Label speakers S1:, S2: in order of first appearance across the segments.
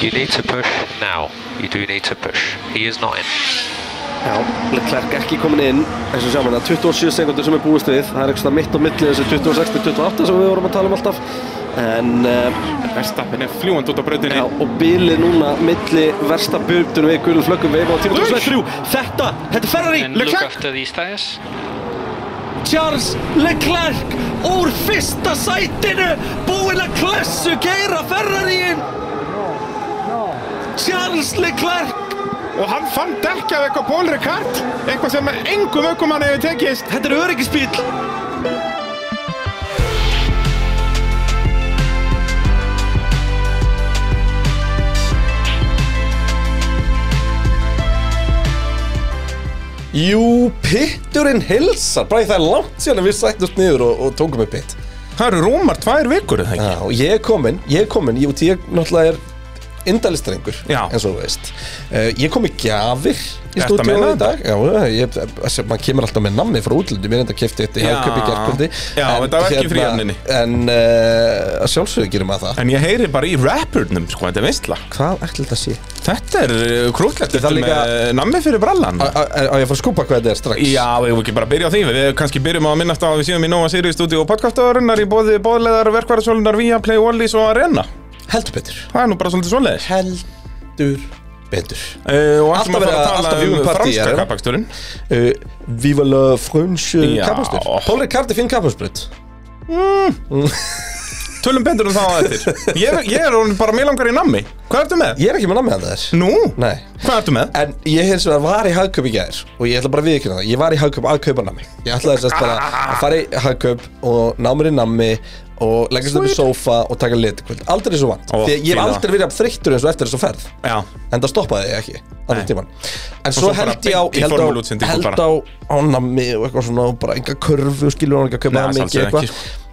S1: You need to push now. You do need to push. He is not in.
S2: Já, Leclerc ekki komin inn, eins og sjáum hérna, 27 sekundur sem er búist við, það er eitthvað mitt á milli þessu 26 til 28 sem við vorum að tala um alltaf, en uh,
S3: Verstappen er fljúand út á brautinni.
S2: já, og bilið núna milli versta byrjunum við gulum flöggum við á tíma 2003, þetta, þetta er Ferrari,
S4: And look
S2: Leclerc,
S4: after these tyres.
S2: Charles Leclerc, úr fyrsta sætinu, búinn að klessu geira Ferrariinn, Charles Leclerc,
S3: Og hann fann dekka af eitthvað Paul Ricard, eitthvað sem engum aukumann hefur tekist.
S2: þetta er öryggisbíl,
S5: Jú, pitturinn hilsar, bara í það er langt síðan að við sættust niður og, og tókum upp pitt.
S3: Það eru rúmar tvær vikur, er það ekki?
S5: Já, og ég er kominn, ég er kominn, ég, ég náttúrulega er indalistrengur,
S3: Já.
S5: eins og þú veist. Uh, ég kom í gjafir í
S3: Ertu að
S5: stúdíónu
S3: meina
S5: í dag. Já, ég, þessi- maður kemur alltaf með namni frá útlöndum, ég er enda að kefti þetta í
S3: Já.
S5: hagköp í gerkvöldi.
S3: Já, þetta var ekki í fríhöfninni.
S5: En uh, að sjálfsögur gerum maður það.
S3: En ég heyri bara í rappurnum, sko, þetta er veistla.
S5: Hvað ætla þetta að sé?
S3: Þetta er krúllett,
S5: Það
S3: þetta er
S5: líka-
S3: með eh, nammi fyrir brallan.
S5: Á á- á ég að fara að skúpa hvað þetta er strax?
S3: Já, við vorum ekki bara að byrja á því, við kannski byrjum á að minnast á að við séum í Nova Sirius stúdíu og podcastaðurinnar í bóði bóðleðar, verkvarðarsólunar, Viaplay, Wallis og Arena.
S5: Heldur betur.
S3: Það er nú bara svolítið svoleiðis.
S5: Heldur betur.
S3: Uh, og
S5: Alltaf
S3: ætlum að
S5: verið
S3: fara
S5: að-
S3: að
S5: alltaf
S3: tala
S5: viewing
S3: um
S5: party,
S3: franska
S5: já.
S3: kappaksturinn.
S5: uh, Viva la France
S3: Já.
S5: kapphústur eh, Paul Ricard er finn kapphúsbrut
S3: Tölum betur um það á eftir. Ég, ég er orðinn bara mjög langar í nammi. Hvað ertu með?
S5: Ég er ekki með namið að þess
S3: Nú?
S5: Nei
S3: Hvað ertu með?
S5: En ég hins vegar var í hagkaup í gær og ég ætla bara að viðkynna það, ég var í hagkaup að kaupa nammi Ég ætlaði þess að bara að fara í hagkaup og ná mér í nammi og leggast upp í sófa og taka lit í kvöld Aldrei svo vant,
S3: Ó,
S5: því að ég hef
S3: fíla.
S5: aldrei verið að þreyttur eins og eftir þessu ferð
S3: Já.
S5: En það stoppaði ég ekki allan
S3: Nei.
S5: tíman En svo,
S3: svo bara
S5: held ég á,
S3: beint í
S5: ég held á,
S3: formúluútsendingu
S5: held
S3: bara.
S5: á, á nammi og eitthvað svona og bara enga körfu, skilur hann ekki að kaupa
S3: Nei,
S5: nammi ekki
S3: sjálfsögðu ekki, sko.
S5: eitthvað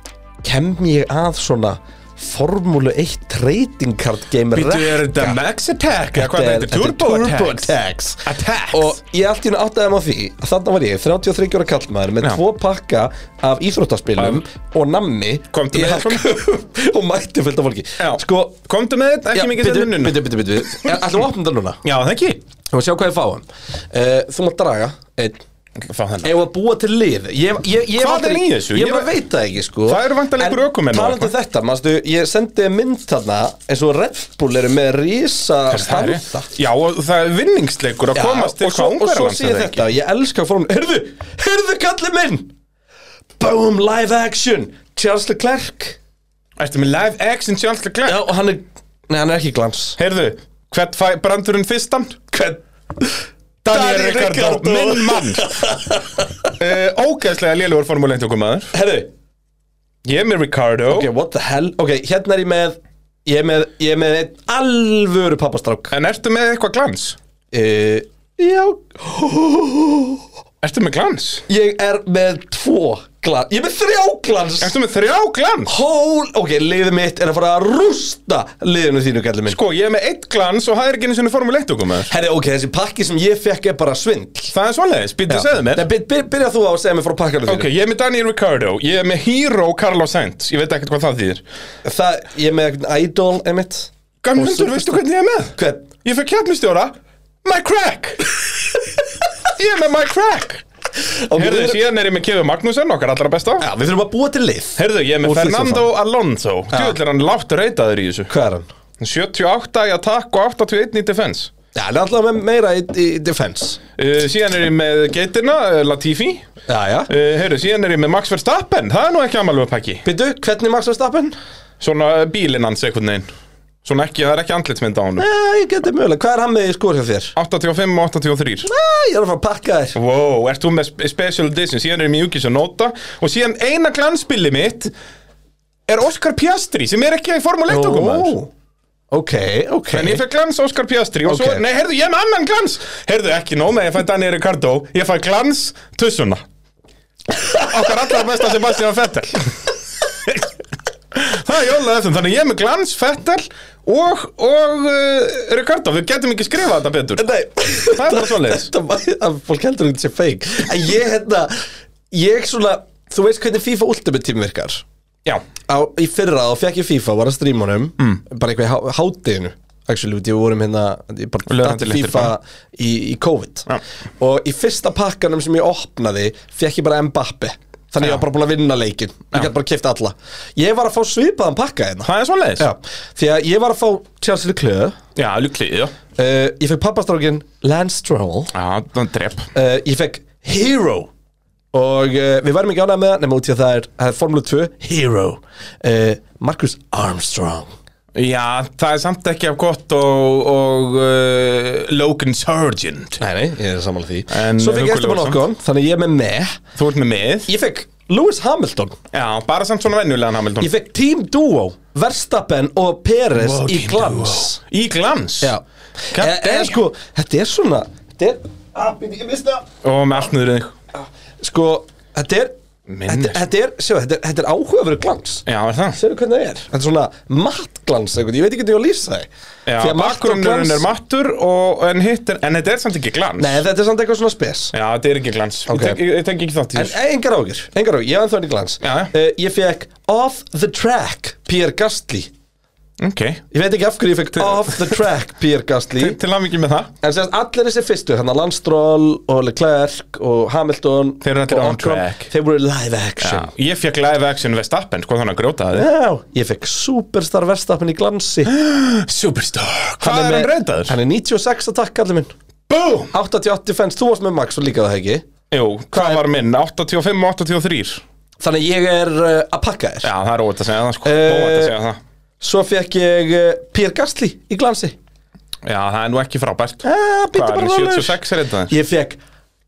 S5: Kem ég að svona Formúlu 1 trading card game
S3: Býtu, er þetta
S5: rekka?
S3: Max Attack? Eða hvað
S5: Þetta
S3: þetta
S5: er-
S3: heitir? Turbo
S5: þetta er
S3: Attacks?
S5: Turbo Attacks.
S3: Attacks?
S5: Og ég allt í henni áttaði maður því að þarna var ég, 33 ára kallmaður með
S3: Já.
S5: tvo pakka af íþróttaspilum og nammi
S3: Komdu
S5: í
S3: með þetta.
S5: hakk- og mætti fullt af fólki
S3: Já.
S5: Sko,
S3: Komdu með þetta, ekki mikið þetta
S5: byrju,
S3: núna.
S5: byrju, byrju, byrju Eh, Ætlum við að opna þetta núna
S3: Já, það ekki.
S5: Þú maður sjá hvað ég fáum uh, Þú maður draga einn
S3: Fá þennan.
S5: Ef að búa til lið ég, ég, ég, hef
S3: Hvað
S5: aldrei-
S3: er í þessu?
S5: Ég
S3: Ég
S5: bara
S3: var-
S5: veit það ekki sko
S3: Það eru væntanlega einhver ökumenn og
S5: Talandi
S3: eitthvað.
S5: þetta, maðurstu Ég sendi þér mynd þarna eins og Red Bull eru með risa
S3: Það er-
S5: standa
S3: Já, og það er vinningsleikur að komast til
S5: og svo,
S3: hvað
S5: og svo
S3: Ungverðarlands
S5: sé ég
S3: er það
S5: þetta, ég elska fórn Hörðu, hörðu kallið minn Boom, live action Charles Leclerc
S3: Ertu með live action Charles Leclerc?
S5: Já, og hann er, nei hann er ekki glans
S3: Heyrðu, hvern fæ brandurinn fyrstan?
S5: Hvern?
S3: Daniel
S5: Daniel
S3: Ricardo,
S5: Ricciardo.
S3: minn mann uh, Ógæðslega lélugur formúleintökum maður
S5: Herðu,
S3: Ég er með Ricardo
S5: Ok, what the hell Ok, hérna er ég með Ég er með, ég er með einn alvöru pappastrák uh,
S3: En ertu með eitthvað glans?
S5: Já
S3: Ertu með glans?
S5: Ég er með tvo glans Ég er með þrjá glans
S3: Ertu með þrjá glans?
S5: Hól Ok, liðið mitt er að fara að rústa liðinu þínu, gæli minn
S3: Sko, ég er með eitt glans og það er ekki einu sinni formúleintökum maður
S5: Herri, ok, þessi pakki sem ég fekk er bara svindl
S3: Það er svoleiðis, býttu að segja mér
S5: Nei, byr, byr, byrja þú á að segja mér frá pakkarnu þínu
S3: Ok, ég er með Daniel Ricardo, ég er með Hero Carlos Sainz Ég veit ekkert hvað það þýðir
S5: Það, ég er með einhvern idol, emitt Og
S3: Gammundur,
S5: svo-
S3: veistu hvernig ég er með?
S5: Hvern?
S3: Ég fyrir keppnistjóra My crack Ég er með my crack
S5: Ok, við
S3: Herðu,
S5: erum-
S3: síðan er ég með Kevin Magnússon, okkar allra besta
S5: Já, við þurfum að búa til lið
S3: Herðu, ég er með
S5: Og Þisvar
S3: Fernando Alonso Djúvill er hann látt reytaður í þessu
S5: Hvað er hann?
S3: 78 í attack og 81 í defense
S5: Já, hann er alltaf með meira í, í defense
S3: uh, Síðan er ég með geitina, uh, Latifi uh,
S5: Já, já
S3: Herðu, síðan er ég með Max Verstappen Það er nú ekki amalveg pakki
S5: Býtu, hvernig Max Verstappen?
S3: Svona uh, bílinn hans einhvern veginn Svona ekki, það er ekki andlitsmynd á honum
S5: Nei, ég geti mögulega. Hvað er hann með í skór hjá þér?
S3: 85 og 83
S5: Nei, ég er að fara að pakka þér.
S3: Wow, ert þú með spe- special edition Síðan er ég með Júkis og Nota Og síðan eina glansbili mitt Er Oscar Piastri sem er ekki í Formule 1 okkur maður
S5: ok, ok.
S3: En ég fæ glans Óskar Piastri og
S5: Ok.
S3: svo, nei, heyrðu, ég er með annan glans Heyrðu, ekki nóg með, að ég fæ Daniel Ricardo Ég fæ glans tussuna Okkar allra besta Sebastian Vettel Það er jólaðið þessum, þannig ég er með glans, Vettel og, og uh, Ricardo Við getum ekki skrifað þetta betur
S5: Nei.
S3: Það er bara svoleiðis.
S5: Þetta var- að Fólk heldur ekki sé feik. En ég, hérna, ég svona, þú veist hvernig FIFA Ultimate Team virkar?
S3: Já,
S5: Á, í fyrra þá fekk ég FIFA, var að stríma honum, mm. bara eitthvað í há- hádeginu. actually, út í við vorum hérna ég bara
S3: Löðrandi
S5: datti
S3: léttir
S5: FIFA
S3: bara.
S5: í, í COVID
S3: Já.
S5: og í fyrsta pakkanum sem ég opnaði fekk ég bara Mbappe þannig ég var bara búin að vinna leikin ég gæti bara kæft alla ég var að fá svipaðan pakka hérna
S3: Það er svoleiðis
S5: Já, því að ég var að fá Chelsea Leclerc
S3: Já, lukkið, já
S5: uh, ég fekk pappastrákin Lance Stroll
S3: Já, það er drepp
S5: uh, ég fekk Hero og uh, við verðum ekki ánægð með það nema út í að það er, það er Formule 2 Hero uh, Marcus Armstrong
S3: Já, það er samt ekki af gott og, og uh, Logan Sargent
S5: Nei, nei, ég er sammála því
S3: En
S5: Svo fekk ég eftir bara
S3: huggulegur
S5: nokkuð, þannig ég er með með
S3: Þú ert með mið
S5: Ég fekk Lewis Hamilton
S3: Já, bara samt svona venjulegan Hamilton
S5: Ég fekk Team Duo, Verstappen og Peres
S3: Fucking
S5: í glans
S3: duo. Í glans?
S5: Já
S3: God
S5: En en
S3: damn.
S5: sko, þetta er svona Þetta er Ah, býtti, ég mista
S3: Og með allt niður í þig
S5: Sko, þetta er Þetta
S3: Minnir.
S5: þetta er, sjá, þetta er, þetta er áhugaveru glans
S3: Já, er það?
S5: Sérðu hvernig það er? Þetta er svona mattglans einhvern, ég veit ekki hvernig ég á að lýsa það Því
S3: Já,
S5: að matt og glans-
S3: bakgrunnurinn er mattur og, en, hitt er, en þetta er samt ekki glans
S5: Nei, þetta er samt eitthvað svona spes
S3: Já, þetta er ekki glans
S5: Ok.
S3: okay. Ég tek- ég- ég tek ekki þátt í
S5: En eh,
S3: þessu
S5: engar ágjur, engar ágjur, ég var ennþá enn í glans
S3: Já, já.
S5: Eh, Ég fekk Off the Track Pierre Gastli
S3: Ok,
S5: Ég veit ekki af hverju ég fekk Off the Track Pierre Gastli
S3: til, til að mikið með það
S5: En sérst allir þessi fyrstu, hann að Landstról og Leclerc og Hamilton
S3: Þeir eru allir
S5: og
S3: on
S5: Ocon,
S3: track.
S5: Þeir voru live action
S3: Já, Ég fekk live action Vestappen, sko þannig að gróta
S5: Já,
S3: þig
S5: ég fekk Superstar Verstappen í glansi
S3: Superstar Hvað er,
S5: með-
S3: hann reytaður?
S5: Hann er 96 að takk allir minn
S3: Boom!
S5: 88 fans, þú varst með Max og líka það ekki
S3: Jú, hvað
S5: er-
S3: var minn? 85 og 83
S5: Þannig að ég er uh, að pakka þér
S3: Já, það er óvægt að segja það sko
S5: Eh,
S3: Óvægt að segja það
S5: Svo fekk ég uh, Pierre Gastli í glansi
S3: Já, það er nú ekki frábært
S5: ah,
S3: Hvað er hann,
S5: rólegur.
S3: 76 er þetta?
S5: Ég fekk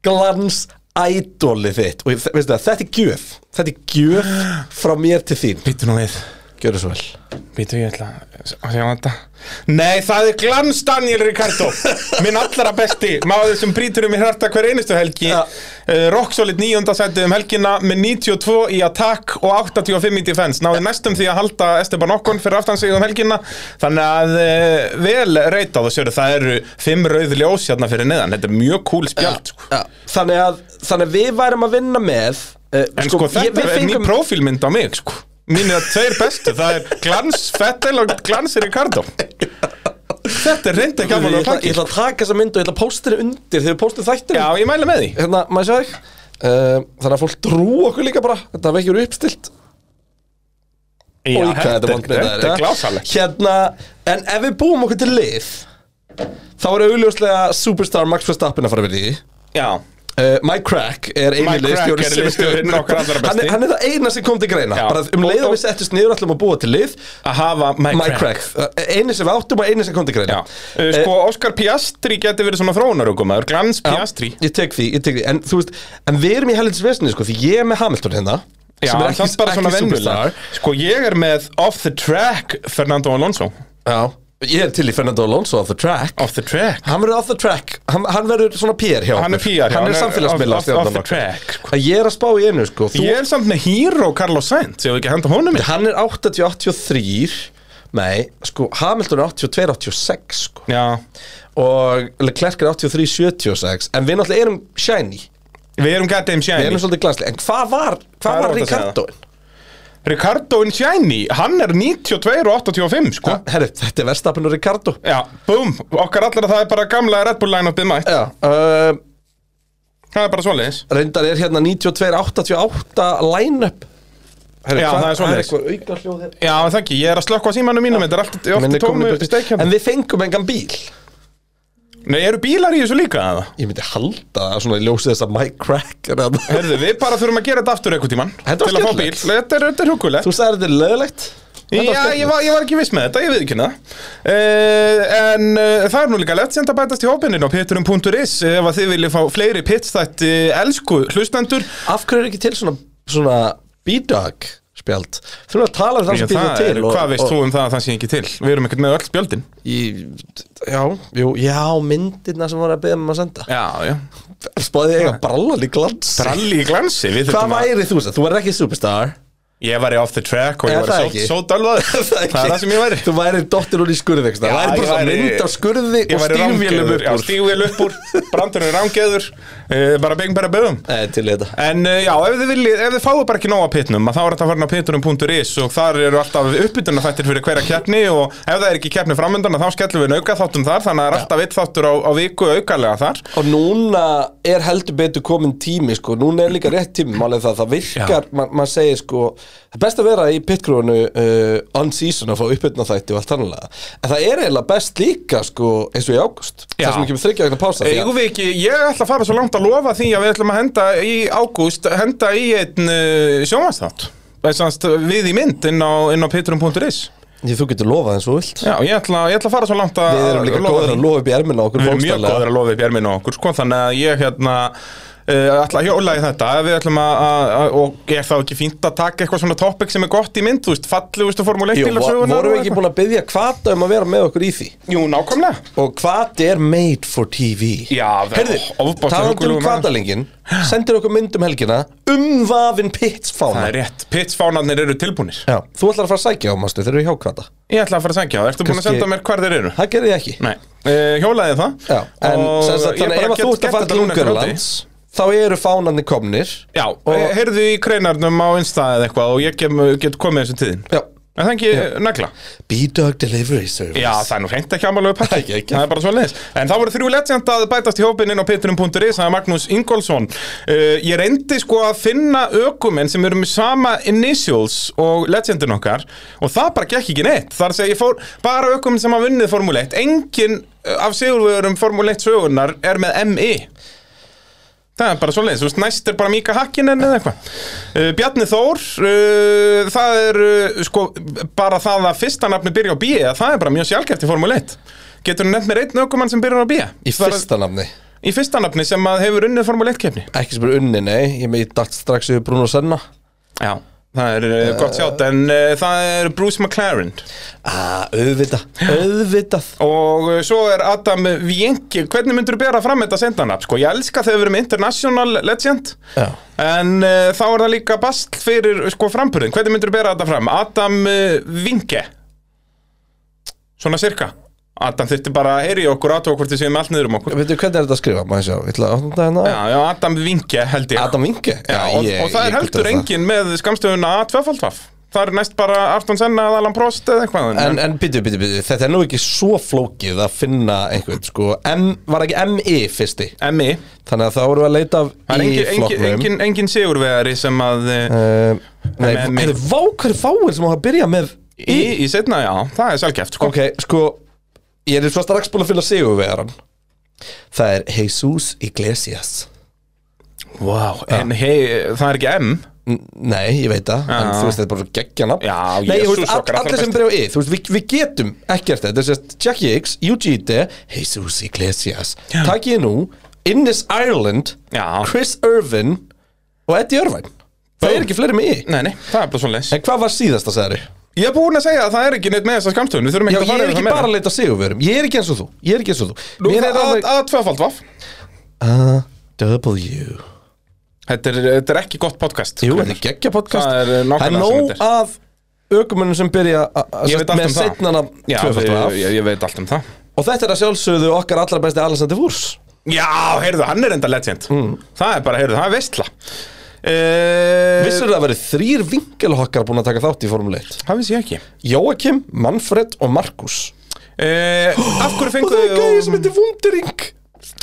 S5: glans ædoli þitt Og ég, þe- veistu það, þetta er gjöf Þetta er gjöf frá mér til þín
S3: Býtu nú við
S5: Gjörðu svo vel
S3: Býtu ég ætla að sjá þetta Nei, það er glans Daniel Ricardo Minn allra besti Máður sem brýtur um í hjarta hver einustu helgi
S5: Já.
S3: uh, Rocksolid níundasættu um helgina Með 92 í attack og 85 í defense Náði næstum því að halda Esteban Okkon fyrir aftan sig um helgina Þannig að uh, vel reytað og sjöru Það eru fimm rauð ljós hérna fyrir neðan Þetta er mjög cool spjald sko.
S5: Já, þannig að, þannig að við værum að vinna með uh,
S3: En sko, þetta
S5: við
S3: er ný prófílmynd á mig sko. Mín er tveir bestu Það er glans Fettel og glans Ricardo Þetta er reynda
S5: Ég ætla,
S3: gaman að
S5: ég
S3: plaki
S5: ætla að taka þessa mynd og ég ætla að posta henni undir þegar við postum þættir
S3: Já, ég mæli með því
S5: Hérna, maður sjá þig uh, Þannig að fólk trú okkur líka bara Þetta er vekkjur uppstilt
S3: Já,
S5: Oj, hvað þetta
S3: þetta,
S5: er vond með það
S3: þetta er glásalegt
S5: Hérna, en ef við búum okkur til lið Þá er augljóslega Superstar Max Verstappen að fara verið í
S3: Já,
S5: uh, My Crack er eini
S3: Mike Crack
S5: liðstjóri
S3: er
S5: sem-
S3: liðstjórinn okkar allra besti.
S5: hann, er- hann er það eina sem kom til greina
S3: Já.
S5: Bara um leið
S3: Og-
S5: og við settist niður ætlum að búa til lið
S3: að hafa Mike,
S5: My Crack, Eh, Uh, eini sem við áttum og eini sem kom til
S3: Já,
S5: greina
S3: Uh, sko, Óskar Piastri geti verið svona þróunarugumæður Glans Piastri
S5: Eh, Ég tek því, ég tek því En þú veist, en við erum í helins vesni sko Því ég er með Hamilton hérna
S3: Já,
S5: sem er
S3: ekki,
S5: ekki,
S3: samt bara svona
S5: ekki
S3: vennulega
S5: superstar
S3: Sko, ég er með off the track Fernando Alonso
S5: Já, ég er til í Fernando Alonso off the track
S3: Off the track
S5: Hann verður off the track, hann, hann verður svona PR hjá
S3: Hann er
S5: okkur. Hann
S3: PR, já,
S5: er
S3: hann er
S5: samfélagsmiðla
S3: off- off- off the track, sko.
S5: Að ég er að spá í einu sko Þú,
S3: Ég er samt með Hero Carlos Sainz Ég hef ekki henda honum í
S5: Hann er 80-83 Nei, sko, Hamilton er 82-86 sko
S3: Já,
S5: Og Leclerc er 83-76 En við náttúrulega erum shiny
S3: við erum goddamn shiny
S5: Við erum svolítið glansli En hvað var,
S3: Hvað
S5: hvað
S3: er
S5: var
S3: ótt að segja það?
S5: Ricardoin?
S3: Ricardo Insiani, hann er 92 og 85 sko
S5: Herri, þetta er verðstapin og Ricardo
S3: Já, búm, okkar allra það er bara gamla Red Bull line-upið mætt
S5: Já, uh,
S3: Það er bara svoleiðis
S5: reyndar er hérna 92-88 line-up Herri,
S3: Já,
S5: hvað-
S3: það er svoleiðis.
S5: Það er eitthvað auka hljóð hérna
S3: Já, það ekki, ég er að slökka á símanum mínum Þetta er allt
S5: Menn
S3: oft
S5: er komin í
S3: tómu
S5: burtu.
S3: steikjum
S5: En við fengum engan bíl
S3: Nei, eru bílar í þessu líka eða?
S5: Ég myndi halda að svona ljósið þess að Mike Crack er að-
S3: Herðu, við bara þurfum að gera þetta aftur einhvern tíman
S5: Þetta var
S3: Til að fá bíl,
S5: skemmtilegt.
S3: þetta er, þetta er hugulegt
S5: Þú sagði þetta er lögulegt
S3: Já, ég var, ég var ekki viss með þetta, ég veit ekki það uh, En uh, það er nú líka lett senda að bætast í hópinin á pitturum.is Eh, Ef að þið viljið fá fleiri pitstætt uh, elsku hlustendur
S5: Af hverju er ekki til svona, svona B-Dog spjald Þurfum að tala um það
S3: Já,
S5: sem býr það
S3: það er,
S5: til
S3: Hvað veist þú um það að það sé ekki til? Við erum ekkert með öll spjöldin
S5: Ég, já, jú, já, myndirna sem voru að beða um að senda
S3: Já, já
S5: Spáði ég að bralla lík lands
S3: Bralli í glansi við
S5: Hvað
S3: þurftum að-
S5: væri þú sem? Þú verður ekki superstar
S3: Ég væri off the track og ég
S5: Er það
S3: væri
S5: ekki?
S3: svo dölvaður Það er það sem ég væri
S5: Þú væri dottir hún í skurði Það
S3: Já,
S5: væri
S3: ég
S5: bara svona
S3: væri-
S5: mynd á skurði
S3: Ég
S5: og
S3: væri
S5: stígvélum
S3: rámgeður,
S5: upp
S3: já,
S5: úr
S3: stígvél upp úr Brandurinn er rámgeður uh, Bara bing, bara bögum
S5: Eh, Til í þetta
S3: En uh, já, ef þið, viljið, ef þið fáið bara ekki nóga pitnum að þá er þetta farin á pitnum.is og þar eru alltaf uppbytunarfættir fyrir hverja keppni og ef það er ekki keppni framöndan að þá skellum við nauka þáttum þar þannig að það er alltaf eitt þáttur á, á viku aukalega þar
S5: Og núna er heldur betur komin tími sko. Núna er líka rétt tími Málið það, það virkar, ma- maður segir sko Það er best að vera í pitgrúinu uh, On season að fá uppbytna þætti og allt annarlega En það er eiginlega best líka sko Eins og í águst
S3: Já.
S5: Það sem ekki með þryggja vegna pása því að-
S3: Eigum við ekki, ég ætla að fara svo langt að lofa því að við ætlum að henda í ágúst henda í einn uh, sjónvastátt við í mynd inn á, inn á pitnum.is
S5: Ég, Þú getur lofað eins og þú vilt
S3: Já, ég ætla, ég ætla að fara svo langt að
S5: Við erum líka
S3: lofa
S5: góður
S3: því.
S5: að lofa upp í ermina á okkur
S3: Við erum mjög
S5: bókstaflega.
S3: góðir að lofa upp erminu á okkur sko, þannig að ég hérna Uh, ætla að hjóla í þetta Ef við ætlum að, að, að og er þá ekki fínt að taka eitthvað svona topic sem er gott í mynd, þú veist, fallegustu formule 1
S5: Jú, vo- vorum við ekki búin að byggja kvata um að vera með okkur í því
S3: Jú, nákvæmlega
S5: og kvati er made for TV
S3: Já, það er
S5: Herðu,
S3: ofboðslega
S5: talandu
S3: huggulegur
S5: um
S3: maður.
S5: kvatalingin sendir okkur mynd um helgina umvafin
S3: Það
S5: pitsfána
S3: er rétt, pitsfánarnir eru tilbúnir
S5: Já, þú ætlar að fara að sækja á mástu þegar við hjá kvata
S3: Ég ætla að fara að segja það, ertu búin að
S5: Kannski-
S3: senda mér hvar þeir eru?
S5: það gerði ég ekki
S3: Nei, uh, hjólaði það
S5: Já, en
S3: Og
S5: sem sagt,
S3: ég
S5: þannig
S3: bara
S5: ef að
S3: get
S5: þú ert
S3: gert
S5: að fara
S3: þetta
S5: til
S3: núna eftir
S5: Ungarlands þá eru fánarnir komnir
S3: Já,
S5: Og-
S3: heyrðu í kreinarnum á Insta eða eitthvað og ég kem, get komið þessu tíðin
S5: Já,
S3: En það ekki negla
S5: B-Dog Delivery Service
S3: Já, það er nú hreint ekki amalegu pakki
S5: Ekki, ekki.
S3: Það er bara svo leiðis En það voru þrjú legend að bætast í hópin inn á pitturum.is Það er Magnús Ingolson uh, Ég reyndi sko að finna ökumenn sem eru með sama initials og legendin okkar Og það bara gekk ekki neitt Þar segi ég fór bara ökumenn sem hafa vunnið Formule 1 Engin uh, af sigurvegurum Formule 1 sögunar er með MI Það er bara svoleiðis, þú veist, næst er bara Mika Hakkinen eða eitthvað. Uh, Bjarni Þór, uh, það er, uh, sko, bara það að fyrsta nafni byrja á B, eða það er bara mjög sjálfgeft í Formule 1. Getur þú nefnt mér einn ökumann sem byrjar á B?
S5: í fyrsta nafni
S3: Í fyrsta nafni sem að hefur unnið Formule 1-kefni.
S5: ekki sem eru unni, nei, ég með í dagt strax yfir Bruno Senna
S3: Já. Það er uh,
S5: Eh.
S3: gott sjátt, en uh, það er Bruce McLaren.
S5: Ah, auðvitað, auðvitað
S3: Og uh, svo er Adam Vienki, hvernig myndur þú bera fram þetta sendanafn? Sko, ég elska þegar við erum international legend.
S5: Já
S3: En uh, þá er það líka bast fyrir sko framburðin. Hvernig myndur þú bera þetta fram? Adam uh, Vinke. Svona cirka. Adam þurfti bara að heyri okkur aðtók hvort þið séum allt niður um okkur.
S5: Veitu, hvernig er þetta að skrifa? Maður sjá, ég ætla að opna þetta
S3: Já,
S5: hérna
S3: já, Adam Vinke held ég.
S5: Adam Inge
S3: Já, og, og það er heldur engin með skamstöðuna að tvöfaldvaf. Það er næst bara Arton Senna eða Alan Prost eða eitthvað.
S5: En, en býtu, býtu, býtu, þetta er nú ekki svo flókið að finna einhvern, sko M, var ekki MI fyrsti
S3: Emmi.
S5: Þannig að þá vorum við að leita af í
S3: Það er engin, engin,
S5: flokknum
S3: engin, engin sigurvegari sem að... Uh,
S5: engin Nei,
S3: MI.
S5: er vá hverju fáir sem á að byrja með E.
S3: í, í setna, já, það er sjálfkæft, sko.
S5: Ok, sko, ég er svo strax búin að finna sigurvegaran Það er Jesus Iglesias
S3: Wow, en hei, það er ekki M.
S5: N- Nei, ég veit það, en
S3: Já.
S5: þú veist þetta er bara svo geggjana
S3: Já,
S5: Nei, þú
S3: Jesús
S5: veist, all,
S3: okkar allra
S5: allir sem
S3: besti.
S5: byrja á yð, þú veist, við, við getum ekkert þetta, þetta er sérst Jackie Hicks, Eugene, Jesus Iglesias Takk ég nú, Innis Ireland,
S3: Já.
S5: Chris Irvin og Eddie Irvine Það er ekki fleiri með yð
S3: Nei, nei, það er bara svona
S5: En hvað var síðasta, sagði
S3: Ég er búinn að segja að það er ekki neitt með þessa skamstöðun Við þurfum
S5: Já,
S3: ekki að
S5: ég
S3: fara
S5: er ekki bara að leita að sigurverum, ég er ekki eins og þú, ég er ekki eins og þú
S3: Nú,
S5: Mér er
S3: það er
S5: alveg
S3: að, að tvöfald, vaff
S5: W
S3: þetta er, þetta er ekki gott podcast
S5: Jú,
S3: Gunnar.
S5: þetta er geggja podcast
S3: Það er, uh, nákvæmlega
S5: er
S3: sem
S5: nóg
S3: þetta
S5: af ökumönnum sem byrja a- a-
S3: Ég veit allt
S5: með
S3: um það.
S5: seinna nafn
S3: Já,
S5: tvöfalt
S3: við-
S5: af.
S3: ég, ég veit allt um það
S5: Og þetta er að sjálfsögðu okkar allra besti Alexander Wurs
S3: Já, heyrðu, hann er enda legend
S5: Mm.
S3: Það er bara, heyrðu, það er veistla uh,
S5: Vissur það að verið þrýr vingelhokkar búin að taka þátt í Formule 1
S3: Það vissi ég ekki
S5: Jóakim, Manfred og Markus
S3: uh, Af hverju
S5: Og
S3: fengu
S5: það er gæði sem heitir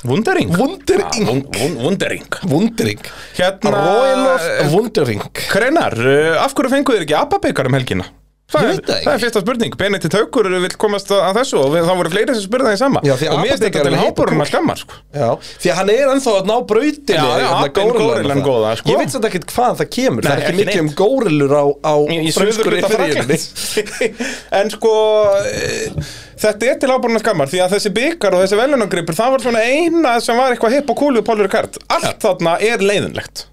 S5: Wundering
S3: Wundering
S5: Wundering.
S3: Wundering
S5: Wundering
S3: Hérna
S5: Royal of Wundering
S3: Kreinar, uh, af hverju fengu þér ekki abbabikar um helgina? Það
S5: Ég
S3: er,
S5: veit það ekki.
S3: það er fyrsta spurning, Benetti Taukur vill komast að að þessu og við, það voru fleiri sem spurði það í sama
S5: Já, því
S3: og mér
S5: abbabikar
S3: stætti
S5: er
S3: til
S5: alveg heitt og
S3: hábúrunum að skamma sko.
S5: Já, því að hann er ennþá að ná brautinni
S3: Já, já,
S5: hérna,
S3: abbinn
S5: górillan og
S3: górillan
S5: það.
S3: góða, sko.
S5: Ég veit samt ekkert hvaðan það kemur Það
S3: Nei,
S5: er ekki
S3: ekki
S5: mikið um
S3: neitt.
S5: górillur á, á
S3: í, í
S5: frönsku
S3: söðurhluta
S5: riðilinn.
S3: Fraklands En sko eh, Þetta er til ábúruna skammar Því að þessi byggar og þessi velunangripur Það var svona eina sem var eitthvað hipp og kúlu Pólur Kart, allt þarna er leiðinlegt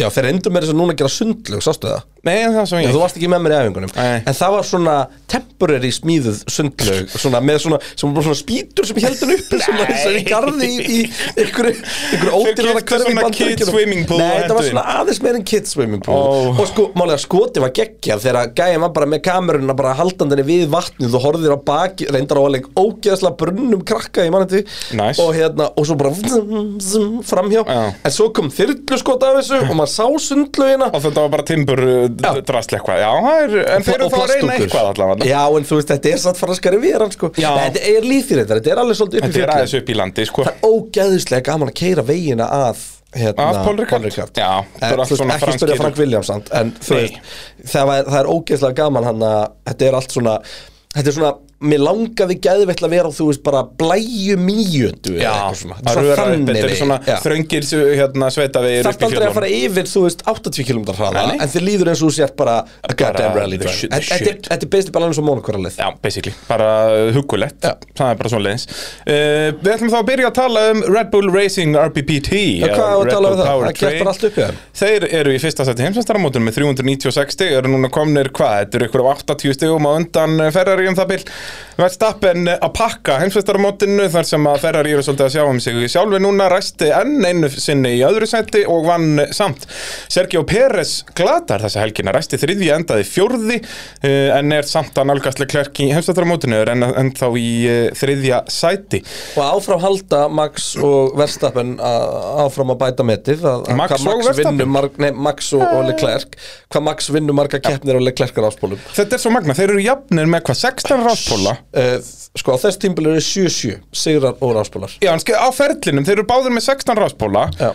S5: Já, þeir endur með þess að núna að gera sundlög, sástu það?
S3: Nei, það sem
S5: Já,
S3: ég
S5: þú varst ekki með mér í æfingunum
S3: Nei.
S5: En það var svona temporary smíðuð sundlaug svona, með svona, sem var svona spýtur sem heldur upp sem var eins og í garði í, í einhverju, einhverju ódýrara
S3: keyptu
S5: hverfi í
S3: svona
S5: Bandaríkjunum.
S3: kids swimming pool og
S5: Nei, það
S3: hentu
S5: var
S3: inn.
S5: svona aðeins meir en kids swimming pool
S3: Ó.
S5: og sko, málega skoti var geggjað þegar að gæjan var bara með kameruna bara haldandinni við vatnið og horfðir á baki reyndar á alveg ógeðslega brunnum krakka í mannandi
S3: Nice.
S5: og hérna, og svo bara vzum, vzum, framhjá
S3: Já.
S5: en svo kom þyrlu af þessu og maður sá sundlaugina
S3: Og þetta var bara timbur eh,
S5: Já.
S3: drasl eitthvað Já, það er, en þeir eru
S5: Og
S3: þá að reyna
S5: plastdúkur.
S3: eitthvað allavega
S5: Já, en þú veist, þetta er satt franskari veran sko.
S3: Já.
S5: Nei, Þetta er líðfyrirtar, þetta er alveg svolítið upp í
S3: Þetta er
S5: fjöllin
S3: aðeins upp í landi, sko
S5: Það er ógæðislega gaman að keira vegina að hérna,
S3: Að Paul Ricard? Já,
S5: Eh,
S3: það er allt
S5: þú veist,
S3: svona
S5: Ekki spyrja
S3: franskir-
S5: Frank Williamsand En þú
S3: Nei.
S5: veist, það, var, það er ógæðislega gaman hann að Þetta er allt svona Þetta er svona, mér langaði gæðveitt að vera þú veist bara blæju mýjöndu eða eitthvað svona.
S3: að
S5: Þetta er
S3: röra upp,
S5: þannig
S3: þetta er
S5: vegi.
S3: svona
S5: Já.
S3: þröngir hérna, sveitavegir
S5: Þarft aldrei að fara yfir, þú veist, 80 km hraða
S3: Nei, nei.
S5: En þið líður eins og þú sér bara a goddamn rally
S3: the
S5: drive
S3: shit, the
S5: Þetta þetta er
S3: shit.
S5: þetta er basically bara alveg svo mónukoralið
S3: Já, basically, bara uh, huggulegt
S5: Já.
S3: Það er bara svona leiðins Við ætlum þá að byrja að tala um Red Bull Racing RPPT
S5: Já,
S3: eða
S5: hvað á að
S3: Red
S5: tala
S3: Bull
S5: um það?
S3: Power
S5: Það kjaftar
S3: Train.
S5: allt upp í þeim.
S3: Þeir eru í fyrsta seti heimsvæmstaramótunum með 396 stig eru núna komnir, hvað, þetta eru ykkur á 80 stigum á undan eh, Ferrari um það bil Verstappen að pakka heimsvæmstaramótinu þar sem að Ferrari eru svolítið að sjá um sig sjálfi núna, ræsti enn einu sinni í öðru seti og vann eh, samt Sergio Pérez glatar þessa helgina ræsti þriðji, endaði fjórði eh, en er samt að nálgastlega klerk í heimsvæmstaramótinu en, en þá í eh, þriðja sæti
S5: Og áfram halda Max og Verstappen að- áfram að bæta metið að, að
S3: Max
S5: hvað
S3: og Verstappen?
S5: vinnur marg, nei, Max og, og Leclerc Hvað Max vinnur marga keppnir og Leclerc er áspólum
S3: Þetta er svo magna, þeir eru jafnir með hvað 16 ráspóla
S5: uh, Sko á þess tímbil eru 7-7 Sigrar og áspólar
S3: Já, en skil, á ferlinum, þeir eru báðir með 16 ráspóla
S5: Já.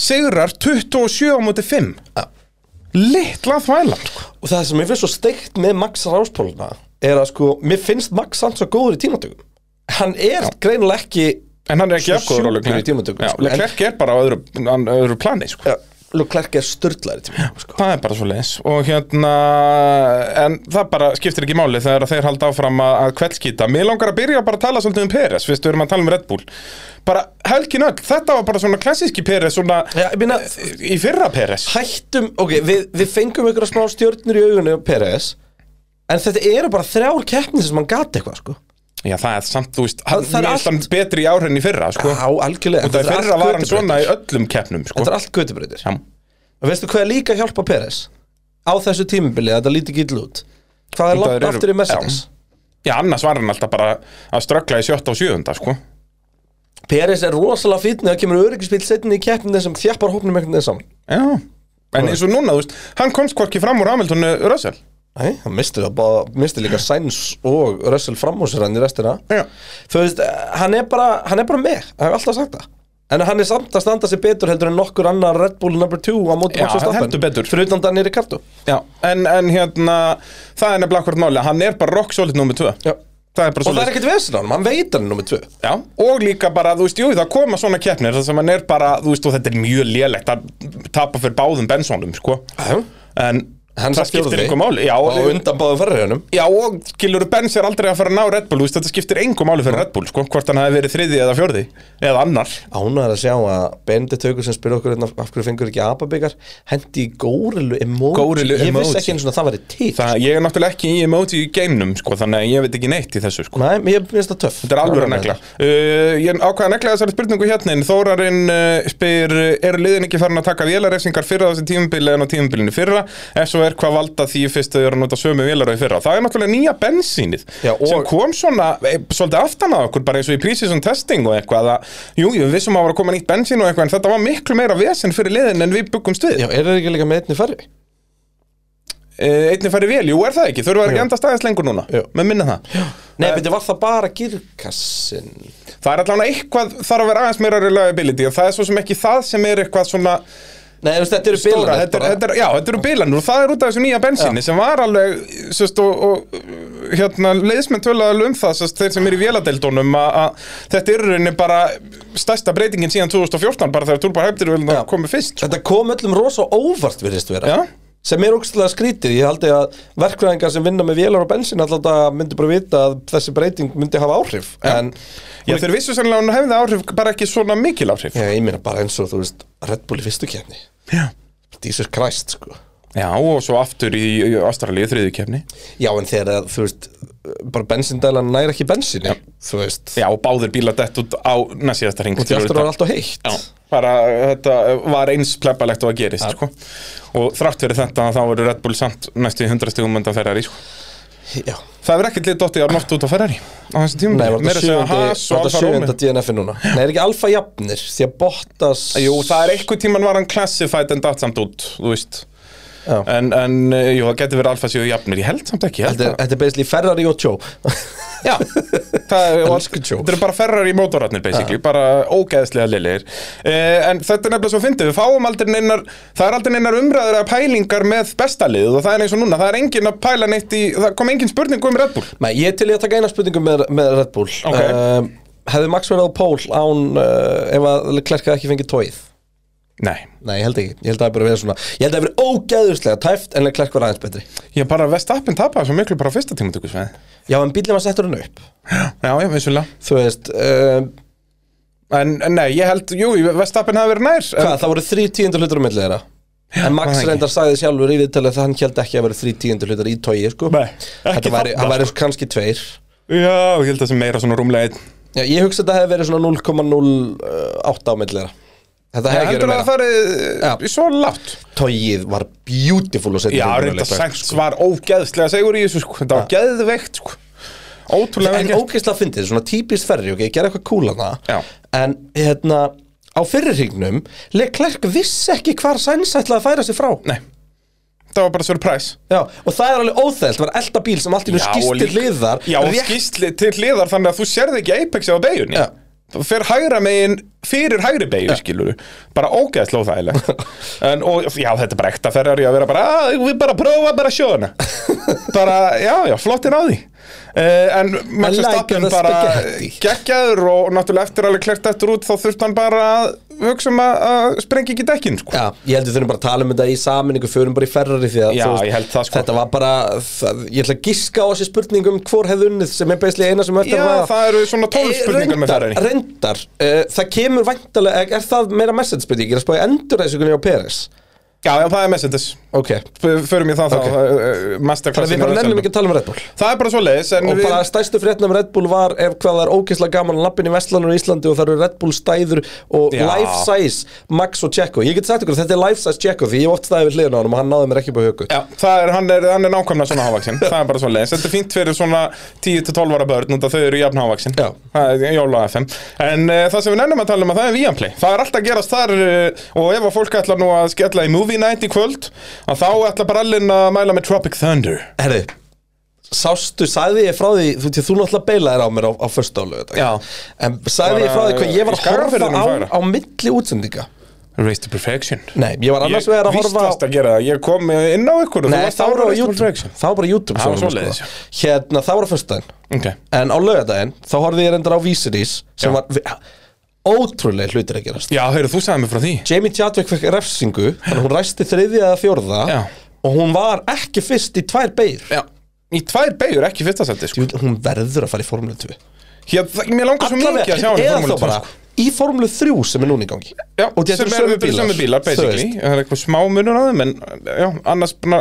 S3: Sigrar 27 á móti 5
S5: Já.
S3: Littla þvælan sko.
S5: Og það sem mér finnst svo steikt með Max áspóluna Er að sko, mér finnst Max hans svo góður í tímatökum Hann er greinilega ekki
S3: En hann er ekki
S5: Svo
S3: jafnkóður á
S5: sjúkur
S3: Leclerc.
S5: í tímatökum,
S3: Já,
S5: sko, en-
S3: Leclerc er bara á öðru, an, öðru plani sko.
S5: ja, Leclerc er störðlæri tímatökum sko.
S3: Það er bara svo leins Og hérna, en það bara skiptir ekki máli Þegar þeir halda áfram að, að kveldskýta Mér langar að byrja bara að tala svolítið um Peres Fyrst við erum að tala um Red Bull Bara helgin öll, þetta var bara svona klassíski Peres Svona
S5: Já, ég meina,
S3: í fyrra Peres
S5: hættum, ok, við, við fengum ykkur smá stjórnir í augunni og PRS en þetta eru bara þrjár keppnir sem hann gati eitthvað, sko
S3: Já, það er samt, þú veist, hann,
S5: Það- það er
S3: mér finnst hann betri í ár en í fyrra sko.
S5: Já, algjörlega
S3: Og það
S5: þetta er
S3: er fyrra
S5: allt
S3: var hann
S5: götubrautir.
S3: svona í öllum keppnum sko.
S5: Þetta er allt götubreytir
S3: Já.
S5: og veistu hvað er líka að hjálpa PRS á þessu tímabili að þetta líti ekki illa út hvað er
S3: Þetta
S5: langt
S3: eru-
S5: aftur í Mercedes
S3: Já, annars var hann alltaf bara að ströggla í sjötta og sjöunda sko.
S5: PRS er rosalega fýtni það kemur öryggisbíl setni í keppnir sem þjappar hópnum einhvern veginn saman
S3: Já En eins og núna, þú veist, hann komst hvorki fram úr Hamiltonu Russell
S5: Nei, hann misti, það, bara, misti líka Sainz og Russell framhúsir hann í restina
S3: Já.
S5: Þú veist, hann er bara, hann er bara með, hann hefur alltaf sagt það En hann er samt að standa sig betur heldur en nokkur annar Red Bull number 2 á móti
S3: Já,
S5: Max
S3: heldur betur.
S5: Fyrir utan Daniel Ricardo
S3: Já, en, en hérna, það er nefnilega hvort máli Hann er bara rock solid nummer 2
S5: Já.
S3: Það er
S5: Og
S3: bara
S5: það er
S3: solid
S5: ekkert vesinn á hann, hann veit hann er nummer 2
S3: Já, og líka bara, þú veist, jú, það koma svona keppnir þar sem hann er bara, þú veist, og þetta er mjög lélegt að tapa fyrir báðum bensónum, sko
S5: Já.
S3: En
S5: Hann
S3: það
S5: satt
S3: skiptir
S5: fjórði.
S3: einhver máli Já,
S5: Og undan báðum ferriðunum
S3: Já, og skilur Benz er aldrei að fara að ná Red Bull þú veist, Þetta skiptir engum máli fyrir Red Bull sko, Hvort hann hafi verið þriði eða fjórði Eða annar
S5: Ánæður að sjá að Benedikt Haugur sem spyrir okkur hérna, af hverju fengur ekki apabikar hendi í górilu emoji
S3: Górilu
S5: Ég
S3: emoji.
S5: vissi ekki eins og það væri til
S3: Það, Ég er náttúrulega ekki í emoji í game'num sko, Þannig að ég veit ekki neitt í þessu sko.
S5: Nei, mér finnst það töff
S3: Þetta er alveg að negla uh, Ég ákvað að negla þessari spurningu hérna en Þórarinn uh, spyr uh, Eru liðin ekki farin að taka vélarefsingar fyrra á þessi tímubili en á tímubilinu fyrra Ef svo er hvað valda því fyrst þau eru að nota sömu vélar og í fyrra Það er náttúrulega nýja bensínið
S5: Já, og-
S3: sem kom svona, e, svolítið aftan að okkur bara eins og í prísisum testing og eitthvað að, Jú, jú, við sem að var að koma nýtt bensín og eitthvað en þetta var miklu meira vesen fyrir liðin en við byggumst við
S5: Já, er það ekki líka með einni ferri?
S3: uh, Einnig færi vel, jú, er það ekki, þurfa ekki að enda staðist lengur núna
S5: Já.
S3: Með minna það Já.
S5: Nei, betur var það bara girkassin
S3: Það er allavega eitthvað, þarf að vera aðeins meira reliability og það er svo sem ekki það sem er eitthvað svona
S5: Nei, þú veist, þetta eru
S3: stóra,
S5: bilanir
S3: þetta, er-
S5: bara.
S3: þetta er, já, þetta eru bilanur og það er út af þessu nýja bensinni sem var alveg, sérst, og, og hérna, leiðismenn töluðu alveg um það, sérst, þeir sem eru í véladeildunum að að þetta er í rauninni bara stærsta breytingin síðan 2014, bara þegar Turbo Hypdir
S5: Já.
S3: komið fyrst, sko.
S5: Þetta kom öllum rosa óvart virðist vera
S3: Já.
S5: sem er ógstlega skrítið, ég haldi að verkfræðingar sem vinna með vélar og bensin alltaf myndi bara vita að þessi breyting myndi hafa áhrif en
S3: Já, þeir vissu sannlega að hún hefði áhrif, bara ekki svona mikil áhrif.
S5: Já, ég meina bara eins og þú veist Red Bull í fyrstu kefni
S3: Já.
S5: Jesus Christ sko
S3: Já, og svo aftur í, í Ástralíu þriðu kefni
S5: Já, en þegar það, þú veist, bara bensindælan næri ekki bensinni, þú veist
S3: Já, og báðir bílar dett út á næstíðasta ring
S5: Og því aftur var alltaf heitt
S3: Já, bara þetta var eins plebbalegt og að gerist, sko Og þrátt fyrir þetta þá voru Red Bull samt næstu í 100 stegum undan Ferrari, sko
S5: Já.
S3: Það hefur ekkert lið dottið á nótt út á Ferrari á þessum tímum
S5: Nei, var þetta sjöfunda, sjöfunda DNF-i núna Nei, er ekki alfa jafnir, því að Bottas
S3: Jú, það er eitthvað tíman var hann classified en datt samt út, þú veist
S5: Já.
S3: En, en eh, jú, það getur verið alfa síðu jafnir, ég held samt ekki ég held
S5: Þetta er,
S3: að-
S5: þetta er basically Ferrari og Joe
S3: Já, það er, og-
S5: Elsku Joe.
S3: þetta eru bara ferrar í mótorarnir basically, bara ógeðslega liðlegir eh, En þetta er nefnilega svo fyndið, við fáum aldrei neinar, það er aldrei neinar umræður að pælingar með bestalið og það er eins og núna, það er engin að pæla neitt í, það kom engin spurning um Red Bull
S5: Nei, ég er til í að taka eina spurningu með, með Red Bull
S3: Ok.
S5: um, Hefði Max verið á pól án uh, ef að Klerka ekki fengið tóið?
S3: Nei,
S5: Nei, ég held ekki, ég held að það hafi bara verið svona Ég held að það hafi verið ógæðuslega tæft en Klerk var aðeins betri
S3: ég bara Vestappin tapaði svo miklu bara á fyrsta tímatökusveið
S5: Já, en bílinn var settur hann upp
S3: Já, já, vissulega
S5: Þú veist, um,
S3: En en nei, ég held, jú, Vestappin hafi verið nær en-
S5: hvað, það voru þrý tíundur hlutur á milli þeirra En
S3: var
S5: Max
S3: það ekki?
S5: reyndar sagði sjálfur í viðtalið að hann held ekki að vera þrý tíundur hlutar í tóið sko.
S3: Nei, ekki
S5: Þetta væri,
S3: þarna, sko.
S5: hann væri kannski tveir
S3: Já, ég held að það sem meira svona rúmlega einn
S5: Já, ég hugsa að þetta hefði verið svona 0,08 uh, á milli þeirra Þetta hefði ekki
S3: Heldur
S5: verið meira
S3: að það farið eh, svo látt
S5: Tóið var beautiful og settur
S3: Já,
S5: hlutur á
S3: reynda
S5: milli.
S3: Sainz var ógeðslega segur í þessu sko, þetta var geðveikt sko Ótrúlega
S5: En
S3: vel gert
S5: ógeðslega fyndið, svona típist ferri, ok, ég gerði eitthvað kúla
S3: Já.
S5: það En hérna, á fyrirhringnum, Leclerc vissi ekki hvar Sainz ætlaði að færa sig frá
S3: Nei, það var bara surprise
S5: Já, og það er alveg óþælt, var elda bíl sem allt í nú skýst til hliðar
S3: Já, og
S5: rétt-
S3: skýst til hliðar þannig að þú sérði ekki Apexi á beigunni
S5: Já.
S3: Það fer hægra megin fyrir hægri beigju, skilur Bara ógeðslega óþægilegt en, Og já, þetta er bara ekta ferrar í að vera bara "Ah, Við bara prófa bara sjóðuna Bara, já, já, flottir á því uh, En
S5: I
S3: Max
S5: like
S3: Verstappen
S5: the
S3: bara
S5: spaghetti.
S3: geggjaður Og náttúrulega eftir alveg klert eftir út Þá þurfti hann bara að hugsa um að, að sprengi ekki dekkin, sko
S5: Já, ég held við þurfum bara að tala um þetta í saminningu förum bara í ferrari því að
S3: Já,
S5: þú
S3: ég held það, sko.
S5: Þetta var bara, það, ég ætla að giska á þessi spurningum hvor hefði unnið sem er beislega eina sem eftir
S3: Já,
S5: að ræða.
S3: það eru svona 12
S5: Eh,
S3: spurningar
S5: reyndar-
S3: með Ferrari.
S5: Reyndar, uh, það kemur væntalega, er- er það meira message spurning? Ég er að spáði endurreysingunni á Peres
S3: Já, já, það er messendis
S5: Ok, þannig
S3: F- förum í það
S5: Ok.
S3: okay. þá uh,
S5: að
S3: masterclassin
S5: við bara nefnum ekki að tala um Red Bull
S3: það er bara svo leiðis en
S5: Og
S3: við,
S5: bara stærstu fréttnum Red Bull var ef hvað það er ógeðslega gaman að lappin í Vestlandur í Íslandi og það eru Red Bull stæður og
S3: Já.
S5: life size Max og Tjekko Ég get sagt ykkur að þetta er life size Tjekko því ég hef oft staðið við hliðin á hann og hann náði mér ekki upp á höku
S3: já, það er, hann, er, hann er nákvæmlega svona hávaksin það er bara svo leiðis, þetta er fínt fyrir svona 10-12 ára börn og þau eru jafn hávaksin
S5: Já.
S3: það er jóla FM en uh, það sem við nefnum að tala um að það er Viaplay það er alltaf að gerast þar uh, og ef að fólk ætlar nú að skella í Movie Night í kvöld að þá ætlar brallin að mæla með Tropic Thunder
S5: Herri, sástu, sagði ég frá því Þú, því, þú náttúrulega beilaðir á mér á, á fyrsta álega
S3: Já.
S5: En sagði ég frá því hvað ég var
S3: Í
S5: að horfa
S3: Skagafirðinum
S5: á,
S3: færa.
S5: á milli útsendinga
S3: Race to Perfection
S5: Nei, ég var annars vegar að
S3: víst
S5: horfa á
S3: varst að gera það, ég kom eh, inn á ykkur og þú
S5: Nei,
S3: varst
S5: þá
S3: að
S5: var á
S3: horfa Race to
S5: YouTube
S3: Perfection.
S5: Þá var bara YouTube
S3: Það
S5: sem
S3: var
S5: var að
S3: svoleiðis,
S5: skoða. Hérna, þá var á fyrsta
S3: Ok.
S5: En á lögadaginn, þá horfði ég reyndar á Vísirís Sem
S3: Já.
S5: var vi- ótrúlega hlutir að gerast
S3: Já, heyrðu, þú sagði mér frá því
S5: Jamie Chadwick fekk refsingu Þannig að hún ræsti þriðja eða fjórða
S3: Já.
S5: Og hún var ekki fyrst í tvær beir
S3: Já. Í tvær beigur, ekki fyrsta seldi sko.
S5: Hún verður að fara í Formule 2
S3: Hér, það- Mér langar svo mikið að sjá hann í
S5: eða
S3: Formúlu
S5: þá
S3: 2,
S5: bara
S3: sko.
S5: í formúlu 3 sem er núna í gangi
S3: Já,
S5: og þetta
S3: sem
S5: eru
S3: er
S5: sömu
S3: sömu bílar,
S5: bílar,
S3: sömu bílar
S5: þú
S3: basically Það er eitthvað smá munur á þeim En já, annars na,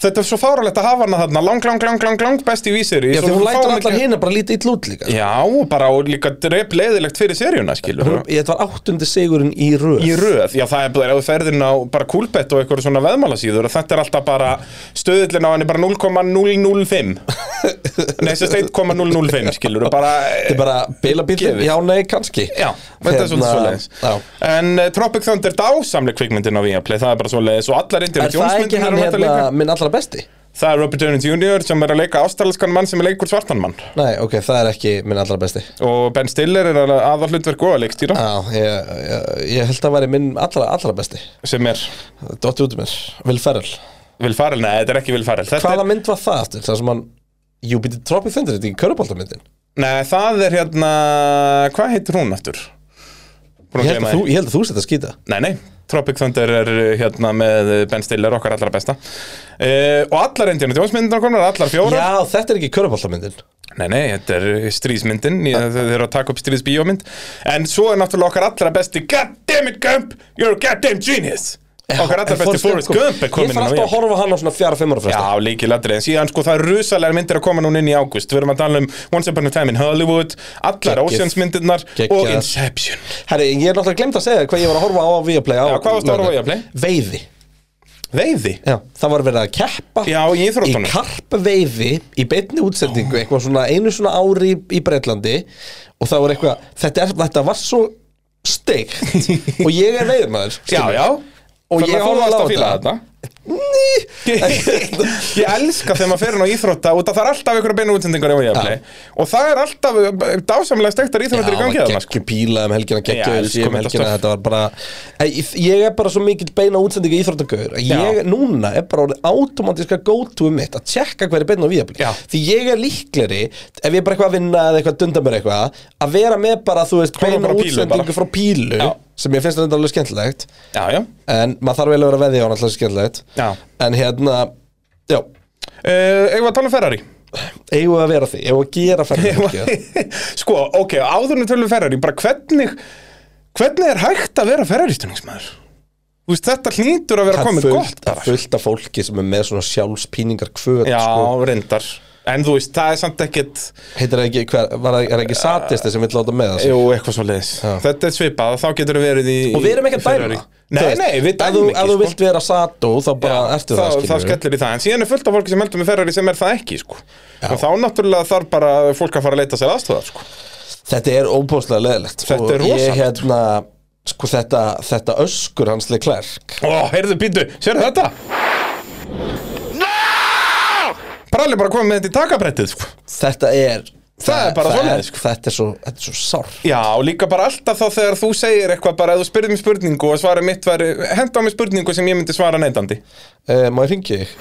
S3: Þetta er svo fáralegt að hafa hana þarna Lang, lang, lang, lang, lang besti vísir
S5: já, því hún lætur allar hina bara lítið ill út líka sko.
S3: Já, og bara og líka drep leiðilegt fyrir seríuna skilur
S5: Hún- þetta var áttundi sigurinn í röð
S3: Í röð, já það er bara ef þú ferðin á bara kúlbett og eitthvað svona veðmálasíður og þetta er alltaf bara stöðullin á henni bara 0,005 Nei, sérst 1,005 skilur bara,
S5: þetta er bara bila bílum,
S3: Gefið.
S5: já nei kannski
S3: Eh, Já, þetta er svolítið
S5: Hérna,
S3: svoleiðis
S5: já.
S3: En uh, Tropic Thunder dásamleg kvikmyndin á Viaplay Það er bara svoleiðis og allar
S5: er
S3: Indiana
S5: það ekki
S3: Jones-myndirnar
S5: hann
S3: eru þetta
S5: hérna
S3: líka.
S5: minn allra besti?
S3: Það er Robert Downey Jr. sem er að leika ástralskan mann sem er leikur svartan mann
S5: nei, ok, það er ekki minn allra besti
S3: Og Ben Stiller er aðal hlutverk og að leikstýra
S5: já, ég, ég, ég held að væri minn allra, allra besti
S3: sem er
S5: Dotti út um mér, Will Ferrell
S3: Will Farrell, nei þetta er ekki Will Farrell þetta
S5: hvaða
S3: er,
S5: mynd var það aftur? það sem hann, jú býtið Tropic Thunder, þetta er ekki köruboltamyndin
S3: Nei, það er hérna, hvað heitir hún aftur? Búin
S5: ég held að
S3: að gleyma
S5: Hérna, þú,
S3: því.
S5: ég held að þú setja að skýta
S3: Nei, nei, Tropic Thunder er uh, hérna með uh, Ben Stiller, okkar allra besta uh, Og allar Indiana Jones-myndirnar komnar, allar fjórar
S5: Já, þetta er ekki köruboltamyndin
S3: Nei, nei, þetta er eh, stríðsmyndin
S5: Ah.
S3: ég- Þeir eru að taka upp stríðsbíómynd En svo er náttúrulega okkar allra besti God damn it, Gump, you're a goddamn genius Okkar allar besti Forrest Gump er
S5: Ég
S3: komin
S5: fara alltaf að horfa á hann á svona fjara fimmara
S3: Já,
S5: fresta
S3: líkilatri, en síðan sko það er rusalega myndir að koma núna inn í águst Við erum að tala um Once Upon a Time in Hollywood Allar
S5: Geggjað.
S3: Oceans myndirnar og
S5: Geggjað.
S3: Inception
S5: Herri, ég er náttúrulega glemt að segja þér hvað ég var að horfa á á Viaplay á
S3: Já, hvað varstu að horfa á Viaplay?
S5: Veiði
S3: Veiði
S5: Já, það var verið að keppa
S3: Já, í íþróttunum.
S5: Í karpveiði, í beinni útsendingu eitthvað svona einu svona ári í, í Breitlandi og það var eitthvað þetta, er, þetta var svo steikt og ég er veiðmaður
S3: Já,
S5: skilur.
S3: já
S5: Og ég horfði
S3: horfði alltaf
S5: á
S3: að fíla
S5: þetta.
S3: þetta Ég ég elska þegar maður fer inn á íþrótta og það er alltaf ykkur að beina útsendingar á Viaplay Og það er alltaf uh, dásamlega stektar íþróttir í gangi
S5: Já,
S3: þarna sko.
S5: geggju píla um helgina, geggju ölsi
S3: Já,
S5: um
S3: sko,
S5: helgina
S3: myndastöf.
S5: Þetta var bara Æ, Ég er bara svo mikill beina útsendinga íþróttagauður að Ég
S3: Já.
S5: núna er bara orðið automatiska go-to um mitt Að tjekka hver er beina á viðabli
S3: Já.
S5: Því ég er líkleri Ef ég er bara eitthvað að vinna eða eitthvað dunda mér eitthvað Að vera með bara, þú veist,
S3: Horfa
S5: beina
S3: bara á pílu bara.
S5: útsendingu frá pílu
S3: Já.
S5: Sem ég finnst þetta alveg skemmtilegt
S3: Já, já
S5: En maður þarf eiginlega að vera veði á hann alltaf skemmtilegt
S3: Já.
S5: En hérna, já
S3: Uh, Eigum við að tala um Ferrari
S5: Eigum við að vera því, eigum við að gera ferðarverkið.
S3: Sko, ok, áður en tölum um Ferrari bara hvernig hvernig er hægt að vera Ferrari stuðningsmaður? Þú veist, þetta hlýtur að vera
S5: Það er
S3: komið gott
S5: fullt,
S3: bara.
S5: fullt af sko. fólki sem er með svona sjálfspíningar kvöt
S3: Já,
S5: sko.
S3: reyndar En þú veist, það er samt ekkit
S5: Heitir það ekki, hver, var, það- er það ekki satisti sem vill láta með það?
S3: Jú, eitthvað svo leiðis Þetta er svipað, þá getur við verið í
S5: Og við erum ekki að
S3: Ferrari.
S5: dæma
S3: Nei,
S5: Þú veist,
S3: nei, við
S5: ef þú,
S3: dæmum
S5: Ef þú
S3: ekki sko.
S5: vilt vera sató, þá bara ertu
S3: þá,
S5: það,
S3: þá
S5: skilur
S3: skellir í það, en síðan er fullt af fólki sem heldur með Ferrari sem er það ekki, sko og þá náttúrulega þarf bara fólk að fara að leita sér aðstofað, sko
S5: Þetta er óbúslega leðilegt
S3: Þetta er rosalegt.
S5: Ég hérna, sko þetta, þetta öskur hans Leclerc
S3: Ó, heyrðu, býtu, sérðu þetta? No! Pralli bara komið með þetta í takabrettið, sko
S5: Þetta er
S3: er bara svoleiðis, sko.
S5: Þetta er svo, þetta er svo sár
S3: Já, og líka bara alltaf þá þegar þú segir eitthvað bara ef þú spyrðir mér spurningu og svarið mitt væri henda á mig spurningu sem ég myndi svara neitandi
S5: uh, Má ég ringi þig?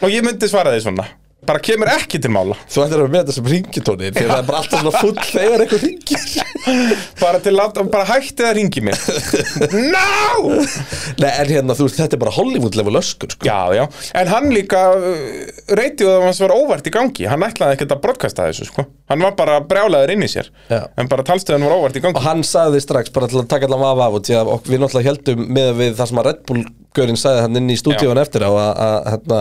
S3: og ég myndi svara því svona bara kemur ekki til mála
S5: Þú ættir að vera með þetta sem ringitónir Því að það er bara alltaf svona full þegar eitthvað ringir
S3: bara, til að, bara hætti það ringi mér No!
S5: Nei, en hérna, þú veist, þetta er bara Hollywood-level öskur, sko
S3: Já, já, en hann líka reytið að hans var óvart í gangi hann ætlaði ekkert að brotkasta þessu sko hann var bara brjálaður inn í sér
S5: Já.
S3: en bara talstöðan var óvart í gangi
S5: og hann sagði strax bara til að taka allan vafa af og því að ok, við náttúrulega heldum með við það sem að Red Bull-görinn sagði hann inn í stúdíun eftir á að, að hérna,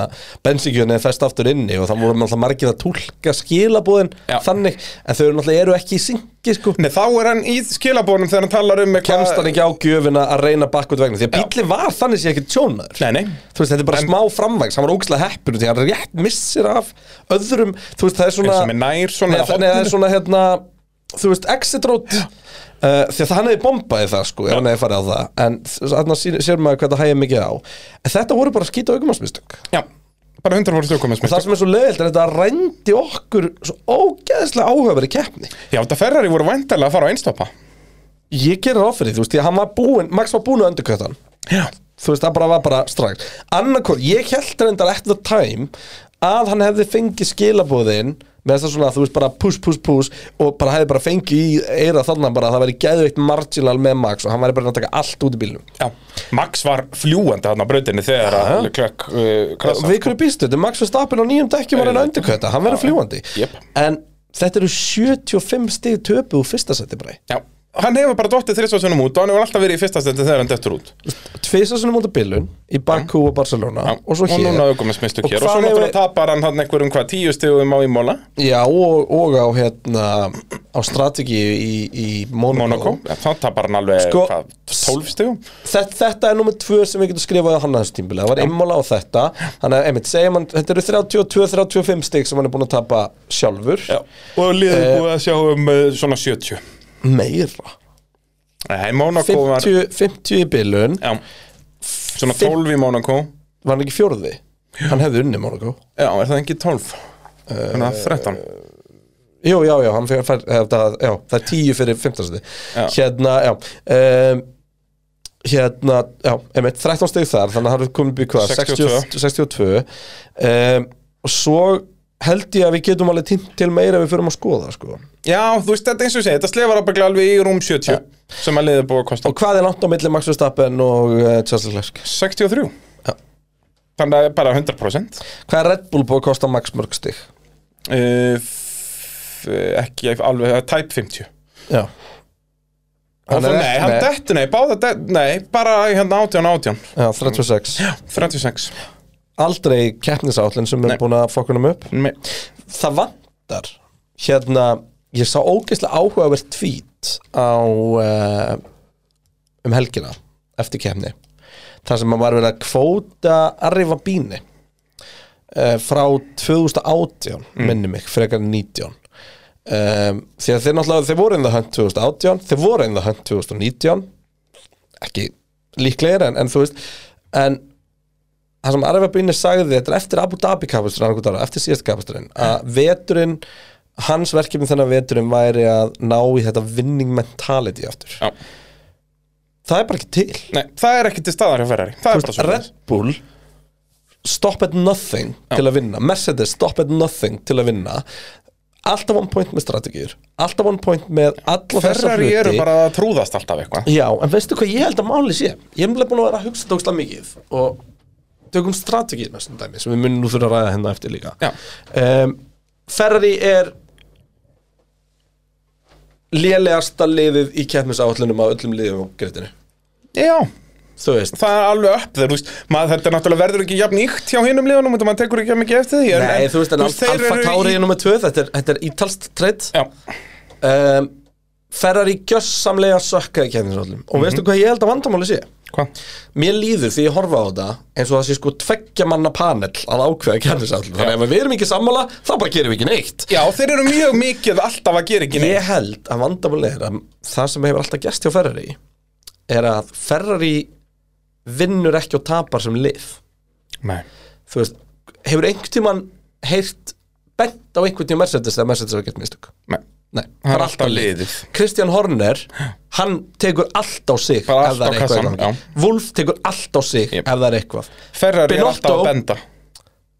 S5: bensíkjörni er fest aftur inni og það voru náttúrulega margir að túlka skilabúðin
S3: Já.
S5: þannig en þau eru náttúrulega eru ekki í syngi sko
S3: Nei, þá er hann í skilabónum þegar hann talar um eitthvað-
S5: kemst hann ekki á gjöfina að reyna bakkvæmt vegna því að bíli var þannig sé ekki tjónaður
S3: Nei, nei,
S5: Þú veist, þetta er bara smá framvægs, hann var ógislega heppinu því hann rétt missir af öðrum, þú veist, það er svona
S3: eins og með nær svona
S5: Nei, það nei, það er svona hérna Þú veist, exit road uh, Því að hann hefði bombaði það sko Ef hann hefði farið á það En þarna sér, sér maður hvað það hægja mikið á En þetta voru bara skýta aukumannsmistök
S3: Já, bara 100% aukumannsmistök
S5: Það sem er svo leiðilt er að þetta rændi okkur Svo ógeðslega áhöfari keppni
S3: Já, þetta Ferrari voru væntalega að fara á einstoppa
S5: Ég gerir ráð fyrir því, þú veist, því að hann var búinn Max var búinn að öndurkvæta hann
S3: Já
S5: Þú veist, það bara var bara strax Annarkor, ég held reyndar at the time Að hann hefði fengið skilabóðin Með þess að svona, þú veist, bara push, push, push Og bara hefði bara fengið í eira þarna bara að Það væri geðveikt marginal með Max Og hann væri bara að taka allt út í bílnum
S3: Já, Max var fljúandi hann á brautinni þegar að Leclerc uh, krasa
S5: Við hverju býstu, þetta er Max Verstappen á nýjum dekkjum Var hann að undirkvæta, hann verið fljúandi
S3: Jep.
S5: En þetta eru 75 stig töpu úr fyrsta seti bara
S3: Já, hann hefur bara dottið þrissvarsunum út og hann hefur alltaf verið í fyrsta stendi þegar hann dettur út
S5: Tvisa sinni mútið bílun í Bakú og Barcelona
S3: Já,
S5: Og svo hér
S3: núna aukumannsmistök hér og
S5: hvað
S3: svo
S5: hefur-
S3: náttúrulega tapar hann hann einhverjum hvað tíu stegum á ímóla
S5: Já, og, og á hérna á strategi í, í Monaco,
S3: Monaco, Já, þá tapar hann alveg
S5: Sko-
S3: hvað, 12 stegum
S5: Þetta, þetta er nummer tvö sem við getum skrifað á hann aðeins tímbili, það var immála á þetta þannig að, einmitt, segjum hann, þetta eru 32-35 stig sem hann er búin að tapa sjálfur
S3: Og liðið eh. búið að sjá um uh, svona 70
S5: meira
S3: Nei, Monaco var
S5: 50, 50 í bilun,
S3: Já, svona 12 í Monaco
S5: var hann ekki fjórði hann hefði unni Monaco
S3: Já, er það ekki Eh, 12? Þannig að 13
S5: Jú, já, já, hann fer, fer, þetta, já, það er tíu fyrir 15 stig
S3: Já.
S5: Hérna, já um, Hérna, já, einmitt, 13 stig þar Þannig að hann er komin upp í hvað?
S3: 62.
S5: 62 um, Og svo held ég að við getum alveg tínt til meira ef við fyrir að skoða, sko
S3: Já, þú veist, þetta eins og ég segi, þetta slefar ábygglega alveg í rúm 70 sem að liðið er búið að kosta
S5: Og hvað er langt á milli Max Verstappen og uh, Charles Leclerc?
S3: 63
S5: Já.
S3: Þannig að bara 100% uh,
S5: Hvað er Red Bull búið að kosta Max mörg stig?
S3: Eh, f- Ekki alveg, tæp 50
S5: Já
S3: Og
S5: Hann
S3: það,
S5: er
S3: nei,
S5: ekki-
S3: hann
S5: nei.
S3: dettu, nei, báða dettu, nei, bara hérna 18, 18,
S5: Já, 36
S3: Já, 36
S5: Aldrei keppnisállin sem
S3: Nei.
S5: er búin að fokkunum upp
S3: Me-
S5: það vantar hérna, ég sá ógeðslega áhugavert tweet á uh, um helgina eftir kemni þar sem maður var verið að kvóta Arriva Bíni uh, frá 2018 minni mig, frekar en 19 um, því að þeir náttúrulega þeir voru in the hunt 2018, þeir voru in the hunt 2019 ekki líklegir en, en þú veist en það sem Arfa Brynir sagði þetta er eftir Abu Dhabi kapasturinn annað hvort ára, eftir síðasta kapasturinn að veturinn, hans verkefni þennan veturinn væri að ná í þetta winning mentality aftur
S3: Já.
S5: það er bara ekki til
S3: Nei, það er ekki til staðar hjá Ferrari Það er bara svo
S5: Red Bull stop at nothing til að vinna Mercedes stop at nothing til að vinna alltaf one point með strategir alltaf one point með alla þessa
S3: Ferrari
S5: hluti
S3: eru bara að trúðast alltaf eitthvað
S5: Já, en veistu hvað ég held að máli sé? Ég hef nefnilega búin að vera að hugsa tóksla mikið og tökum strategið næstum dæmi sem við munum nú þurfa að ræða hérna eftir líka
S3: Já.
S5: um, Ferrari er lélegasta liðið í keppnisáallunum á öllum liðum á greitinu
S3: Já,
S5: Þú veist,
S3: það er alveg upp þeir, þú veist maður, Þetta er náttúrulega verður ekki jafn íkt hjá hinum liðanum Þetta maður tekur ekki jafn mikið eftir því en-
S5: nei, þú veist, en Al-
S3: þeir
S5: Alfa
S3: eru
S5: Tauri
S3: í-
S5: er nummer 2, þetta er, þetta er ítalst treyt
S3: Já,
S5: um, Ferrari gjössamlega sökkaði keppnisáallunum og veistu hvað ég held að vandamáli sé?
S3: hvað?
S5: Mér líður því ég horfa á þetta eins og það sé sko tveggja manna panel að ákveða kjarnisáll Þannig að ef við erum ekki sammála, þá bara gerum við ekki neitt
S3: Já, þeir eru mjög mikið alltaf að gera ekki neitt
S5: Ég held að vandamálið er að það sem hefur alltaf gerst hjá Ferrari er að Ferrari vinnur ekki og tapar sem lið
S3: Nei
S5: Þú veist, hefur einhvern tímann heyrt bent á einhvern tímann Mercedes þegar Mercedes hefur gert mistök
S3: Nei.
S5: Nei, það
S3: Það
S5: er alltaf liðið Kristján Horner, hann tekur allt á sig ef
S3: Bara allt
S5: það er
S3: á
S5: eitthvað í
S3: kassann,
S5: gangi. Wolf tekur allt á sig
S3: Jep.
S5: ef það er eitthvað
S3: Ferrari er alltaf
S5: Binotto-
S3: að benda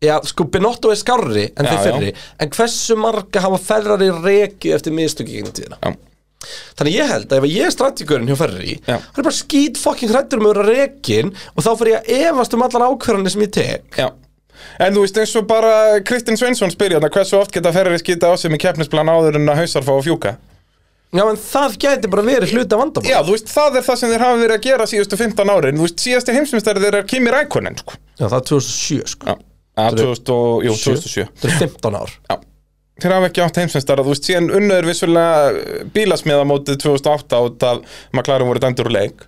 S5: Já, sko, Binotto er skárri en
S3: Já,
S5: þeir fyrri En hversu marga hafa Ferrari rekið eftir mistök í gegnum tíðina
S3: Já,
S5: Þannig ég held að ef ég er strategurinn hjá Ferrari
S3: Já.
S5: Það er bara skýt fucking hrættur um að vera rekin Og þá fer ég að efast um allan ákvörðanir sem ég tek
S3: já En þú veist eins og bara Kristinn Sveinsson spyrja hérna hversu oft geta Ferrari skita á sig með keppnisplan áður en að hausar fá að fjúka
S5: Já, en það gæti bara verið hluti af vandamál
S3: Já, þú veist, það er það sem þeir hafa verið að gera síðustu 15 árin Þú veist, síðasti heimsumstæri þeir er Kimi Rækonen, sko
S5: Já, það er 2007, sko
S3: Já, að 2000 og, jú, 2007
S5: Það er 15 ár
S3: Já Þeir hafa ekki átt heimsumstæra, þú veist, síðan unnöður vissulega eh, bílasmiðamótið 2008 út af McLaren voru dæmdur úr leik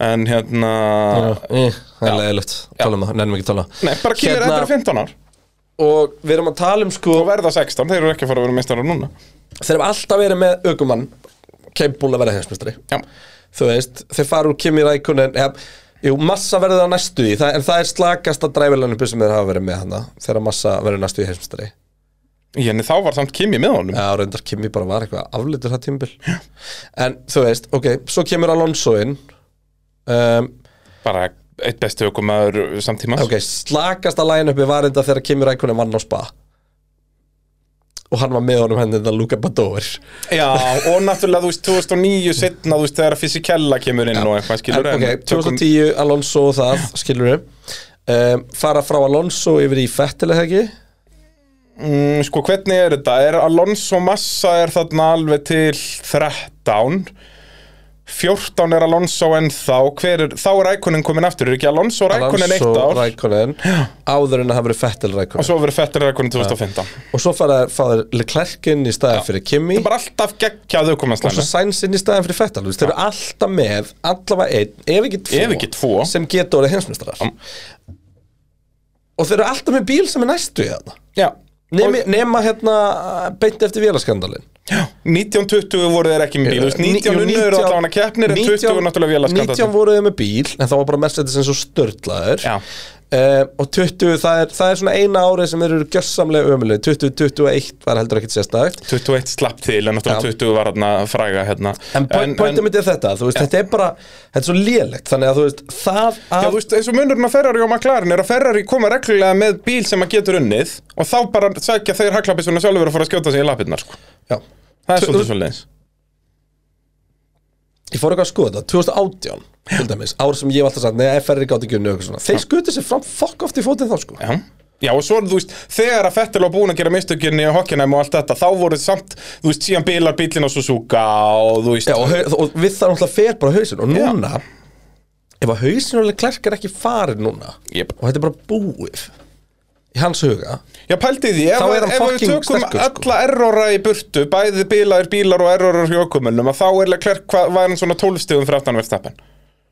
S3: En hérna,
S5: Eh, Það er leiðilegt, tala um það, nefnum ekki að tala
S3: nei, bara Kimi
S5: Hérna-
S3: hérna... Rækonen 15 ár
S5: Og við erum að tala um, sko
S3: og verða 16, þeir eru ekki að fara að vera meistarar núna
S5: Þeir eru alltaf verið með ökumann Keimbúl að vera heimsmyndstari
S3: Já,
S5: þú veist, þeir fara úr Kimi Rækunen ja, jú, massa verður það næstu í það, en það er slakasta dræfilegnubu sem þeir hafa verið með hana, þegar massa verður næstu í heimstari
S3: ég en þá var samt Kimi með honum
S5: já, reyndar Kimi bara var eitthvað aflítur það tímbil en þú veist, ok, svo kemur Alonso inn um,
S3: bara eitt bestu ökumæður samtímas
S5: ok, slakasta line-upi var enda þegar Kimi Rækunen vann á spa og hann var með honum henni þetta Luka Badover
S3: Já, og náttúrulega þú veist 2009 setna þú veist þegar fysikella kemur inn og eitthvað skilur
S5: en, ok, 2010 Alonso og það, skilur við um, fara frá Alonso yfir í Fettileg hegi
S3: mm, Sko hvernig er þetta? Er Alonso Massa er þarna alveg til 13 14 er Alonso ennþá Hver er, þá er ækonin komin aftur er ekki Alonso og ækonin eitt
S5: Alonso
S3: ár
S5: Rækonen áður en að hafa verið Fettel
S3: og
S5: Rækonen
S3: svo verið fettir ækonin 2015
S5: og svo fara fáður Leclerkin í staðin fyrir Kimi
S3: Bara alltaf
S5: og
S3: geggjað
S5: svo
S3: ökumannslæmi
S5: Sainzinn í staðin fyrir Fettel þeir eru alltaf með allavega einn, ef ekki tvo,
S3: Ef ekki tvo.
S5: sem getur orðið heimsmyndstarar og þeir eru alltaf með bíl sem er næstu í þarna
S3: Já
S5: nema, nema hérna beint eftir vélaskandalin
S3: 1920 voru þeir ekki með bíl, þú
S5: Eh,
S3: veist, 19 unnur allan að keppnir en 20 náttúrulega vélaskandall
S5: 19 voruðið með bíl, en það var bara Mercedes eins og störtlaður
S3: Já.
S5: Eh, og 20, það er, það er svona eina árið sem þeir eru gjössamlega ömuleg 20, 21 var heldur ekkit sérstakt
S3: 21 slapp til en náttúrulega
S5: Já.
S3: 20 var hérna fræga hérna
S5: en pointum mitt er þetta, þú veist, þetta er bara þetta er svo lélegt, þannig að þú veist það
S3: Já,
S5: að,
S3: þú veist, eins og munurinn á Ferrari og McLaren er að Ferrari koma reglulega með bíl sem að getur unnið og þá bara sækja þeir haglabisuna sjálfur og fara að skjóta sig í lapirnar, sko.
S5: já,
S3: Það er
S5: Tvö-
S3: svolítið svolítið.
S5: ég fór eitthvað að skoða þetta, 2018 til dæmis, ár sem ég var alltaf sagt, nei, FR er gátt ekki unni þeir skutu sér fram fokk oft í fótinn þá sko
S3: Já, Já, og svo, þú veist, þegar að Fettel var búin að gera mistökjunni og hokkinæmi og allt þetta, þá voru samt, þú veist, síðan bílar bílinn á Suzuka og þú veist,
S5: Já, og, hau- og við það náttúrulega fer bara hausin og núna, ef að hausin og klerk er ekki farin núna
S3: Jep.
S5: og þetta er bara búið í hans huga
S3: Já, pældi því, ef,
S5: Þá er hann
S3: ef við
S5: fucking
S3: tökum
S5: sterkur, sko.
S3: alla errora í burtu, bæði bílaðir bílar og errorar í okkumönnum, að þá er Leclerc, hvað var hann svona 12 stegum fyrir aftan verðstappen?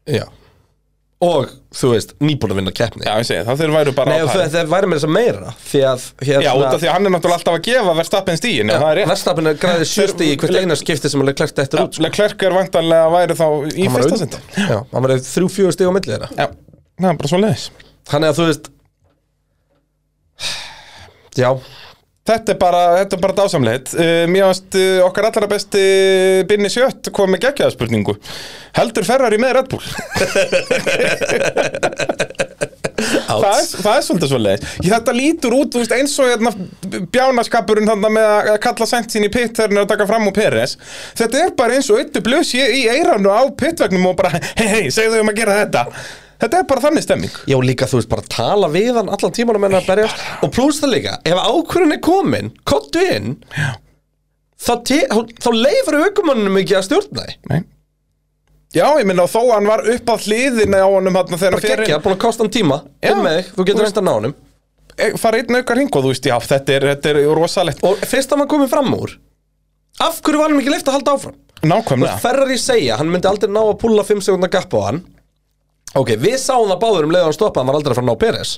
S5: Já. og þú veist, nýbúin að vinna keppni
S3: Já, ég segi, það þeir væru bara
S5: Nei, og
S3: pari.
S5: það það væri með þess að meira því að hérna,
S3: Já, út af því að hann er náttúrulega alltaf að gefa verðstappen stíin, en það er rétt.
S5: Verstafin er græðið sjösti í hvert
S3: Þeir-
S5: eina skipti sem hann klerk eftir út sko.
S3: Leclerc er vantanlega að væri þá í
S5: Hann var
S3: fyrsta
S5: undan.
S3: seti.
S5: Já, hann var þrjú fjögur stig á milli þeirra
S3: Já, það er bara svo leiðis.
S5: Þannig að þú veist Já,
S3: Þetta er bara, þetta er bara dásamleitt uh, Mér finnst uh, okkar allra besti Binni Sjött kom með geggjaða spurningu Heldur Ferrari með Red Bull? það, er, það er svolítið svo leið Þetta lítur út þú veist, eins og hérna, bjánaskapurinn þarna með að kalla sent sín í pitt þegar hann er að taka fram úr Peres Þetta er bara eins og eittu blöss í, í eiranu á pittvegnum og bara hei hei, segðu um að gera þetta Þetta er bara þannig stemming
S5: Já, líka þú veist bara að tala við hann allan tímanum en að berjast og pluss það líka, ef ákvörðin er komin kottu inn
S3: Já.
S5: þá, te- þá- þá leifur aukumannum ekki að stjórna því
S3: Nei Já, ég minna þó að hann var upp að hliðinni á honum þarna þegar
S5: bara
S3: hann fer inn-
S5: geggja, búin að kosta hann tíma
S3: Já.
S5: inn með þig, þú getur reynda að ná honum
S3: e- fara einn aukar hring og þú veist, já, þetta er, þetta er rosalegt
S5: og fyrst að maður komið fram úr af hverju var hann ekki leift að halda áfram
S3: Nákvæmlega
S5: Ferrari segja, hann myndi aldrei ná að pulla 5 sekundar gapp á hann ok, við sáum það báður um leiðan stoppa hann var aldrei að fara að ná Peres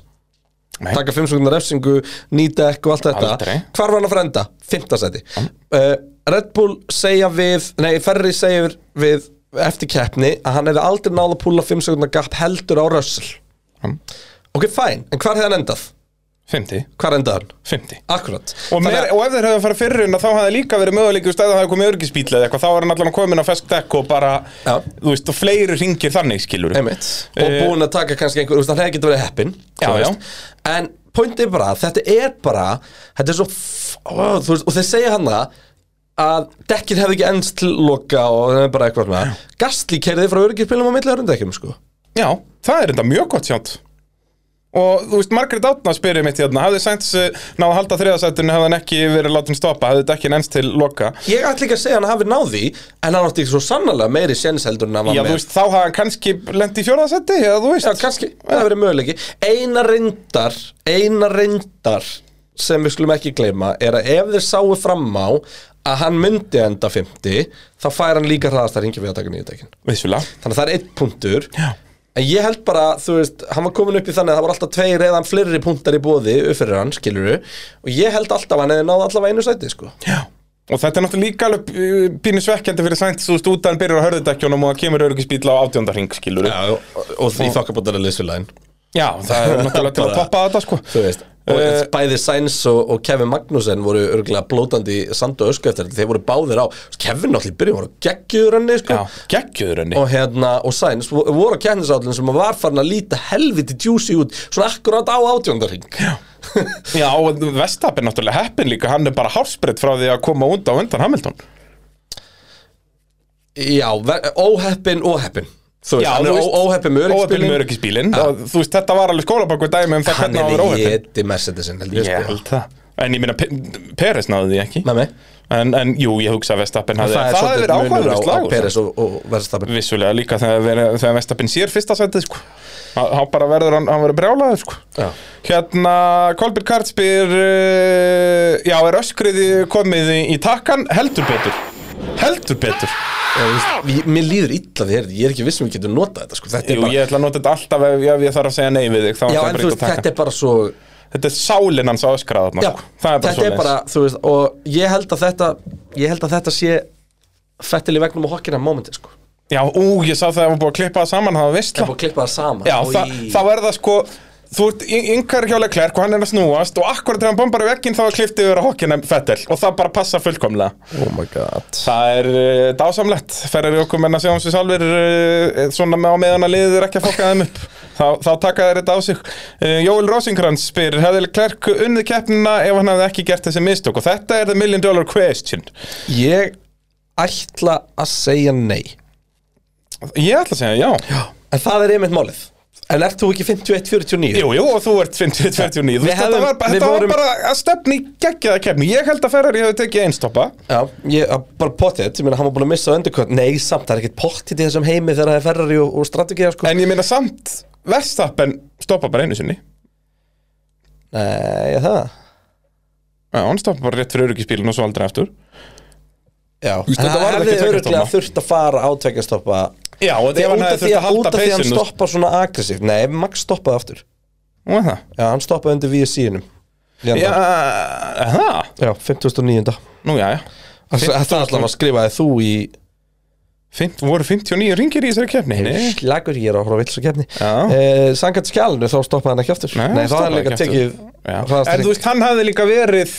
S3: Nei.
S5: taka 5 sekundar refsingu, nýta ekku og allt þetta
S3: Aldrei.
S5: hvar var hann að fara að enda? 5. seti uh, Red Bull segja við nei, Ferrari segir við eftir keppni að hann hefði aldrei náð að pulla 5 sekundar gapp heldur á Russell
S3: Mm.
S5: ok, fæn, en hvar hefði hann endað?
S3: 50,
S5: hvar endaði hann?
S3: 50
S5: Akkurat
S3: Og, meir, og ef þeir hefðu farið fyrir en þá hafði líka verið möguleik stæði að það hefði komið örgisbíl eða eitthvað þá var hann allan komin á fesk dekk og bara
S5: Já.
S3: þú veist, og fleiri ringir þannig skilur
S5: Einmitt. og
S3: Eh,
S5: búin að taka kannski einhver, þú veist, hann hefði getið verið heppin
S3: Já,
S5: þú veist. en pointið er bara, að þetta er bara þetta er svo f- ó, þú veist, og þeir segja hann það að dekkin hefði ekki ennst til loka og það er bara eitthvað með það Gastli kerði frá öryggispilum á milli öryndekkjum sko.
S3: Já, það er enda mjög gott sjátt Og þú veist, Margrét Átna spyrir mitt hérna hafði Sainz eh, náð að halda þriðasættinu hafði hann ekki verið látin stoppa hafði þetta ekki ennst til loka
S5: ég ætla ekki að segja hann hafi náð því en hann átti svo sannlega meiri séns heldur en hann var
S3: Já,
S5: með
S3: þú veist, þá hafði hann kannski lent í fjórðasætti eða þú veist
S5: Já, kannski, það hefur verið möguleiki Eina reyndar, eina reyndar sem við skulum ekki gleyma er að ef þeir sáu fram á að hann myndi enda 50 þá fær hann líka hraðast að ringja við að taka nýju dekkin
S3: Vissulega
S5: þannig að það er einn punktur
S3: Já.
S5: en ég held bara, þú veist, hann var komin upp í þannig að það var alltaf tveir eða fleiri punktar í bóði upp fyrir hann, skiluru og ég held alltaf að hann hefði náð allavega einu sæti sko.
S3: Já. Og þetta er náttúrulega líka alveg uh, pínu svekkjandi fyrir Sainz, þú veist, út að hann byrjar á hörðudekjónum og það kemur öryggisbíl á átjóndarhing, skilur við.
S5: og, og, og því þokkabóttar er liðsfélagin
S3: Já, það er náttúrulega til að
S5: Bara-
S3: toppa þetta, sko.
S5: Þú veist, og
S3: Eh,
S5: bæði Sainz og, og Kevin Magnussen voru örgulega blótandi í sand og ösku eftir þetta, þeir voru báðir á Kevin náttúrulega í byrjun voru geggjur henni sko.
S3: Já, geggjöður henni.
S5: og hérna, og Sainz vo- voru á kjærnisállin sem var farin að líta helviti djúsi út, svona akkurat á átjóndarhing
S3: Já, og Vestap er náttúrulega heppin líka, hann er bara hálsbreytt frá því að koma út á undan Hamilton.
S5: Já, ver- óheppin og heppin þú veist,
S3: Já,
S5: hann
S3: þú
S5: er
S3: veist,
S5: ó- óheppin með
S3: Óheppin með
S5: öryggisbílinn
S3: öryggisbílinn, og þú veist, þetta var alveg skólabakku dæmi um það
S5: hann
S3: hvernig á að
S5: er
S3: vera
S5: í
S3: óheppin.
S5: eti Mercedesin held
S3: Ég
S5: ég sko
S3: held það. En ég minna, Peres náði því ekki.
S5: með mig
S3: En, en jú, ég hugsa að Vestapen hafði,
S5: er
S3: það hefði verið
S5: svolítið munur
S3: ákvæður
S5: á, á
S3: slagur. sko.
S5: Peres og, og Verstappen
S3: Vissulega líka þegar, verið, þegar Vestapinn sér fyrsta sætið sko. Hann hann bara verður, hann, hann verður brjálaður sko.
S5: Já.
S3: Hérna, Kolbjörn Kart spyr uh, Já, er öskriði komið í, í takkan? Heldur betur Heldur betur
S5: Ég, veist, ég- Mér líður illa því, ég er ekki viss um við getum notað þetta sko. þetta er
S3: Jú,
S5: bara
S3: ég ætla að nota þetta alltaf ef, ef ég þarf að segja nei við þig þá
S5: Já, en
S3: ætla ég bara
S5: þú
S3: ekki
S5: veist,
S3: að taka.
S5: þetta er bara svo
S3: Þetta er sálinn hans að öskra þarna
S5: Já,
S3: sko. Það er
S5: þetta
S3: bara
S5: er
S3: svoleiðis.
S5: bara, þú veist, og ég held að þetta ég held að þetta sé fettil í vegnum og hokkina momenti, sko Það
S3: Já, ú, ég sá það að var búið að klippa það saman það var veistla
S5: er búið að klippa það saman
S3: Já,
S5: Í-
S3: þa þá er það sko Þú ert yngar hjálega klærk og hann er að snúast og akkurat þegar hann bombar í vegginn þá er kliftið yfir að hokkina Fettel og það bara passa fullkomlega
S5: Oh my god
S3: Það er uh, dásamlegt ferðar í okkur menn að sjá um hans við salvir uh, svona með á meðan að liður ekki að fokka þeim upp þá, þá taka þeir þetta á sig uh, Jóel Rosenkrantz spyr hefði klærk unnið keppnina ef hann hefði ekki gert þessi mistök og þetta er the million dollar question
S5: Ég ætla að segja nei
S3: Ég ætla að segja já
S5: En það er einmitt málið En ert þú ekki 51-49?
S3: Jú, jú, og þú ert 50-49 Þú
S5: Við
S3: veist, Þetta
S5: hefðum-
S3: var, bara-
S5: við
S3: þetta var
S5: vorum-
S3: bara að stefni geggjaða kefni Ég held að Ferrari hefði tekið einstoppa
S5: Já, ég, að- bara pottet, ég meina hann var búin að missa öndurkvöld Nei, samt, það er ekkert pottet í þessum heimi þegar það er Ferrari og, og strategið sko.
S3: En ég meina samt, Verstappen stoppa bara einu sinni
S5: Nei, það
S3: Já, hann stoppa bara rétt fyrir öryggisbílun og svo aldrei aftur
S5: Já, en
S3: þetta
S5: það
S3: varð
S5: hefði
S3: ekki
S5: örugglega
S3: tveggja
S5: þurft að fara á tveggastoppa
S3: Já, og
S5: Þegar
S3: ef hann
S5: út af því
S3: hefði þurft að
S5: að, út
S3: halda sko.
S5: af því að hann
S3: peysinu
S5: stoppar svona aggressív Nei, Max stoppaði aftur
S3: Og það
S5: Já, hann stoppaði undir VSC-inum
S3: Já,
S5: Já,
S3: er það
S5: já 59.
S3: Nú, já, já
S5: Það er alltaf að skrifaði þú í
S3: Fimt, voru 59 ringir í þessari kefni
S5: Slagur, ég er að horfa vill svo kefni
S3: Já.
S5: eh, Sangat skjálinu, þá stoppaði hann ekki aftur
S3: Nei,
S5: Nei þá
S3: stoppaði
S5: hann líka
S3: ekki
S5: tekið hraðasta
S3: En
S5: hring.
S3: þú veist, hann hafði líka verið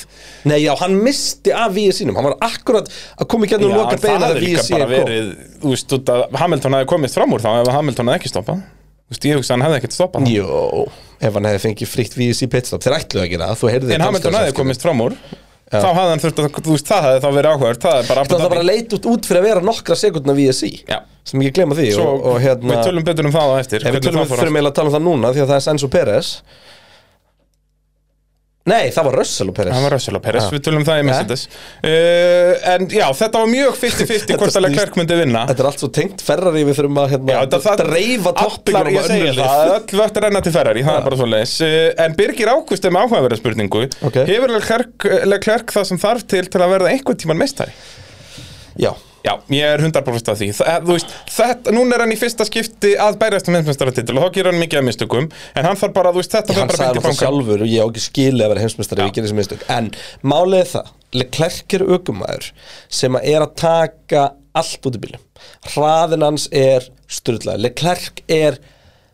S5: Nei, já, hann misti af VSC-inum Hann var akkurat að koma í gennum
S3: Já,
S5: loka
S3: en það
S5: beina
S3: hafði
S5: þegar
S3: líka
S5: VSC
S3: bara
S5: kom
S3: verið Þú veist, út að Hamilton hafði komist fram úr þá ef Hamilton hafði ekki stoppað Þú veist, ég hugsa að hann hafði ekkert stoppað hann.
S5: Jó, ef hann hefði fengið fritt VSC pitstop Þeir ætluðu ekki það, þú heyrði
S3: En Hamilton hafði komist fram úr Þá hafði hann þurft að, þú veist, það hafði þá verið áhugavert Það er bara
S5: Það bara leit út, út fyrir að vera nokkra sekundna VSC
S3: Já.
S5: sem ekki glemma því
S3: Svo,
S5: og, og hérna
S3: við tölum betur um það á
S5: Ef
S3: eftir
S5: við
S3: hvernig
S5: tölum
S3: það fór
S5: þurfum eiginlega að tala um það núna því að það er Sainz og Peres Nei, það var Russell og Peres
S3: Það var Russell og Peres, við tölum það í Mercedes uh, En já, þetta var mjög 50-50 hvort að Leclerc myndi vinna
S5: Þetta er allt svo tengt Ferrari við þurfum að hérna,
S3: Já, þetta- það-
S5: dreifa
S3: allar,
S5: toppingunum
S3: ég segi það, öll vögt renna til Ferrari, það er bara svo leis En Birgir Ákvist er með áhugaverða spurningu
S5: Ok.
S3: Hefur Leclerc, eh, Leclerc það sem þarf til til að verða einhvern tíman meistari?
S5: Já,
S3: Já, ég er 100% að því Þa, Þú veist, þetta, núna er hann í fyrsta skipti að berjast um heimsmeistaratitil og þá gerur hann mikið af mistökum en hann þarf bara, þú veist, þetta fer
S5: hann
S3: bara
S5: sagði
S3: beint í
S5: náttúrulega
S3: fangan
S5: sjálfur og ég á ekki skilið að vera heimsmyndstari við gerum þessi mistök En málið er það Leclerc er aukumæður sem að er að taka allt út í bílum Hraðin hans er styrlaði Leclerc er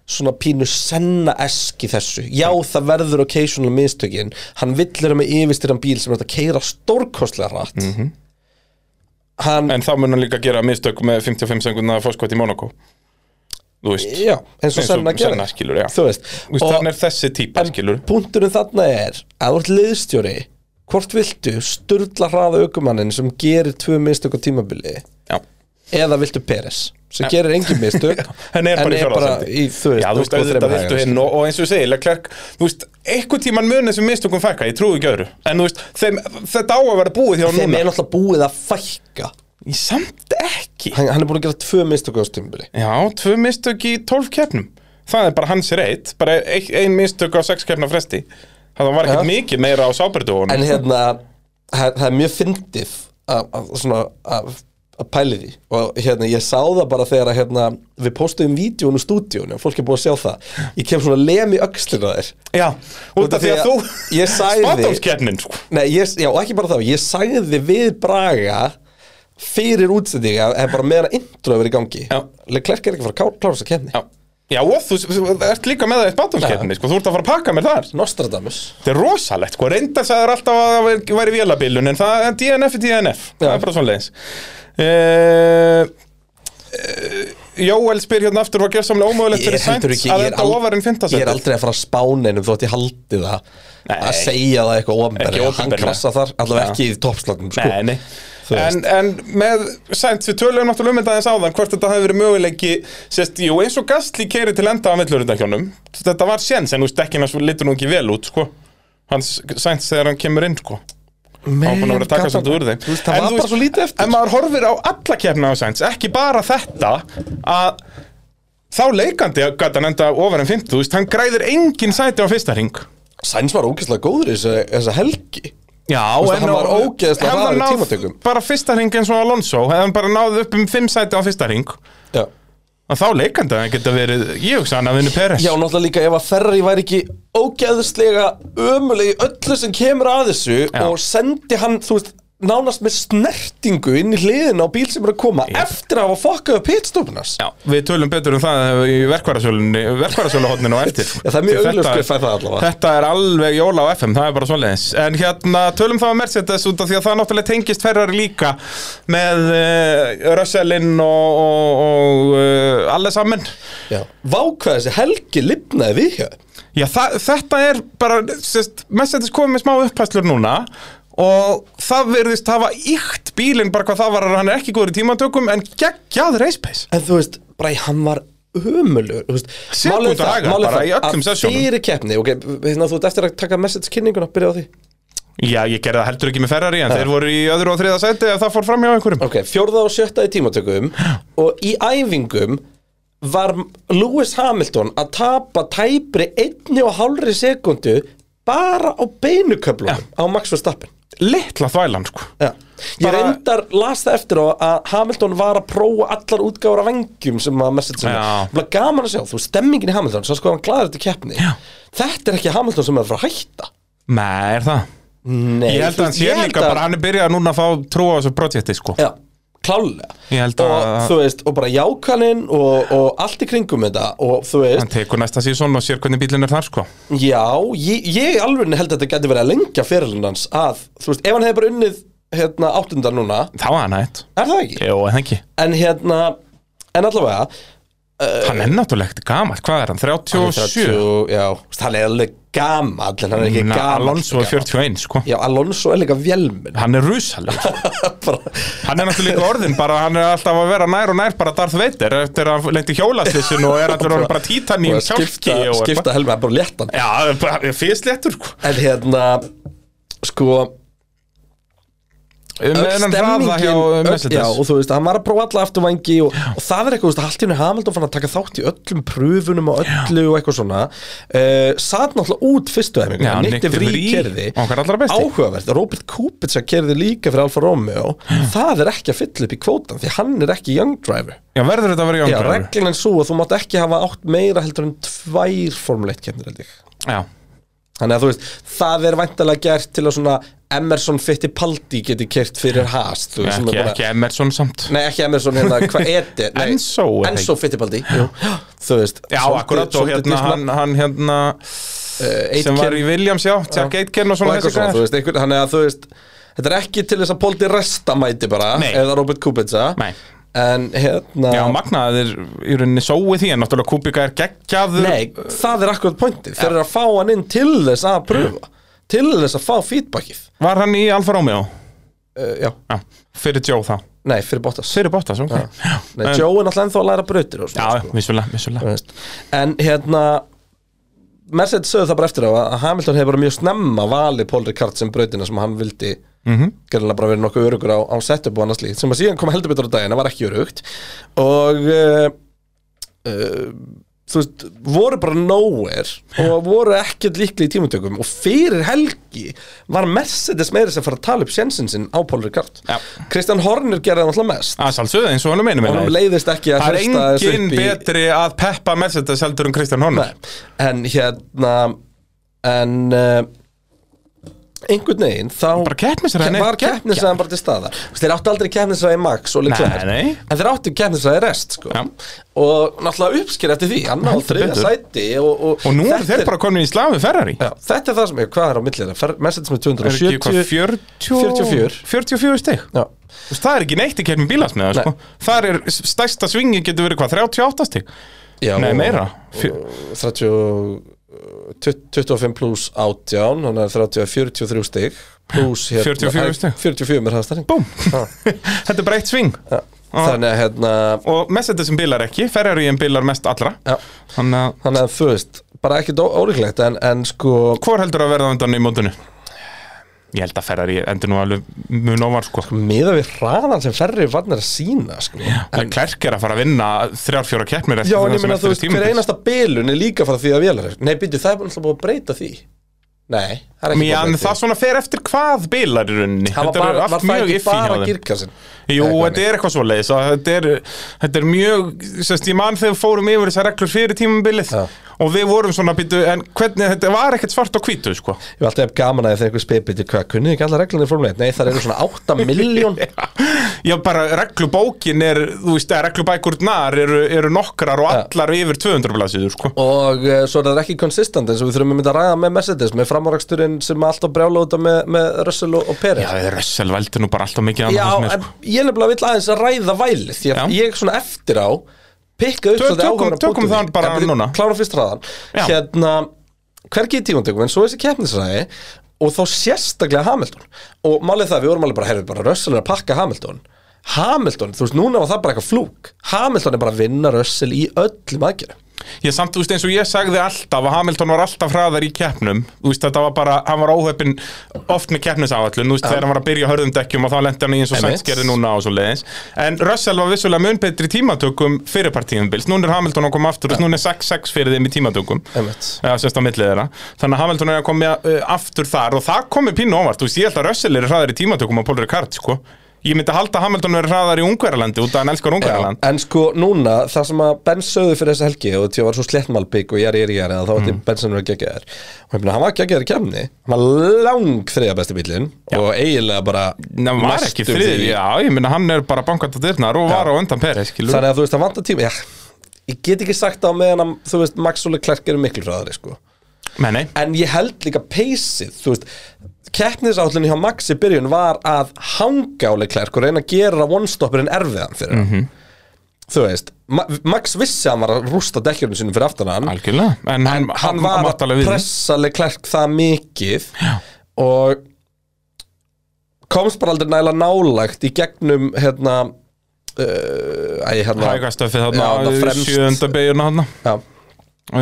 S5: svona pínu senna esk í þessu Já, það verður occasional mistökin Hann villir með yfirstyrjan bíl sem er hægt að keira stórkostlega hratt Hann,
S3: En þá mun hann líka gera mistök með 55 sekundna fórskot í Monaco Þú veist,
S5: já, eins og senna gerir
S3: senna skilur, já
S5: Þú veist,
S3: Þú veist,
S5: og-
S3: hann er þessi típa, skilur
S5: Punturinn þarna er að þú ert liðstjóri Hvort viltu sturla hraða aukumannin sem gerir tvö mistök á tímabili
S3: Já
S5: eða viltu Peres sem gerir engin mistök
S3: Hann er bara í fjórða
S5: í, þú veist,
S3: Já, þú veist,
S5: og
S3: auðvitað
S5: þremur
S3: viltu
S5: hægum.
S3: hinn og, og eins og ég segi, Leclerc Þú veist, einhvern tíman mun þessum mistökum fækka, ég trúi ekki öðru En þú veist, þeim, þetta á að vera búið hjá honum
S5: Þeim
S3: núna
S5: er náttúrulega búið að fækka
S3: Ég samt ekki
S5: Hann, hann er búin að gera tvö mistök á þessu tímabili
S3: Já, tvö mistök í tólf keppnum Það er bara hans reyt Bara ein, ein mistök á sex keppna fresti Það var ekkert
S5: Já.
S3: mikið meira á sáberdóun
S5: En hérna, það það er mjög fyndið að- að svona að að pæli því og hérna ég sá það bara þegar að hérna við postuðum vídjón úr stúdíónu og fólk er búið að sjá það ég kem svona lem í öxlina þér
S3: Já, út af því að þú
S5: ég sagði-
S3: Spátdómskeppnin, sko
S5: Nei, ég, já, og ekki bara það, ég sagði við Braga fyrir útsendinga en bara meðan að intro verið í gangi
S3: Já.
S5: Leclerc er ekki að fara að ká- klára þess að kemni
S3: Já, Já og þú, þú ert líka með það í spátdómskeppninni sko. Þú ert að fara að pakka mér þar
S5: Nostradamus
S3: Þetta er rosalegt, sko, reyndar sagður alltaf að það væri vélabilun En það er DNF er DNF Það
S5: Já.
S3: er bara svoleiðis uh, eh, Jóel spyr hérna aftur Var gerðsamlega ómögulegt fyrir
S5: heldur
S3: Sainz Að
S5: ég er,
S3: enda
S5: al-
S3: ofar en
S5: ég er
S3: fintasettir
S5: aldrei að fara að spána einum þótt ég haldi það
S3: Nei.
S5: að segja það eitthvað ofnberg hann
S3: opinberlega.
S5: krassa þar, allavega
S3: Já.
S5: ekki í toppslagnum sko.
S3: Nei, nei
S5: Þú
S3: En, en með Sainz, við töluðum náttúrulega um þetta aðeins áðan hvort þetta hefði verið möguleiki sérst, jú, eins og Gastli keiri til enda af millurundakjónum þetta var séns, en þú veist ekki hann litur nú ekki vel út, sko hans Sainz þegar hann kemur inn, sko
S5: Men,
S3: Hann var búinn að vera að taka svolítið úr þeim
S5: Þú veist, það
S3: En
S5: var
S3: þú
S5: bara
S3: veist,
S5: svo lítið eftir
S3: En maður horfir á alla keppna á Sainz Ekki bara þetta að Þá leikandi gæti hann enda ofar en 50 þú veist, Hann græðir engin sæti á fyrsta ring
S5: Sainz var ógeðslega góður í þessu- þessa helgi
S3: Já,
S5: veist, hann var ógeðslega
S3: hefði hann
S5: hraður í
S3: náð
S5: tímatökum.
S3: Bara fyrsta ring eins og Alonso Hefði hann bara náð upp um 5 sæti á fyrsta ring
S5: Já
S3: Og þá leikandi að hann geta verið Ég hugsa hann að vinna Peres
S5: Já, náttúrulega líka ef að Ferrari væri ekki ógeðslega ömuleg í öllu sem kemur að þessu
S3: Já.
S5: og sendi hann, þú veist, nánast með snertingu inn í hliðin á bíl sem er að koma eftir að hafa fokkað upp pitstopunars.
S3: Já, við tölum betur um það í verkvarasölunni verkvarasöluhotninu á eftir
S5: Já, það er mjög
S3: Þetta
S5: augljóst hver fær það allavega.
S3: Þetta er alveg jóla á FM, það er bara svoleiðis En hérna, tölum það á Mercedes út af því að það náttúrulega tengist Ferrari líka með uh, Russellin og, og, og uh, alle saman
S5: Já. Vá hvað þessi helgi lifnaði við hér.
S3: Já, það, þetta er bara, sérst, Mercedes komið með smá upphæslur núna og það virðist hafa ykt bílinn bara hvað það var að hann er ekki góður í tímatökum en geggjað race pace
S5: En þú veist, bara hann var humulur Málið
S3: Sekúnda
S5: það,
S3: hagar
S5: málið
S3: bara
S5: það
S3: í
S5: að
S3: öllum sessjónum.
S5: fyrir keppni ok, hérna, Þú ert eftir að taka message kynninguna, byrja á því
S3: Já, ég gerði það heldur ekki með Ferrari en þeir voru í öðru og þriða sæti ef það fór fram hjá einhverjum
S5: Ok, fjórða og sjötta í tímatökum og í æfingum var Lewis Hamilton að tapa tæpri einni og hálfri sekundu bara á beinuköflum á Max Verstappen
S3: Litla þvælan, sko
S5: Já. Ég
S3: Bara-
S5: reyndar las það eftir á að Hamilton var að prófa allar útgára vengjum sem að message sem
S3: Já.
S5: var gaman að sjá, þú veist, stemmingin í Hamilton svo sko hann glaður þetta keppni
S3: Já.
S5: Þetta er ekki Hamilton sem er að fara að hætta
S3: Nei, er það?
S5: Nei,
S3: Ég held að hann sé líka bara, hann er byrjað núna að fá trú á þessu projekti, sko
S5: Já, klálega
S3: Ég held að-
S5: Og þú veist, og bara jákanin og, og allt í kringum þetta Og þú
S3: Hann
S5: veist,
S3: tekur næsta síðan og sér hvernig bílinn er þar, sko
S5: já, ég, ég alveg held að þetta gæti verið að lengja fyrirlinn hans Að, þú veist, ef hann hefði bara unnið hérna áttundar núna
S3: Þá var hann hætt
S5: Er það ekki?
S3: Jó, en ekki
S5: En hérna, en allavega
S3: Hann er náttúrulega ekkert gamall, hvað er hann? 37?
S5: 37, Já, þú veist, hann er alveg gamall En hann er ekki
S3: Na,
S5: gamall
S3: Alonso er 41, sko
S5: Já, Alonso er líka velminn
S3: Hann er rusalegt Hann er náttúrulega líka orðin, bara hann er alltaf að vera nær og nær bara Darth Vader eftir að hann lendi hjólastissin og er alltaf bara títan í kjálki
S5: Skipta,
S3: og
S5: skipta helma, bara léttan
S3: Já, bara fyrstléttur sko
S5: En hérna, sko
S3: Um
S5: öll
S3: hennan hraða hjá uh,
S5: öll- já,
S3: Mercedes
S5: og þú veist, hann var að prófa alla afturvængi og, og það er eitthvað, þú veist, allt í henni Hamilton fann að taka þátt í öllum pröfunum og öllu og eitthvað svona uh, satt náttúrulega út fyrstu hefningu,
S3: Já, Nick de Vries,
S5: kerði
S3: okkar allra besti.
S5: áhugavert, Robert Kubica kerði líka fyrir Alfa Romeo, það er ekki að fylla upp í kvótan því hann er ekki young driver
S3: Já, verður þetta að vera
S5: já,
S3: Jóngræður
S5: reglinn er svo að þú mátt ekki hafa átt meira heldur en tvær formuleitt kemdur held ég
S3: Já,
S5: Þannig að þú veist, það er væntalega gert til að svona Emerson Fittipaldi geti kert fyrir Haas þú veist, sem er
S3: ekki,
S5: bara-
S3: ekki Emerson samt
S5: Nei, ekki Emerson, hérna, hvað eti? Nei,
S3: Enzo, er það
S5: Enzo Fittipaldi, jú Þú veist
S3: Já, akkurat og hérna hann, hann hérna sem var í Williams, já, Jack Aitken og
S5: og
S3: svona
S5: eh, eitthvað svona, þú veist, einhvern, hann eða, þú veist Þetta er ekki til þess að Poldi Resta mæti bara
S3: Nei.
S5: Eða Robert Kubica
S3: Nei.
S5: En hérna
S3: Já, magnaðir í rauninni sóið því en náttúrulega Kubica er geggjaður
S5: Nei, það er akkurat pointið Þeir eru að fá hann inn til þess að
S3: Mm.
S5: pröfa Til þess að fá feedbackið
S3: Var hann í Alfa Romeo?
S5: uh, Já,
S3: Já, fyrir Joe þá
S5: nei, fyrir Bottas
S3: Fyrir Bottas, ok Já,
S5: Nei,
S3: En-
S5: Joe er náttúrulega ennþá að læra brautir og svona,
S3: já vissulega, vissulega
S5: Þú veist. En hérna Mercedes sögðu það bara eftir á að Hamilton hefur bara mjög snemma valið Paul Ricard sem brautina sem hann vildi mm
S3: Mhm.
S5: -hmm. bara verið nokkuð örugur á, á setup og annars líkt sem að síðan kom heldur betur á daginn, það var ekki örugt og uh, uh, þú veist, voru bara nowhere og voru ekkert líkli í tímutökum og fyrir helgi var Mercedes meira sem fara að tala upp sjensin sinn á Paul Ricard
S3: Já.
S5: Kristján Horner gerði það alltaf mest
S3: Það er sálsöðu eins og hann er meinum
S5: honum leiðist ekki að
S3: Það er
S5: hlusta þessu
S3: engin
S5: upp í-
S3: betri að peppa Mercedes heldur en Kristján Horner
S5: Nei, en hérna en uh, einhvern veginn þá
S3: Bara keppnisræðin er
S5: var
S3: geggjað.
S5: keppnisræðin bara til staðar Þú veist, þeir áttu aldrei keppnisræði Max og Leclerc
S3: Nei, nei.
S5: en þeir áttu keppnisræði rest sko.
S3: Já.
S5: og náttúrulega uppsker eftir því hann á
S3: Heldur
S5: þriða
S3: betur.
S5: sæti og, og,
S3: Og nú eru
S5: þetta Eh,
S3: þeir bara komin í slag við Ferrari
S5: já, þetta er það sem er, hvað er á millir Mercedes með
S3: Er ekki hvað,
S5: 270
S3: 40
S5: 44.
S3: 44 stig
S5: já,
S3: Þú veist, Það er ekki neitt í kemur bílasmiða sko. Það er stærsta svingi getur verið hvað 38 stig
S5: já,
S3: Nei,
S5: og-
S3: meira Fjö,
S5: 30 og- 25 pluss 18 þannig að 30 er 43 stig pluss hérna
S3: 44 stig.
S5: 44 með hraðstæring
S3: Búm Þetta er breytt sving Ah.
S5: þannig að hérna
S3: Og Mercedes sem bílar ekki Ferrari en bílar mest allra
S5: já,
S3: Þannig að
S5: þannig að þú veist bara ekkert ó- ólíklegt en, en sko
S3: Hvor heldur að verða á undan í mótunni? Ég held að Ferrari endur nú alveg mun ofar sko
S5: miða við hraðan sem ferri varnir að sína sko.
S3: En Klerk er að fara að vinna þrjár, fjóra keppnir eftir
S5: já en
S3: það
S5: ég
S3: sem
S5: meina
S3: eftir
S5: þú
S3: er
S5: veist hver
S3: tímabils.
S5: einasta bilun er líka frá því að vélar nei byrju það er náttúrulega búið að breyta því nei það er ekki
S3: Já, en það svona fer eftir hvað bilar í rauninni
S5: það var,
S3: Þetta eru
S5: bara,
S3: allt
S5: var það
S3: mjög
S5: ekki
S3: iffy hjá
S5: bara
S3: þeim.
S5: girkassin
S3: Jú,
S5: Eða hvað
S3: þetta er eitthvað svoleiðis að þetta er, þetta er mjög, sérst, ég man þegar við fórum yfir þessar reglur fyrir tímabilið
S5: Já.
S3: og við vorum svona býtu, en hvernig þetta var ekkert svart og hvítu, sko
S5: ég var alltaf jafn gaman að þegar einhver spyr byrju hvað kunnið þið ekki alla reglunni formulegt nei það eru svona 8 miljón
S3: Já, bara reglubókin er, þú veist, að reglubækurnar eru, eru nokkrar og allar yfir 200 blaðsíður, sko
S5: og uh, svo er það ekki konsistent eins og við þurfum að mynda að ræða með Mercedes með framáraksturinn sem alltaf brjála út af með, með Russell og, og Perez
S3: Já, Russell veldi nú bara alltaf mikið annað
S5: Já,
S3: fannst mér, sko.
S5: en ég nefnilega vill aðeins að ræða vælið Því að
S3: Já.
S5: ég svona eftir á Pikkaði upp
S3: Tö-
S5: svolítið
S3: tökum-
S5: áhugaverða
S3: tökum
S5: punkta.
S3: það bara
S5: En byrju,
S3: núna.
S5: Klárum fyrst hraðan
S3: Já.
S5: Hérna, hvergi í tímantökum En svo þessi keppnisræði Og þá sérstaklega Hamilton Og málið það, við vorum alveg bara, heyrðu bara Russell er að pakka Hamilton Hamilton, þú veist, núna var það bara eitthvað flúk Hamilton er bara að vinna Russell í öllum aðgerðum
S3: Ég samt, þú veist, eins og ég sagði alltaf að Hamilton var alltaf hraðar í keppnum Þú veist, þetta var bara, hann var óhefin oft með keppnisáallun Þú veist, þegar hann var að byrja á hörðum dekkjum og þá lendi hann í eins og
S5: Einmitt.
S3: sænskerði núna og svo leiðins En Russell var vissulega mun betri í tímatökum fyrir partíðumbils Nún er Hamilton að koma aftur, þú veist, núna er 6-6 fyrir þeim í tímatökum
S5: Einmitt.
S3: Já, sérst á millið þeirra Þannig að Hamilton er að koma uh, aftur þar og það komi pínu óvart Þú veist, ég held að Russell er hraðar í tímatökum á Paul Ricard, sko Ég myndi halda að Hamilton verið hraðar í Ungverjalandi út af hann elskar
S5: Já,
S3: Ungverjaland
S5: en sko núna, það sem að Ben sögðu fyrir þessa helgi og því að var svo slettmálbygg og jari, jari, jari þá átti mm. Ben sem var geggjaðar og ég meina, hann var geggjaðar í kemni hann var lang þriða besti bílinn og eiginlega bara
S3: Nei, hann var ekki
S5: næstum
S3: þriðið,
S5: því.
S3: já, ég minna hann er bara bankant á dyrnar og var á undan Peres, skilur
S5: þannig að þú veist, hann vantar tíma já, ég get ekki sagt það á meðan að, þú veist, Max Ole Klerk eru miklu fræðari sko.
S3: Nei, nei,
S5: en ég held líka peysið þú veist, keppnisállunni hjá Maxi byrjun var að hanga áleik klærk og reyna að gera one-stopperinn erfiðan fyrir mm þú veist, Ma Max vissi að hann var að rústa dekkjörnum sínum fyrir aftan hann
S3: algjörlega En hann,
S5: hann var
S3: mátt
S5: að
S3: alveg við
S5: pressa leik klærk það mikið Já. og komst bara aldrei næla nálægt í gegnum hérna uh, æ, hérna
S3: Hægastöfið
S5: Já,
S3: þarna,
S5: þarna fremst.
S3: sjöunda beigurna þarna
S5: já,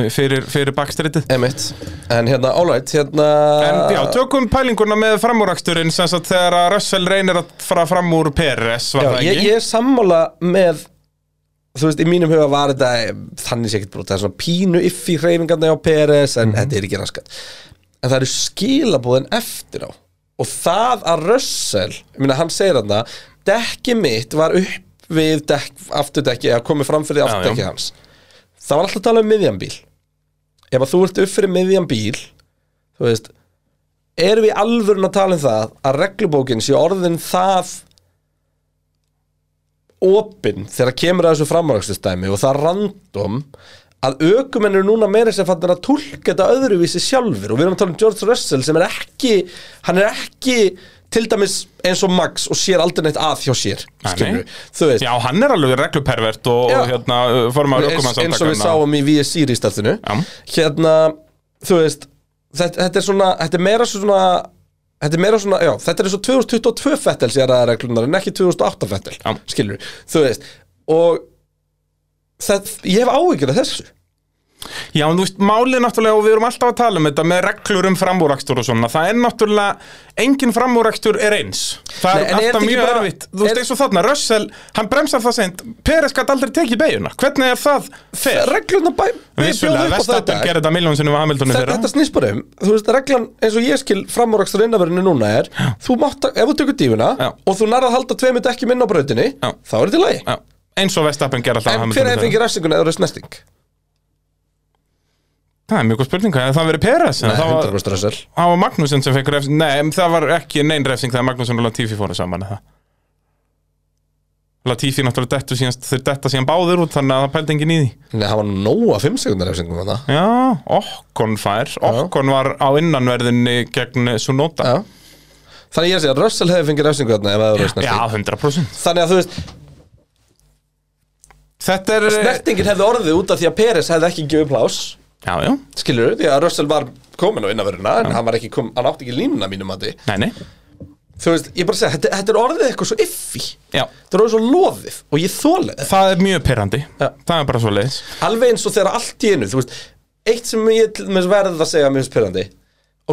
S3: Fyrir, fyrir bakstritið
S5: emitt en hérna, all right, hérna
S3: En já, tökum pælinguna með framúraksturinn sem sagt þegar að Russell reynir að fara fram úr Peres, var
S5: Já,
S3: það
S5: ég,
S3: ekki?
S5: ég er sammála með þú veist, í mínum huga var þetta þannig sé ekkert brot, það er svona pínu iffi hreyfingarna á PRS,
S3: Mhm.
S5: en þetta er ekki raskat en það eru skilabóðin eftir á og það að Russell, ég meina hann segir hann það dekki mitt var upp við dekk, afturdekki, að komið fram fyrir
S3: já.
S5: afturdekki hans það var alltaf að tala um miðjan bíl ef að þú ert upp fyrir miðjan bíl þú veist erum við alvörun að tala um það að reglubókin sé orðin það opin þegar kemur að þessu framrækstustæmi og það random að aukumenn eru núna meira sem fannir að tólka þetta öðruvísi sjálfur og við erum að tala um George Russell sem er ekki hann er ekki til dæmis eins og Max og sér aldrei neitt að hjá sér
S3: Nei, nei.
S5: skilur þú veist
S3: Já, hann er alveg reglupervert og,
S5: Já.
S3: og hérna
S5: eins, eins
S3: formar
S5: og við
S3: aukumannsandakana
S5: sáum í VSC rístartinu
S3: Já.
S5: hérna, þú veist þetta, þetta er svona, þetta er meira svona Þetta er meira svona, já, þetta er eins og 2022 fettel sér að reglunar en ekki 2008 fettel,
S3: Já.
S5: skilur þú veist, og það, ég hef áhyggjur af þessu
S3: Já, en þú veist, málið náttúrulega og við erum alltaf að tala um þetta með reglur um framúrakstur og svona það er náttúrulega, engin framúrakstur er eins það
S5: Nei, en er
S3: er
S5: þetta
S3: alltaf
S5: ekki
S3: mjög
S5: bara-
S3: erfitt þú veist,
S5: er-
S3: eins og þarna, Russell, hann bremsar það seint Peres gæti aldrei tekið beiguna, hvernig er það fer?
S5: Reglunar bæ, við
S3: Vissulega,
S5: bjóðum upp á það í
S3: Vestapen
S5: dag.
S3: gerir þetta miljónsinu við Hamiltonu
S5: þetta,
S3: fyrra
S5: þetta snýst bara um þú veist, reglan eins og ég skil framúrækstur innavörinu núna er þú mátt, að- ef þú tökur dífuna
S3: Já.
S5: og þú nærða að halda tveimund ekki minna á brautinni
S3: Já.
S5: þá er þetta í lagi
S3: Já, eins og Vestapen gerir alltaf
S5: en hver
S3: Hamiltonu
S5: hefði
S3: fyrra
S5: fengið refsinguna eða snesting?
S3: Það er mjög góð spurning, hefði það verið Peres
S5: Nei,
S3: það var,
S5: 100% Russell
S3: það var Magnúsin sem fekk refsing Nei, en það var ekki nein refsing þegar Magnúsin og Latifi fóru saman eða? Latifi náttúrulega dettu síðan, þeir detta síðan báður út þannig að það pældi engin í því
S5: Nei, það var nóa 5 sekundar refsingum þarna
S3: Já, Okkon fær Okkon var á innanverðinni gegn Sunoda
S5: Já Þannig ég er að segja að Russell hefði fengið refsingu þarna ef það var
S3: Já,
S5: snesting
S3: 100%
S5: Þannig að þú veist,
S3: Þetta er
S5: snertingin hefði orðið út af því að Peres hefði ekki gefið plás
S3: Já, já,
S5: Skilur því að Russell var komin á innavöruna en hann, var ekki kom, hann átti ekki línuna mínum að því
S3: nei, nei
S5: Þú veist, ég er bara að segja, þetta, þetta er orðið eitthvað svo iffi
S3: Já.
S5: Þetta er orðið svo loðið og ég þóla það
S3: Það er mjög pyrrandi
S5: Já.
S3: Það er bara svo leiðis
S5: Alveg eins og þegar allt í einu, þú veist Eitt sem ég til dæmis verð að segja mjög spyrrandi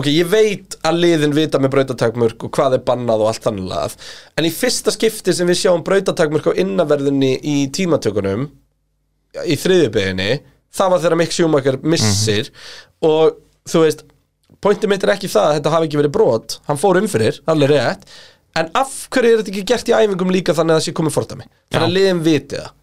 S5: Ok, ég veit að liðin vita með brautatakmörk og hvað er bannað og allt þannig lagað En í fyrsta skipti sem við sjáum brautatakmörk á innaverðinni í tímatökunum Í þriðjubeginni Það var þegar Mick Schumacher missir Og þú veist, pointið mitt er ekki það að þetta hafi ekki verið brot Hann fór um fyrir, alveg rétt En af hverju er þetta ekki gert í æfingum líka þannig að það sé komið fordami? Þannig að liðin viti það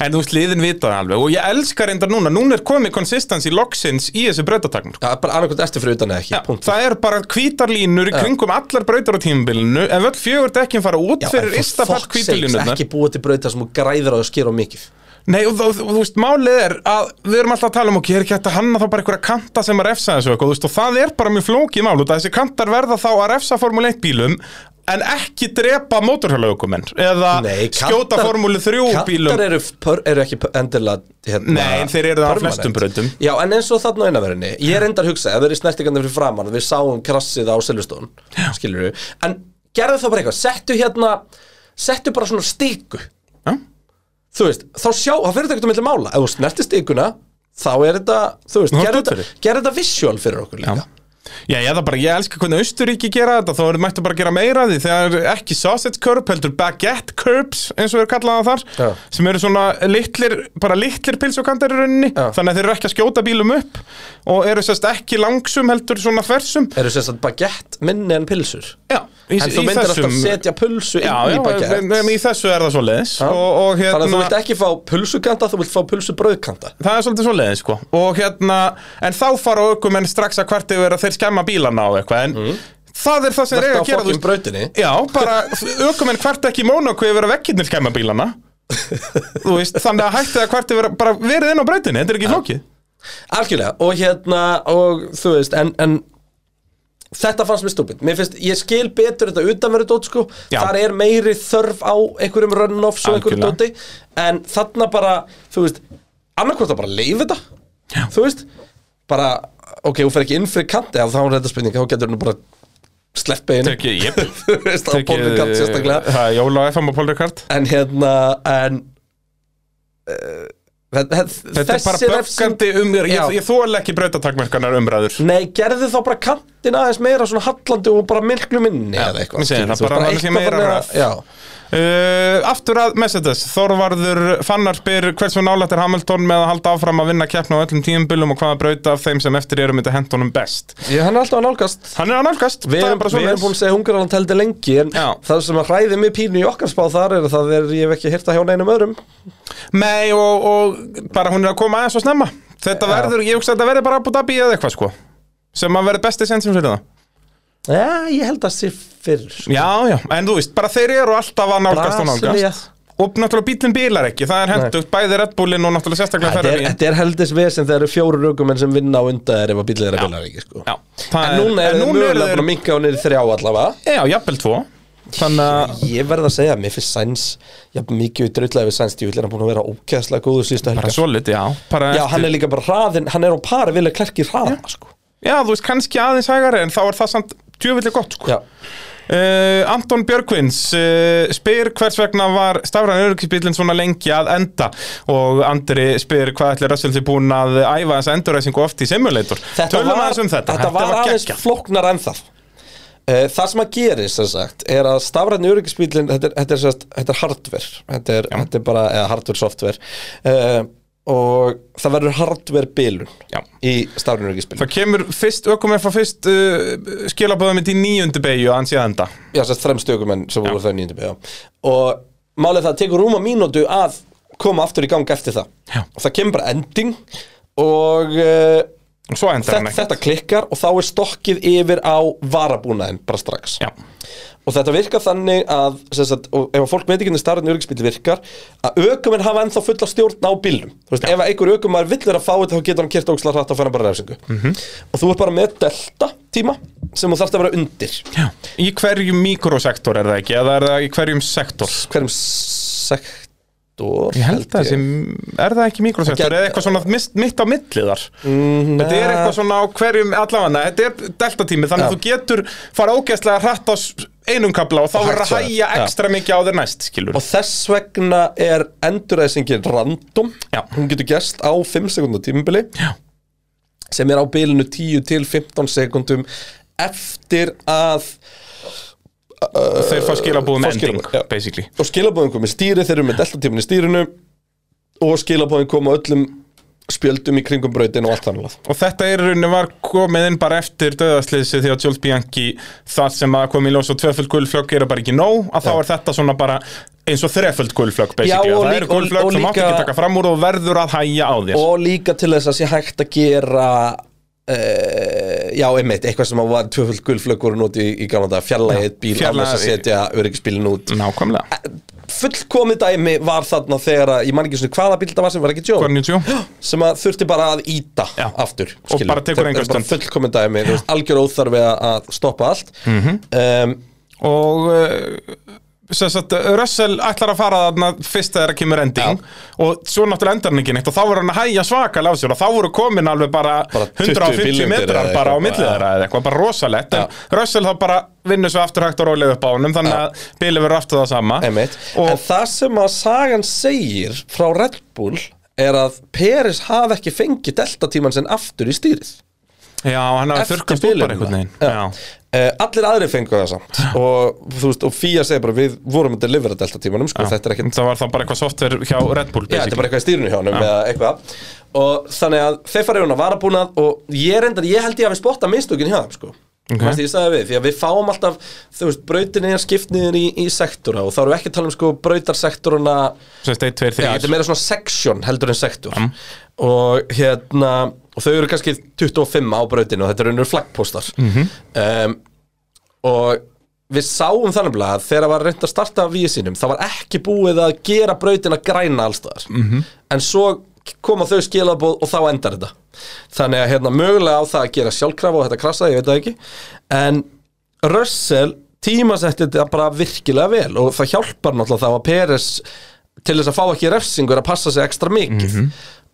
S3: En þú veist, liðin vita það alveg Og ég elska reyndar núna Núna er komið konsistensi loksins í þessu brautatakmur
S5: Já, bara annarkvæmt ertu fyrir utan eða ekki, punktur.
S3: Það er bara hvítarlínur í kringum allar brautar á tímabilinu En öll fjögur dekkin fara út
S5: Já,
S3: fyrir
S5: en for
S3: ystapart
S5: fuck's sakes,
S3: hvítarlínurnar
S5: ekki búið til brauta sem þú græðir á að skera of mikið
S3: Nei, og, og, og þú veist, málið er að við erum alltaf að tala um okkur, er ekki hægt að hanna þá bara einhverja kanta sem að refsa þessu eitthvað, þú veist, og það er bara mjög flókið mál, út að þessi kantar verða þá að refsa Formule 1 bílum, en ekki drepa mótorhjálaugumenn, eða
S5: Nei,
S3: skjóta
S5: kantar-
S3: Formule 3 bílum.
S5: Kantar eru, pör, eru ekki pör- endilega hérna,
S3: Nei, en þeir eru það á
S5: permanent.
S3: flestum brautum.
S5: Já, en eins og þarna á einaverinni Ég er endar að hugsa, ef þeir eru snertikandi fyrir framann Við sáum krassið á Silvestón Skilur við En gerðu það bara eitthvað, settu hérna settu bara svona stiku
S3: Já.
S5: þú veist, þá sjá, þá fyrir þetta ekkert á milli mála ef þú snertir stikuna, þá er þetta þú veist,
S3: Nú,
S5: gerð
S3: þetta
S5: þetta,
S3: fyrir.
S5: gerð þetta visual fyrir okkur líka
S3: Já. Já, ég, bara, ég elska hvernig Austuríki gera þetta, þá erum mættu bara að gera meira af því þegar er ekki sausage curb, heldur baguette curbs eins og er kallaða þar
S5: Já.
S3: sem eru svona litlir, bara litlir pilsukantar í rauninni,
S5: Já.
S3: þannig að þeir eru ekki að skjóta bílum upp og eru sérst ekki langsum heldur svona fersum
S5: eru sem sagt baguette minni en pilsur
S3: Já, í,
S5: en þú myndir alltaf setja pulsu inn í
S3: Já, já,
S5: baguette
S3: em- em, í þessu er það svoleiðis
S5: Já.
S3: og, og hérna,
S5: þannig að þú vilt ekki fá pulsukanta, þú vilt fá pulsubrauðkanta
S3: Það er svolítið svoleiðin sko Og hérna, en þá fara aukumenn strax að hvert yfir að þeir skemma bílana á eitthvað En það er það sem
S5: Mm. Vertu
S3: þeir
S5: á
S3: eiga að gera þú
S5: fokkin
S3: veist-
S5: brautinni
S3: Já, bara aukumenn hvert ekki í Mónaco yfir að vekkirnir skemma bílana Þú veist, þannig að hætti það hvert yfir að bara verið inn á brautinni, þetta er ekki flókið
S5: Algjörlega, og hérna, og þú veist, en, en þetta fannst mér stúpid. Mér finnst, ég skil betur þetta utanverðu dót, sko.
S3: Já.
S5: Þar er meiri þörf á einhverjum runoffs og einhverjum dóti.
S3: Algjörlega.
S5: En þarna bara, þú veist, annarkvort að bara leif þetta. Já. Þú veist, bara, ok, hún fer ekki inn fyrir kanti, ef þá er þetta spurning, þá getur hún bara sleppt beginu.
S3: Tekið, jep
S5: Þú veist, á pólum
S3: eh,
S5: kant sérstaklega.
S3: Það er jóla á FM og pólrekart
S5: En hérna, en... Uh,
S3: Þetta er bara böggandi um Ég, ég þóla ekki brautatakmerkanar umræður
S5: Nei, gerðu þá bara kantin aðeins meira svona hallandi og bara miklu minni eða eitthvað.
S3: ég segi
S5: skilur,
S3: það,
S5: þú veist,
S3: bara það sé
S5: eitthvað
S3: meira
S5: bara-
S3: röf.
S5: Já,
S3: Uh, aftur að Mercedes, Þorvarður Fannar spyr hversu nálægt er Hamilton með að halda áfram að vinna keppna á öllum tíumbilum og hvaða brauta af þeim sem eftir eru myndi hent honum best
S5: ég, hann er alltaf að nálgast.
S3: Hann er að nálgast,
S5: Við
S3: það
S5: erum,
S3: er bara
S5: við erum búin
S3: svona
S5: að segja hungarland heldur lengi en
S3: Já.
S5: það sem að hræði mig pínu í okkar spá þar er að það er ég hef ekki hýrta hjá neinum öðrum.
S3: Nei og, og bara hún er að koma aðeins og snemma Þetta verður, ég hugsa að þetta verður bara Abu Dhabi eða eitthvað sko sem að verður besti sem sem fyrir það
S5: Já, ég held að sé fyrr. sko.
S3: Já, já, en þú veist, bara þeir eru alltaf að nálgast og
S5: Brasilía.
S3: nálgast Og náttúrulega bílinn bílar ekki, það er hendugt bæði Red Bullin og náttúrulega sérstaklega
S5: Þetta er,
S3: Ferrari
S5: þetta er heldis vesen þegar eru fjóru raukumenn sem vinna á undan þeir ef að bílið er að bílar ekki sko.
S3: Já, það
S5: En núna er
S3: en
S5: þeir
S3: núna eru
S5: mögulega búin að minka og niður í þrjá allavega.
S3: Já, jafnvel tvo Þannig að
S5: Ég verð að segja að mér finnst sæns, já mikið dröðlega við sæns, ég vil er hann búin að vera ógeðslega góður síðustu helgar.
S3: Bara svolítið, já bara
S5: Já,
S3: eftir-
S5: hann er líka bara hraðin, hann er á pari vilja klerki hraða, sko
S3: já, þú veist, kannski aðeins hægari En þá er það samt tjöfulli gott sko.
S5: Já,
S3: uh, Anton Björkvins uh, spyr hvers vegna var stafran öryggisbílinn svona lengi að enda Og Andri spyr hvað ætli Russell því búin að æfa þessa enduræsingu oft í simulator Tölum aðeins um þetta
S5: Þetta var aðeins
S3: geggjað.
S5: flóknar en það Eh, Það sem að gerist, sem sagt, er að stafræðni öryggisbílinn, þetta, er- þetta, er sem sagt- þetta er hardware, þetta er, þetta er bara, eða hardware software uh, og það verður hardware bilun
S3: Já.
S5: í stafræðni öryggisbílinn
S3: Það kemur fyrst, ökum eftir fyrst uh, skilabóðum mitt í níundu beigju að hann sé að enda
S5: Já, þess að þrem stökum en sem voru þau nýjum já. Og málið það tekur rúma mínútu að koma aftur í gang eftir það
S3: Já.
S5: Og það kemur bara ending og uh,
S3: Svo endar hann
S5: þetta,
S3: ekki
S5: þetta klikkar og þá er stokkið yfir á varabúnaðin bara strax
S3: Já,
S5: og þetta virkar þannig að sem sagt, og ef að fólk veit ekki hvernig starfinn öryggisbíl virkar að ökuminn hafa ennþá fulla stjórn á bílum þú veist, ef að einhver ökumar villir að fá þetta þá getur hann kert óksla hratt og fær hann bara refsingu
S3: Mhm.
S5: og þú ert bara með delta tíma sem þú þarft að vera undir
S3: já Í hverjum mikrosektor er það ekki, eða er það í hverjum sektor?
S5: hverjum sektor
S3: Ég held að það sem, er það ekki mikrosektor
S5: Það gæti- Mhm.
S3: eða eitthvað svona mist, mitt á milli þar Þetta er eitthvað svona á hverjum allavega, þetta er deltatími þannig
S5: Já.
S3: að þú getur fara ógeðslega hratt á s- einum kabla og þá verður að
S5: svo er.
S3: hægja
S5: Já.
S3: ekstra mikið á þér næst, skilur
S5: og þess vegna er enduræsingin random
S3: Já.
S5: hún getur gerst á 5 sekundar tímabili
S3: Já.
S5: sem er á bilinu 10 til 15 sekundum eftir að
S3: Þeir fá skilabúð
S5: fá
S3: með ending,
S5: skilaboð, um já.
S3: basically
S5: og skilabóðin komið stýri þeir eru með deltatímin í stýrinu og skilabóðin koma öllum spjöldum í kringum brautin og allt annað
S3: Og þetta er í rauninni var komið inn bara eftir döðaslýsi því að Jules Bianchi það sem að kom í ljós og tvöföld gulflögg eru bara ekki nóg að þá er þetta svona bara eins og þreföld gulflögg basically
S5: Já, og
S3: og það
S5: líka-
S3: eru gulflögg
S5: og- og
S3: sem mátt
S5: líka-
S3: ekki taka fram úr og þú verður að hægja á þér
S5: og líka til þess að sé hægt að gera uh, já, einmitt, eitthvað sem að var tvöfullt gulflökkur út í, í gamla dag, fjarlægið bíl án
S3: fjarlægja-
S5: þess að setja öryggisbílinn út
S3: Nákvæmlega,
S5: fullkomið dæmi var þarna þegar að, ég man ekki svona hvaða bíl það var sem var ekki John
S3: Kornitjú
S5: sem að þurfti bara að íta
S3: Já.
S5: aftur
S3: Og bara tekur
S5: Þetta er
S3: enga
S5: bara
S3: stund.
S5: fullkomið dæmi,
S3: Mhm.
S5: þú veist, algjör óþarfi að- að stoppa allt mm -hmm. um,
S3: og uh, sem sagt, Russell ætlar að fara þarna fyrst þegar það kemur ending og svo náttúrulega endar hann ekki neitt og þá voru hann að hæja svakalega á sér og þá voru komin alveg bara,
S5: Bara 20
S3: 150
S5: billjónir
S3: metrar
S5: eða
S3: bara á
S5: eitthvað,
S3: millið
S5: já.
S3: þeirra eða eitthvað, bara rosalett en Russell þá bara vinnur svo aftur hægt og rólega upp á honum þannig að bílið verður aftur það sama
S5: Einmitt.
S3: og
S5: En það sem að sagan segir frá Red Bull er að Peris hafi ekki fengið deltatíman sinn aftur í stýrið
S3: já, hann hafði
S5: Eftir
S3: þurrkast út
S5: bilunina.
S3: bara einhvern veginn
S5: Já.
S3: já.
S5: Eh, Allir aðri fengu það samt og, þú veist, og Fía segir bara við vorum að delivera deltatímanum sko, þetta er ekkert
S3: það var þá bara eitthvað software hjá Red
S5: Já,
S3: Bull
S5: þetta er
S3: basically.
S5: bara eitthvað í stýrinu hjá honum eða eitthvað og þannig að þeir fara í hún að varabúnað og ég reyndar, ég held ég að við spotta mistökin hjá þeim sko
S3: Ok.
S5: Manstu, ég sagði við, því að við fáum alltaf þú veist, brautin er skipt niður í, í sektora og þá erum við ekki að tala um sko brautarsektoruna
S3: Sem sagt, 1, 2,
S5: Já, þetta
S3: 3
S5: er meira svona section heldur en sektor og hérna og þau eru kannski 25 á brautinu og þetta eru unnur flaggpóstar um, og við sáum þannig að þegar var reynd að starta vísinum, það var ekki búið að gera brautina græna allstaðar -hmm. en svo koma þau skilabóð og þá endar þetta þannig að hérna mögulega á það að gera sjálfkrafa og þetta krassaði, ég veit það ekki en Russell tímasetti þetta bara virkilega vel og það hjálpar náttúrulega þá að Peres til þess að fá ekki refsingur að passa sig ekstra mikið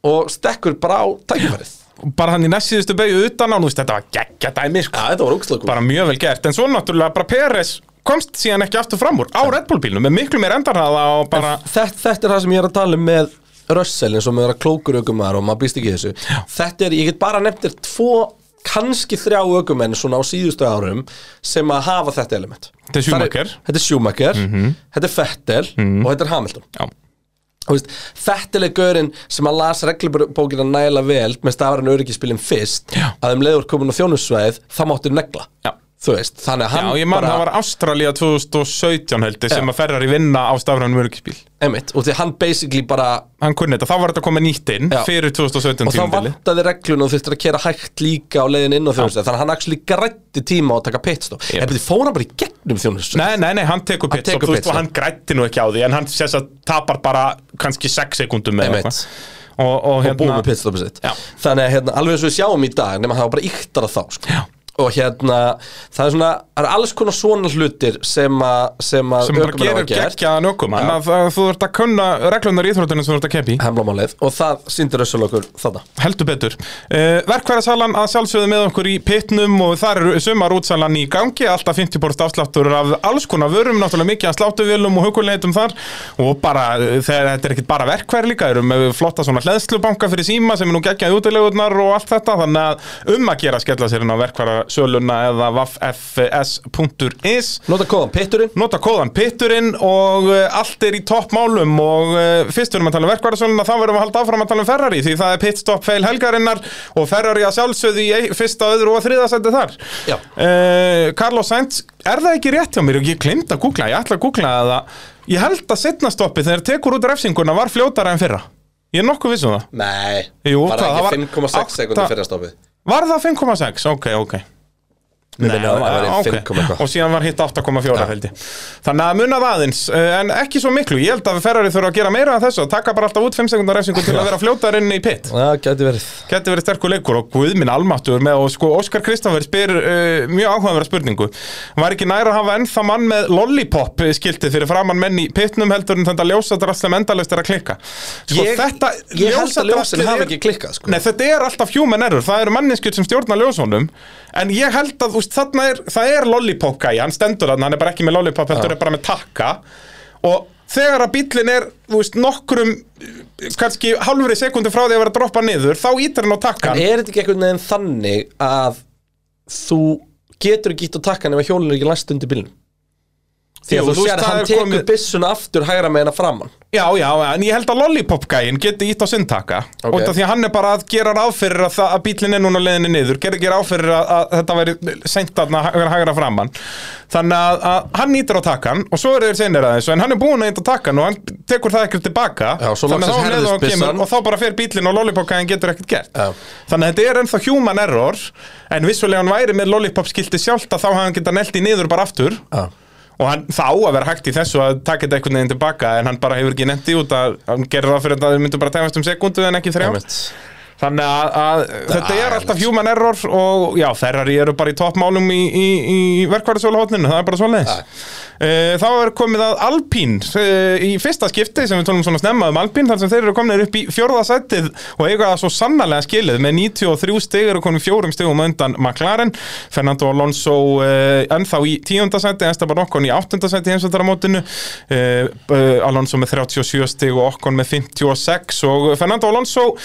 S5: og stekkur bara á tækifærið
S3: bara hann í næst síðustu beigju utan á nú, veist, þetta var geggja dæmi sko.
S5: Já, þetta var ógstlega
S3: bara mjög vel gert, en svo náttúrulega bara Peres komst síðan ekki aftur fram úr á Red Bull bílnum með miklu meir endarhraða og bara
S5: þetta, þetta er það sem ég er að tala um með Russell eins og með að klókur ökumar og maður býst ekki í þessu þetta er, ég get bara nefnt þér tvo kannski þrjá ökumenn svona á síðustu árum sem að hafa þetta element
S3: Þetta er Schumacher. Mhm.
S5: Þar Þetta er Schumacher, þetta er Fettel og þetta er Hamilton
S3: já,
S5: Þú veist, Fettel er gaurinn sem að las reglubókina nægilega vel með stafarinn öryggispilin fyrst
S3: Já.
S5: að um leiður komin á þjónusvæðið það máttu negla
S3: Já.
S5: þú veist, þannig að
S3: já,
S5: hann
S3: ég man það var Ástralía 2017 heldur sem
S5: Já.
S3: að ferrar í vinna á stafrænum örgisbíl
S5: einmitt, og því hann basically bara
S3: hann kunni þetta, þá var þetta komið nýtt inn
S5: Já.
S3: fyrir 2017
S5: og þá
S3: tímabili
S5: vantaði reglun og þurftir að kera hægt líka á leiðin inn á þjónusvæðið þannig að hann actually grætti tíma á að taka pitstop
S3: Já.
S5: en betur fór hann bara í gegnum þjónusvæðið
S3: Nei, nei, nei, hann tekur
S5: Hann
S3: pitstop,
S5: tekur
S3: þú veist, og
S5: pitstop.
S3: hann grætti nú ekki á því en hann sess að tapar bara kannski 6 sekundum með
S5: Einmitt.
S3: og, og,
S5: og búið með
S3: hérna,
S5: pitstopið sitt
S3: Já.
S5: þannig að hérna, alveg eins og við sjáum í dag nema það var bara yktar að þá sko. og hérna, það er svona það er alls konar svona hlutir sem að sem að
S3: sem bara
S5: ökumenn hafa
S3: gerir geggjaðan ökumann
S5: Já.
S3: að það- þú ert að kunna reglunar í íþróttunum sem þú ert að keppi
S5: hemlamálið og það sýndir össul okkur þarna
S3: Heldur betur. Uh, verkfærasalan að sjálfsögðu með okkur í pitnum og þar eru sumar útsalan í gangi, alltaf 50% afsláttur af alls konar vörum, náttúrulega mikið að slátuvélum og huguleitum þar og bara, eh, þegar þetta er ekkit bara verkfæri líka, eru með flotta svona hleðslubanka fyrir síma sem er nú geggjað í útilegurnar og allt þetta, þannig að um að gera að skella sér inn á verkfærasöluna eða vaffs.is
S5: Nota kóðan pitturinn
S3: nota kóðan pitturinn og uh, allt er í toppmálum og uh, fyrst verðum að tala um verkvarðarsöluna þá verðum við að halda áfram að tala um Ferrari því það er pitstop fail helgarinnar og Ferrari að sjálfsögðu í ein- fyrsta, öðru og þriðasætti þar
S5: Já.
S3: uh, Carlos Sainz, er það ekki rétt hjá mér og ég glimt að googla, ég ætla að googla það ég held að setna stoppið þegar tekur út refsinguna var fljótara en fyrra ég er nokkuð vissum það
S5: Nei,
S3: Jú,
S5: bara
S3: það- það var
S5: ekki 5,6
S3: átta-
S5: sekundum fyrir að stopið
S3: var það 5,6? ok, ok
S5: Mér minni að það
S3: Já,
S5: væri
S3: ok.
S5: 5,1 eitthvað.
S3: og síðan var hitt 8,4 held ég þannig að munað aðeins, eh, en ekki svo miklu ég held að Ferrari þurfa að gera meira af þessu taka bara alltaf út 5 sekundar refsingu til að vera fljótar inn í pit
S5: Það gæti verið
S3: Gæti verið sterkur leikur og guðminn almattur með og sko Óskar Kristoffer spyr uh, mjög áhugaverða spurningu. Var ekki næra að hafa ennþá mann með lollipop eh, skiltið fyrir framann menn í pitnum heldur en þetta ljósadrasl sem endalaust er að klikka? Sko
S5: Ég-
S3: þetta
S5: ég held að ljósin
S3: ljósadraslið
S5: hafi
S3: er-
S5: ekki klikkað, sko.
S3: Nei þetta er alltaf human error, það eru manneskjur sem stjórna ljósunum en ég held að úst, þarna er, það er lollipop gæi, hann stendur þarna, hann er bara ekki með lollipop heldur er bara með takka og þegar að bíllinn er þú veist, nokkrum eh, kannski halvri sekundi frá því að vera að droppa niður þá ítir hann á takkan
S5: Er þetta ekki einhvern veginn þannig að þú getur ekki ítt á takkan ef að hjólinn er ekki læst undir bílnum Því
S3: Jú,
S5: að þú,
S3: þú
S5: þú
S3: veist,
S5: sér
S3: það
S5: að
S3: er
S5: hann tekur
S3: komið-
S5: byssuna aftur hægra meina framann
S3: Já, já, en ég held að lollipop gæinn geti ítt á sundtaka
S5: Ok.
S3: okay. Því að hann er bara að gera ráð fyrir að, það- að bílinn er núna á leiðinni niður Gerði ekki ráð fyrir að, að þetta væri seint að vera hægra framann Þannig að, að hann ítir á takkan og svo eru þeir seinir aðeins En hann er búin að íta á takkan og hann tekur það ekkert tilbaka
S5: Já, svo
S3: Þannig
S5: loksins
S3: að þá um leið og hann
S5: herðist byssan.
S3: kemur og þá bara fer bílinn og lollipop gæinn getur ekkert gert
S5: Já.
S3: Þannig að þetta er ennþá human error En vissulega hann væri með lollipop skilti sjálft að þá hafði hann geta nelt í niður bara aftur og hann þá að vera hægt í þessu að taka þetta einhvern veginn tilbaka en hann bara hefur ekki nefndi út að hann gerir það fyrir að það myndu bara tæmast um sekundu en ekki þrjá
S5: Einmitt.
S3: Þannig að, að þetta er alltaf human error og já, Ferrari eru bara í toppmálum í, í, í verkvarðsvöluhóttninu, það er bara svoleiðis. Uh, þá er komið að Alpine uh, í fyrsta skipti sem við tónum svona snemma um Alpine þar sem þeir eru komin upp í fjórðasættið og eiga það svo sannarlega skilið með 93 stig eru komin fjórum stigum á undan McLaren, Fernando Alonso uh, ennþá í tíundasætti, Esteban Okkon í áttundasætti eins og þar á mótinu, uh, uh, Alonso með 37 stig og Okkon með 56 og Fernando Alonso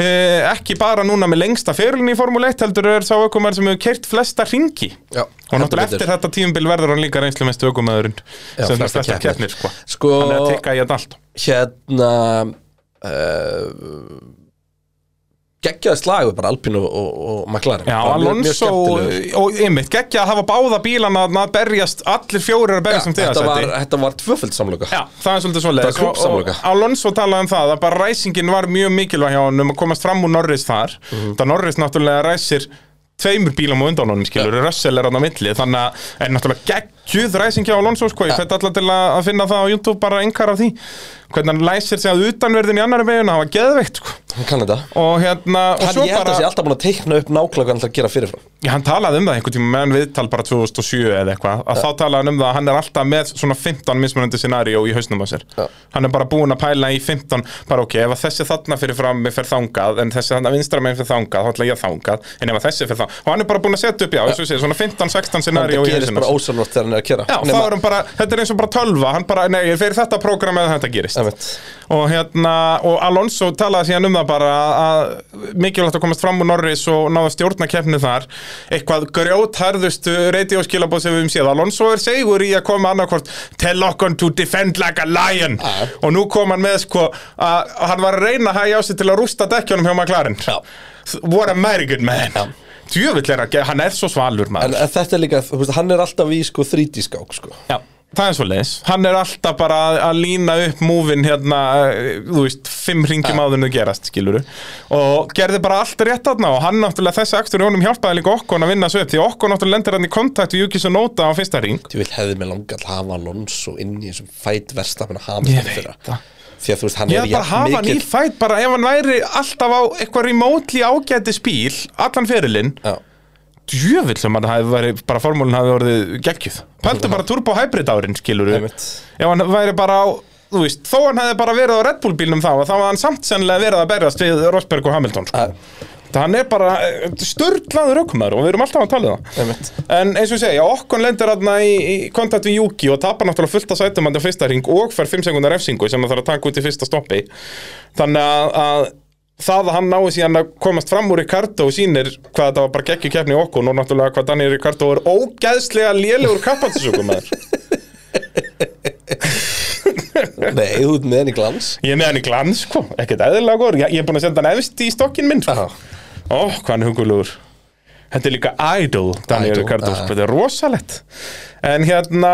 S3: Eh, ekki bara núna með lengsta fyrirlinni í Formule 1 heldur er sá aukumæður sem hefur kert flesta ringi
S5: Já,
S3: og náttúrulega
S5: heldur betur.
S3: eftir þetta tíumbil verður hann líka reynslu mest aukumæðurinn sem það
S5: flestar
S3: flesta
S5: keppnir.
S3: keppnir sko.
S5: Sko-
S3: hann er að tekka í þetta allt
S5: Hérna uh, Geggjaði slagur bara Alpín og, og, og McLaren
S3: Já,
S5: Bara mjög- mjög
S3: Alonso
S5: skemmtilegur.
S3: og ymmit, geggja að hafa báða bílana að berjast, allir fjórir að berjast um
S5: þetta var,
S3: þriðasæti.
S5: þetta var tvöföld samloka
S3: Já, það er svolítið
S5: Þetta var
S3: svolítið
S5: klúbbsamloka.
S3: Alonso talaði um það að bara ræsingin var mjög mikilvæg hjá hann um að komast fram úr Norris þar mm
S5: Mhm.
S3: það Norris náttúrulega ræsir tveimur bílum á undan honum skilur, Russell er hann á milli þannig að er náttúrulega geggjuð ræsing hjá Alonso sko, ég fætti alltaf til að að finna það á YouTube bara engar af því hvernig hann læsir sig að utanverðin í annari megin það var geðveikt sko.
S5: Hann kann þetta
S3: og hérna og
S5: Hann
S3: svo
S5: ég held að sé alltaf búin að teikna upp nákvæmlega hvað hann ætlar að gera fyrirfram
S3: Já, hann talaði um það einhvern tíma meðan viðtal bara 2007 eða eitthvað að þá talaði hann um það að hann er alltaf með svona 15 mismunandi scenario í hausnum á sér
S5: Já.
S3: hann er bara búinn að pæla í 15 bara ok, ef að þessi þarna fyrir fram mig fer þangað en þessi þarna vinstra meginn fyrir þangað þá ætla ég að þangað, en ef að þessi fyrir þangað og hann er bara búinn að setja upp, já, eins og sé, svona 15-16
S5: Það
S3: scenario í
S5: gerist
S3: hausnum á
S5: bara
S3: sér
S5: ósannort þegar hann er að gera
S3: Já, um- þá er hann bara, þetta er eins og bara tölva hann bara, nei, ég fer í þetta prógram eða þetta gerist
S5: Einmitt.
S3: og hérna, og Alonso talaði síðan um það bara að mikilvægt að komast fram úr Norris og náða stjórna keppni þar eitthvað grjótharðustu radioskilabóð sem við um séð Alonso er segur í að koma annarkvort tell okkon to defend like a lion
S5: Já.
S3: og nú kom hann með sko að að hann var að reyna að hægja á sig til að rústa dekkjónum hjá McLaren
S5: Já.
S3: what a very good man
S5: Já.
S3: djöfull er að, hann er svo svalur maður
S5: En en þetta er líka, þú veist, hann er alltaf í sko 3D skák sko
S3: Já, það er svo leiðis Hann er alltaf bara að, að lína upp múvin hérna, eh, þú veist, fimm ringjum áður en þau gerast, skiluru og gerði bara allt rétt aðna og hann náttúrulega þessi aktur í honum hjálpaði líka okkon að vinna svo upp því okkon náttúrulega lendir hann í kontakt við Júkis og Nóta á fyrsta ring
S5: Þú vil hefði mig langa að hafa Alonso inn í þessum fæt verstafin að
S3: Ég
S5: Hamilton
S3: veit
S5: fyrra
S3: það.
S5: Því að þú veist, hann
S3: Ég
S5: er
S3: er bara að hafa hann í
S5: jafn
S3: fætt bara ef hann væri alltaf á eitthvað remotely ágæti spíl allan fyrirlinn
S5: mikill
S3: djövill sem hann hafi verið, bara formúlinn hafi orðið geggjuð. Pældu bara turbo hybrid árin, skilur við.
S5: Einmitt.
S3: Ef hann væri bara á, þú veist, þó hann hefði bara verið á Red Bull bílnum þá, þá var hann samt sennilega verið að berjast við Rosberg og Hamilton, sko.
S5: Já.
S3: Það hann er bara störtlaður aukumæður og við erum alltaf að tala um það.
S5: Einmitt.
S3: En eins og ég segja, okkon lendir hann í, í kontakt við Juki og tapar náttúrulega fullt að sætum hann til fyrsta ring og fer 5 sekundar refsingu sem hann þarf að taka út í fyrsta stoppi. Þannig að, að það að hann náði síðan að komast fram úr Ricardo og sýnir hvað þetta var bara geggju keppni í okkur og náttúrulega hvað Daniel Ricardo er ógeðslega lélegur kappatisugumæður.
S5: Nei, þú ert með henni glans
S3: Ég er með hann í glans, sko, ekkert eðlilega góður Ég, ég er búin að senda hann efst í stokkin minn, sko
S5: Já.
S3: Ó, hvað hann er hugulugur Þetta er líka idol, Daniel
S5: Idol,
S3: Ricardo,
S5: já.
S3: sko, þetta er rosalett En hérna,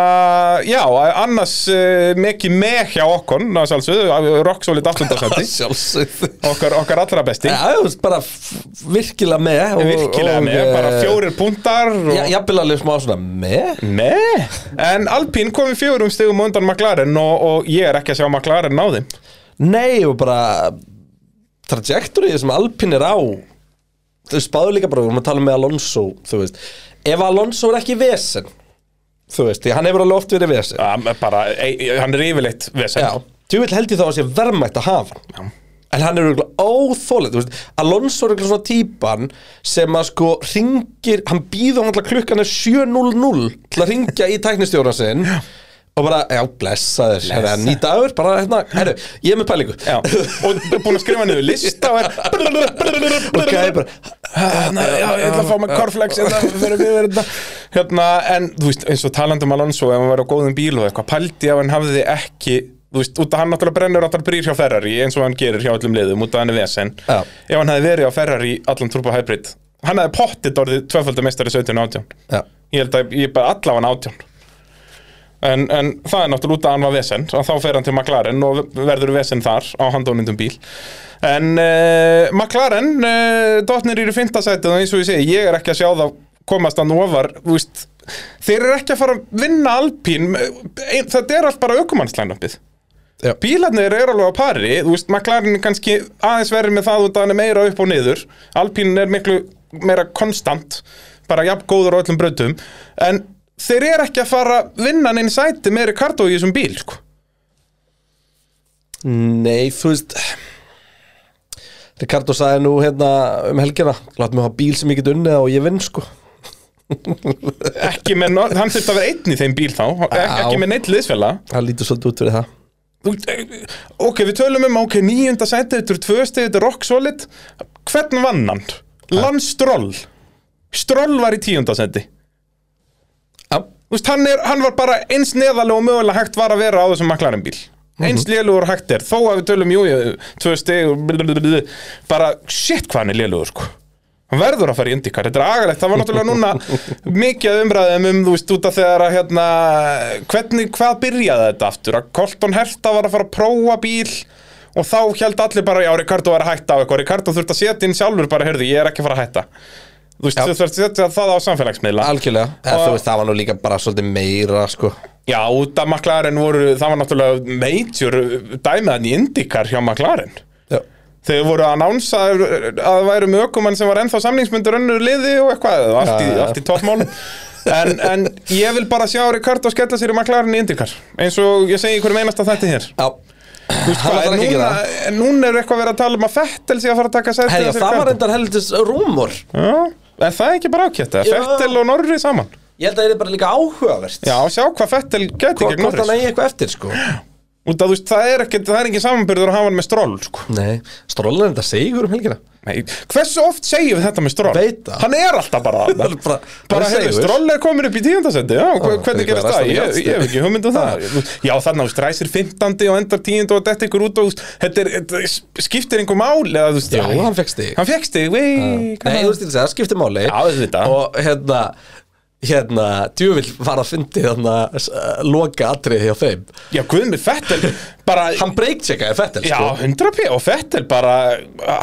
S3: já, annars uh, mikið með hjá okkur, ná sjálfsögðu, rock solid 800
S5: Sjálfsögð
S3: okkar, okkar allra besti
S5: Já, þú veist, bara f- virkilega með og, eh,
S3: Virkilega með, bara fjórir puntar og...
S5: Já, jafnvel alveg smá svona með
S3: Nei, en Alpín kom í fjórum stigum á undan McLaren og, og ég er ekki að sjá McLaren á þeim
S5: Nei, og bara trajektorið sem Alpin er á þau spáðu líka bara, við erum að tala með Alonso þú veist, ef Alonso er ekki vesen þú veist, því hann hefur alveg oft verið vesen
S3: Ja, bara, ei, hann er yfirleitt vesen
S5: Já, þú vil held ég þá að sé verðmætt að hafa hann En hann er auðvitað óþólið, þú veist, Alonso er auðvitað svona típan sem að sko ringir, hann býður hann alltaf klukkan er 7.00 til að ringja í tæknistjóra sinn og bara, já, blessa þér, herra, nýta öður, bara hérna, herru, ég er með pælingu.
S3: Já, og búin að skrifa niður lista og er
S5: Og
S3: okay,
S5: gæði bara,
S3: hérna, já, ég ætla að fá maður korflex hérna, fyrir við verðum þetta. hérna, en þú veist, eins og talandi um Alonso ef hann var á góðum bíl og eitthvað, pældi ef hann hafði ekki þú veist, út af hann náttúrulega brennur alltaf brýr hjá Ferrari eins og hann gerir hjá öllum liðum út af hann er vesen
S5: Já.
S3: ef hann hefði verið á Ferrari allan turbo hybrid hann hefði pottið orðið tvöfaldamestari 17 og 18
S5: Já,
S3: ég held að ég bara allavega átján en, en það er náttúrulega út að hann var vesend og þá fer hann til McLaren og verður vesend þar á handónindum bíl en uh, McLaren uh, dotnir eru í fimmta sætið og eins og ég segi ég er ekki að sjá það komast að ofar þú veist, eh, þeir eru ekki að fara að vinna Alpín þetta er allt bara aukumannslænappið
S5: Já.
S3: Bílarnir eru alveg á pari, þú veist, McLaren er kannski aðeins verið með það út að hann er meira upp og niður Alpín er miklu meira konstant, bara jafn góður á öllum brautum En þeir eru ekki að fara vinnan inn í sæti með Ricardo í þessum bíl, sko
S5: Nei, þú veist Ricardo sagði nú hérna um helgina Látt mig hafa bíl sem ég get unnið á og ég vinn sko
S3: Ekki með, no- hann þurfti að vera einn í þeim bíl þá, ek
S5: Já.
S3: ekki með neitt liðsfélag
S5: Það lítur svolítið út fyrir það
S3: Þú- Ok, við tölum um, ok, nýjunda sæti, þetta eru tvö stið, þetta er rock solid Hvern vann hann? Lance Stroll Stroll var í tíunda sæti
S5: Já,
S3: Þú veist, hann, er, hann var bara eins neðalega og mögulega hægt var að vera á þessum McLaren bíl Eins lélugur hægt er, þó að við tölum, jú, jú, tvö stið og blablabla, Bara, shit hvað hann er lélugur, sko Hann verður að fara í indikar, þetta er agalegt, það var náttúrulega núna mikið af umræðum um, þú veist, út af þegar að hérna, hvernig, hvað byrjaði þetta aftur, að Colton Herta var að fara að prófa bíl og þá held allir bara, já, Ricardo var að hætta á eitthvað, Ricardo þurfti að setja inn sjálfur bara, heyrðu, ég er ekki að fara að hætta, þú veist, þú þurfti að setja það á samfélagsmiðla.
S5: algjörlega Eða, Þú veist, það var nú líka bara svolítið meira sko
S3: Já, út af McLaren voru, það var náttúrulega major dæmiðan í Indikar hjá McLaren
S5: Já,
S3: Þeir voru að annánsa að það væri með ökumann sem var ennþá samningsmyndur önnur liði og eitthvað, og allt í,
S5: Já, já.
S3: allt í toppmál en, en ég vil bara sjá Ricardo skella sér í McLaren í Indikar eins og ég segi í hverjum einasta þetta hér
S5: já Hann
S3: Hvað,
S5: ætlar
S3: en
S5: ekki að gera
S3: núna,
S5: það
S3: en núna er eitthvað verið að tala um að Fettel sé að fara að taka sætti
S5: Herja, það var reyndar heldur rúmur
S3: Já, en það er ekki bara ákjætt
S5: Já.
S3: Fettel og Norri saman
S5: Ég held að það er bara líka áhugavert
S3: Já, sjá hvað Fettel gæti
S5: Hvort
S3: gegn
S5: hvort hann
S3: Norris
S5: eigi eitthvað eftir sko
S3: Út að þú veist, það er ekki, það er ekki samanbyrður að hafa hann með stról, sko
S5: Nei, strólinn er þetta sigur um helgina
S3: Nei, hversu oft segjum við þetta með Stroll?
S5: Veit það.
S3: Hann er alltaf bara
S5: Bara,
S3: þarna.
S5: bara,
S3: Bara, heyrðu, Stroll er komin upp í tíundasendi, já, hver- hvernig
S5: eitthvað
S3: gerist
S5: er
S3: það?
S5: Aston
S3: Ég,
S5: Martin.
S3: ég hef ekki hugmynd um það. Já, þarna, þú veist, ræsir 15. og endar 10. og detta ykkur út og, þú veist, þetta er, þetta skiptir einhver máli, eða, þú veist,
S5: Já,
S3: æ,
S5: hann fekk stig
S3: hann fekk stig, vei,
S5: Nei, þú veist ég að segja, það skiptir máli
S3: Já, auðvitað.
S5: Og hérna, hérna, djúvill var að fyndi þarna uh, loka atriði hjá þeim
S3: Já, guðmi, Fettel, bara,
S5: Hann breakcheckaði Fettel,
S3: já,
S5: sko
S3: 100p, og Fettel bara,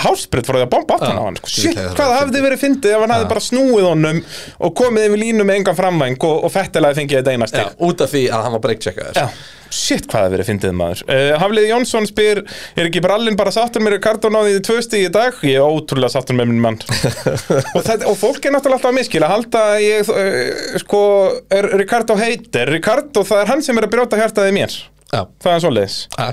S3: hásbrytt frá því að bomba aftan
S5: Já,
S3: á hann, sko.
S5: djúvill
S3: Shit,
S5: hefði það
S3: hvað
S5: verið
S3: hafði verið fyndið ef hann hafði bara snúið honum og komið yfir línu með engan framvæng og, og Fettel hafði fengið þetta eina
S5: já,
S3: stig.
S5: Út af því að hann var breakcheckaður
S3: Já, shit hvað það verið fyndið maður uh, Hafliði Jónsson spyr Er ekki brallinn bara sáttur mér Ricardo náði tvö stig í dag? Ég er ótrúlega sáttur með minn mann og, það, og fólk er náttúrulega alltaf að miskila Halda að ég, uh, sko, er Ricardo heitir Ricardo, það er hann sem er að brjóta hjartaði mér
S5: Já.
S3: Það er svoleiðis
S5: Já.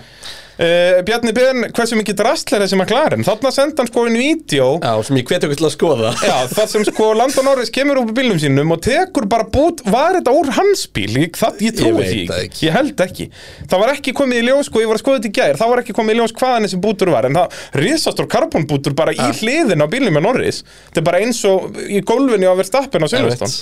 S3: uh, Bjarni Ben, hversu mikið drastlar þessi McLaren? Þarna senda hann sko inn vídeo
S5: Já, sem ég hveti okkur til að skoða
S3: Já, það sem sko Landon Norris kemur upp í bílnum sínum og tekur bara bút, var þetta úr hans bíl? Ég, það, ég
S5: Ég
S3: trúi
S5: veit
S3: því
S5: það
S3: ekki,
S5: ekki.
S3: ég held ekki. Það var ekki komið í ljós, sko, ég var að skoða þetta í gær, það var ekki komið í ljós hvaðan þessi bútur var, en það risastur karbonbútur bara í hliðin á bílnum með Norris. Þetta er bara eins og í gólfinni á verðstappin á Silveston.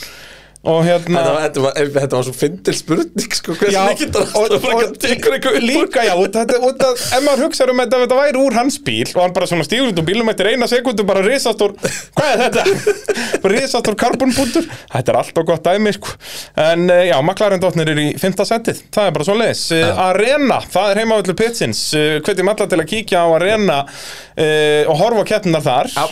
S3: Og hérna...
S5: Þetta var, þetta, var, þetta var svo fyndil spurning sko, hversu
S3: Já,
S5: mikið það
S3: og-
S5: er að bara
S3: og-
S5: tekur eitthvað upp
S3: Líka, já, út- þetta er út að ef maður hugsaður um þetta, ef þetta væri úr hans bíl og hann bara svona stígur út úr bílum eftir eina sekundu bara risastór, hvað er þetta? risastór karbonbútur Þetta er alltaf gott dæmi, sko En eh, já, maklarendóttnir er í fymta setið Það er bara svona leis Arena, það er heimavöldu pitsins Eh, Hvetjum alla til að kíkja á Arena eh, og horfa á keppnar þar
S5: Já.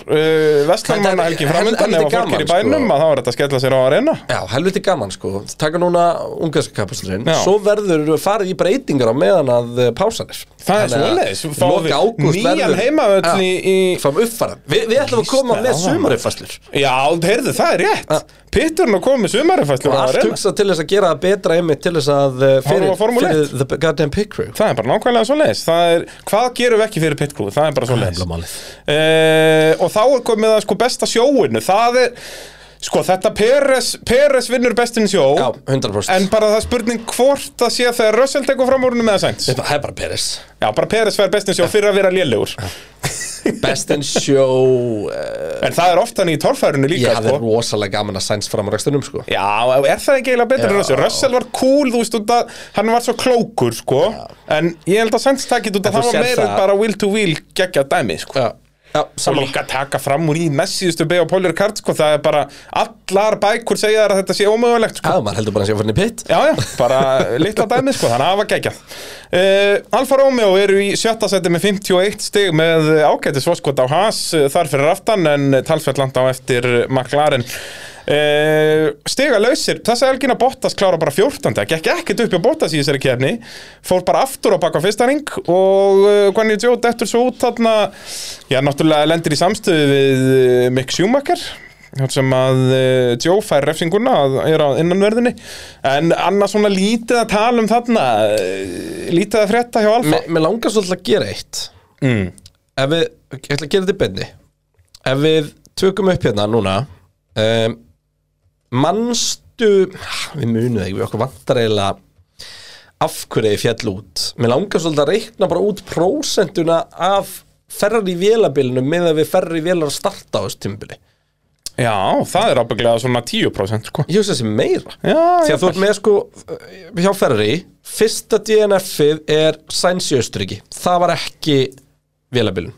S3: Vestlarmanna helgi
S5: Þetta er-
S3: framundan
S5: helviti
S3: ef að
S5: gaman,
S3: fólk er í bænum
S5: sko.
S3: að þá er þetta að skella sér á Arena
S5: Já, helviti gaman sko Taka núna ungarskapasturinn
S3: Já.
S5: Svo verður farið í breytingar á meðan að eh, pásan er
S3: Það er
S5: Þannig að
S3: svoleiðis, við fáum
S5: loka
S3: við
S5: ágúst
S3: nýjan
S5: verður-
S3: heimavöll
S5: Já,
S3: í- í-
S5: Fáum uppfæran Vi, Við ætlum að koma
S3: Lýstu á
S5: með
S3: hann.
S5: sumaruppfæslur
S3: Já, heyrðu, það er
S5: Ja.
S3: rétt Pitturinn að koma með sumarifæslu
S5: Ah. Og allt hugsa til þess að gera það betra einmitt til þess að eh, fyrir,
S3: Horfa á Formúlu
S5: fyrir The Goddamn Pit Crew
S3: Það er bara nákvæmlega svo leiðis er, Hvað gerum við ekki fyrir pitcrew? Það er bara svo leiðis
S5: nefnilega málið.
S3: Og þá er komið að sko besta sjóinu Það er, sko þetta Peres, Peres vinnur bestin sjó
S5: Já, 100%
S3: En bara það er spurning hvort það sé þegar Russell tekur fram úr honum eða Sainz
S5: Það er bara Peres
S3: Já, bara Peres verður bestin sjó fyrir að vera lélegur
S5: Best in show uh,
S3: En það er oft þannig í torfærunni
S5: Ég
S3: líka
S5: hafði
S3: sko.
S5: rosalega gaman að sæns fram á rekstunum sko
S3: Já, er það ekki eiginlega betur en
S5: Já.
S3: Russell? Russell var cool, þú veist, út að hann var svo klókur, sko En ég held að Sainz takkit út
S5: En
S3: að það
S5: þú
S3: var
S5: sérð
S3: meira
S5: það-
S3: bara wheel to wheel geggja dæmi, sko
S5: Já, já
S3: og
S5: saman
S3: líka taka fram úr í messiðustu beig á Pólir Kart sko, það er bara allar bækur segja þær að þetta sé ómögulegt sko.
S5: Já, maður heldur bara að sé að fara inn í pitt
S3: Já, já, bara litla dæmi sko, þannig að það var geggjað uh, Alfa Romeo eru í sjötta seti með 51 stig með ágæti svoskot á Haas eh, þar fyrir aftan en talsvert landa á eftir McLaren uh, stiga lausir, þessa helgina Bottas klára bara 14. Það gekk ekkert upp hjá Bottas í þessari kefni fór bara aftur á baka fyrsta ring og uh, Gwenny Joe dettur svo út þarna, já náttúrulega lendir í samstöðu við uh, Mick Schumacher þar sem að uh, Joe fær refsinguna að er á innanverðinni en annars svona lítið að tala um þarna eh, lítið að frétta hjá Alfa
S5: Mér langar svolítið að gera eitt
S3: mm.
S5: ef við, ég ætla að gera þetta í beinni ef við tökum upp hérna núna um, mannstu við munum það ekki, við okkur vantar eiginlega af hverju ég fjall út mér langar svolítið að reikna bara út prósentuna af ferrar í vélabilinu með að við ferrar í vélar að starta á þessu tímbili
S3: Já, það er ábygglega svona 10% sko.
S5: ég hugsa þessi meira
S3: Já,
S5: því
S3: já,
S5: að þú ert með sko uh, hjá Ferrari, fyrsta DNF-ið er Sainz í Östuríki það var ekki vélabilun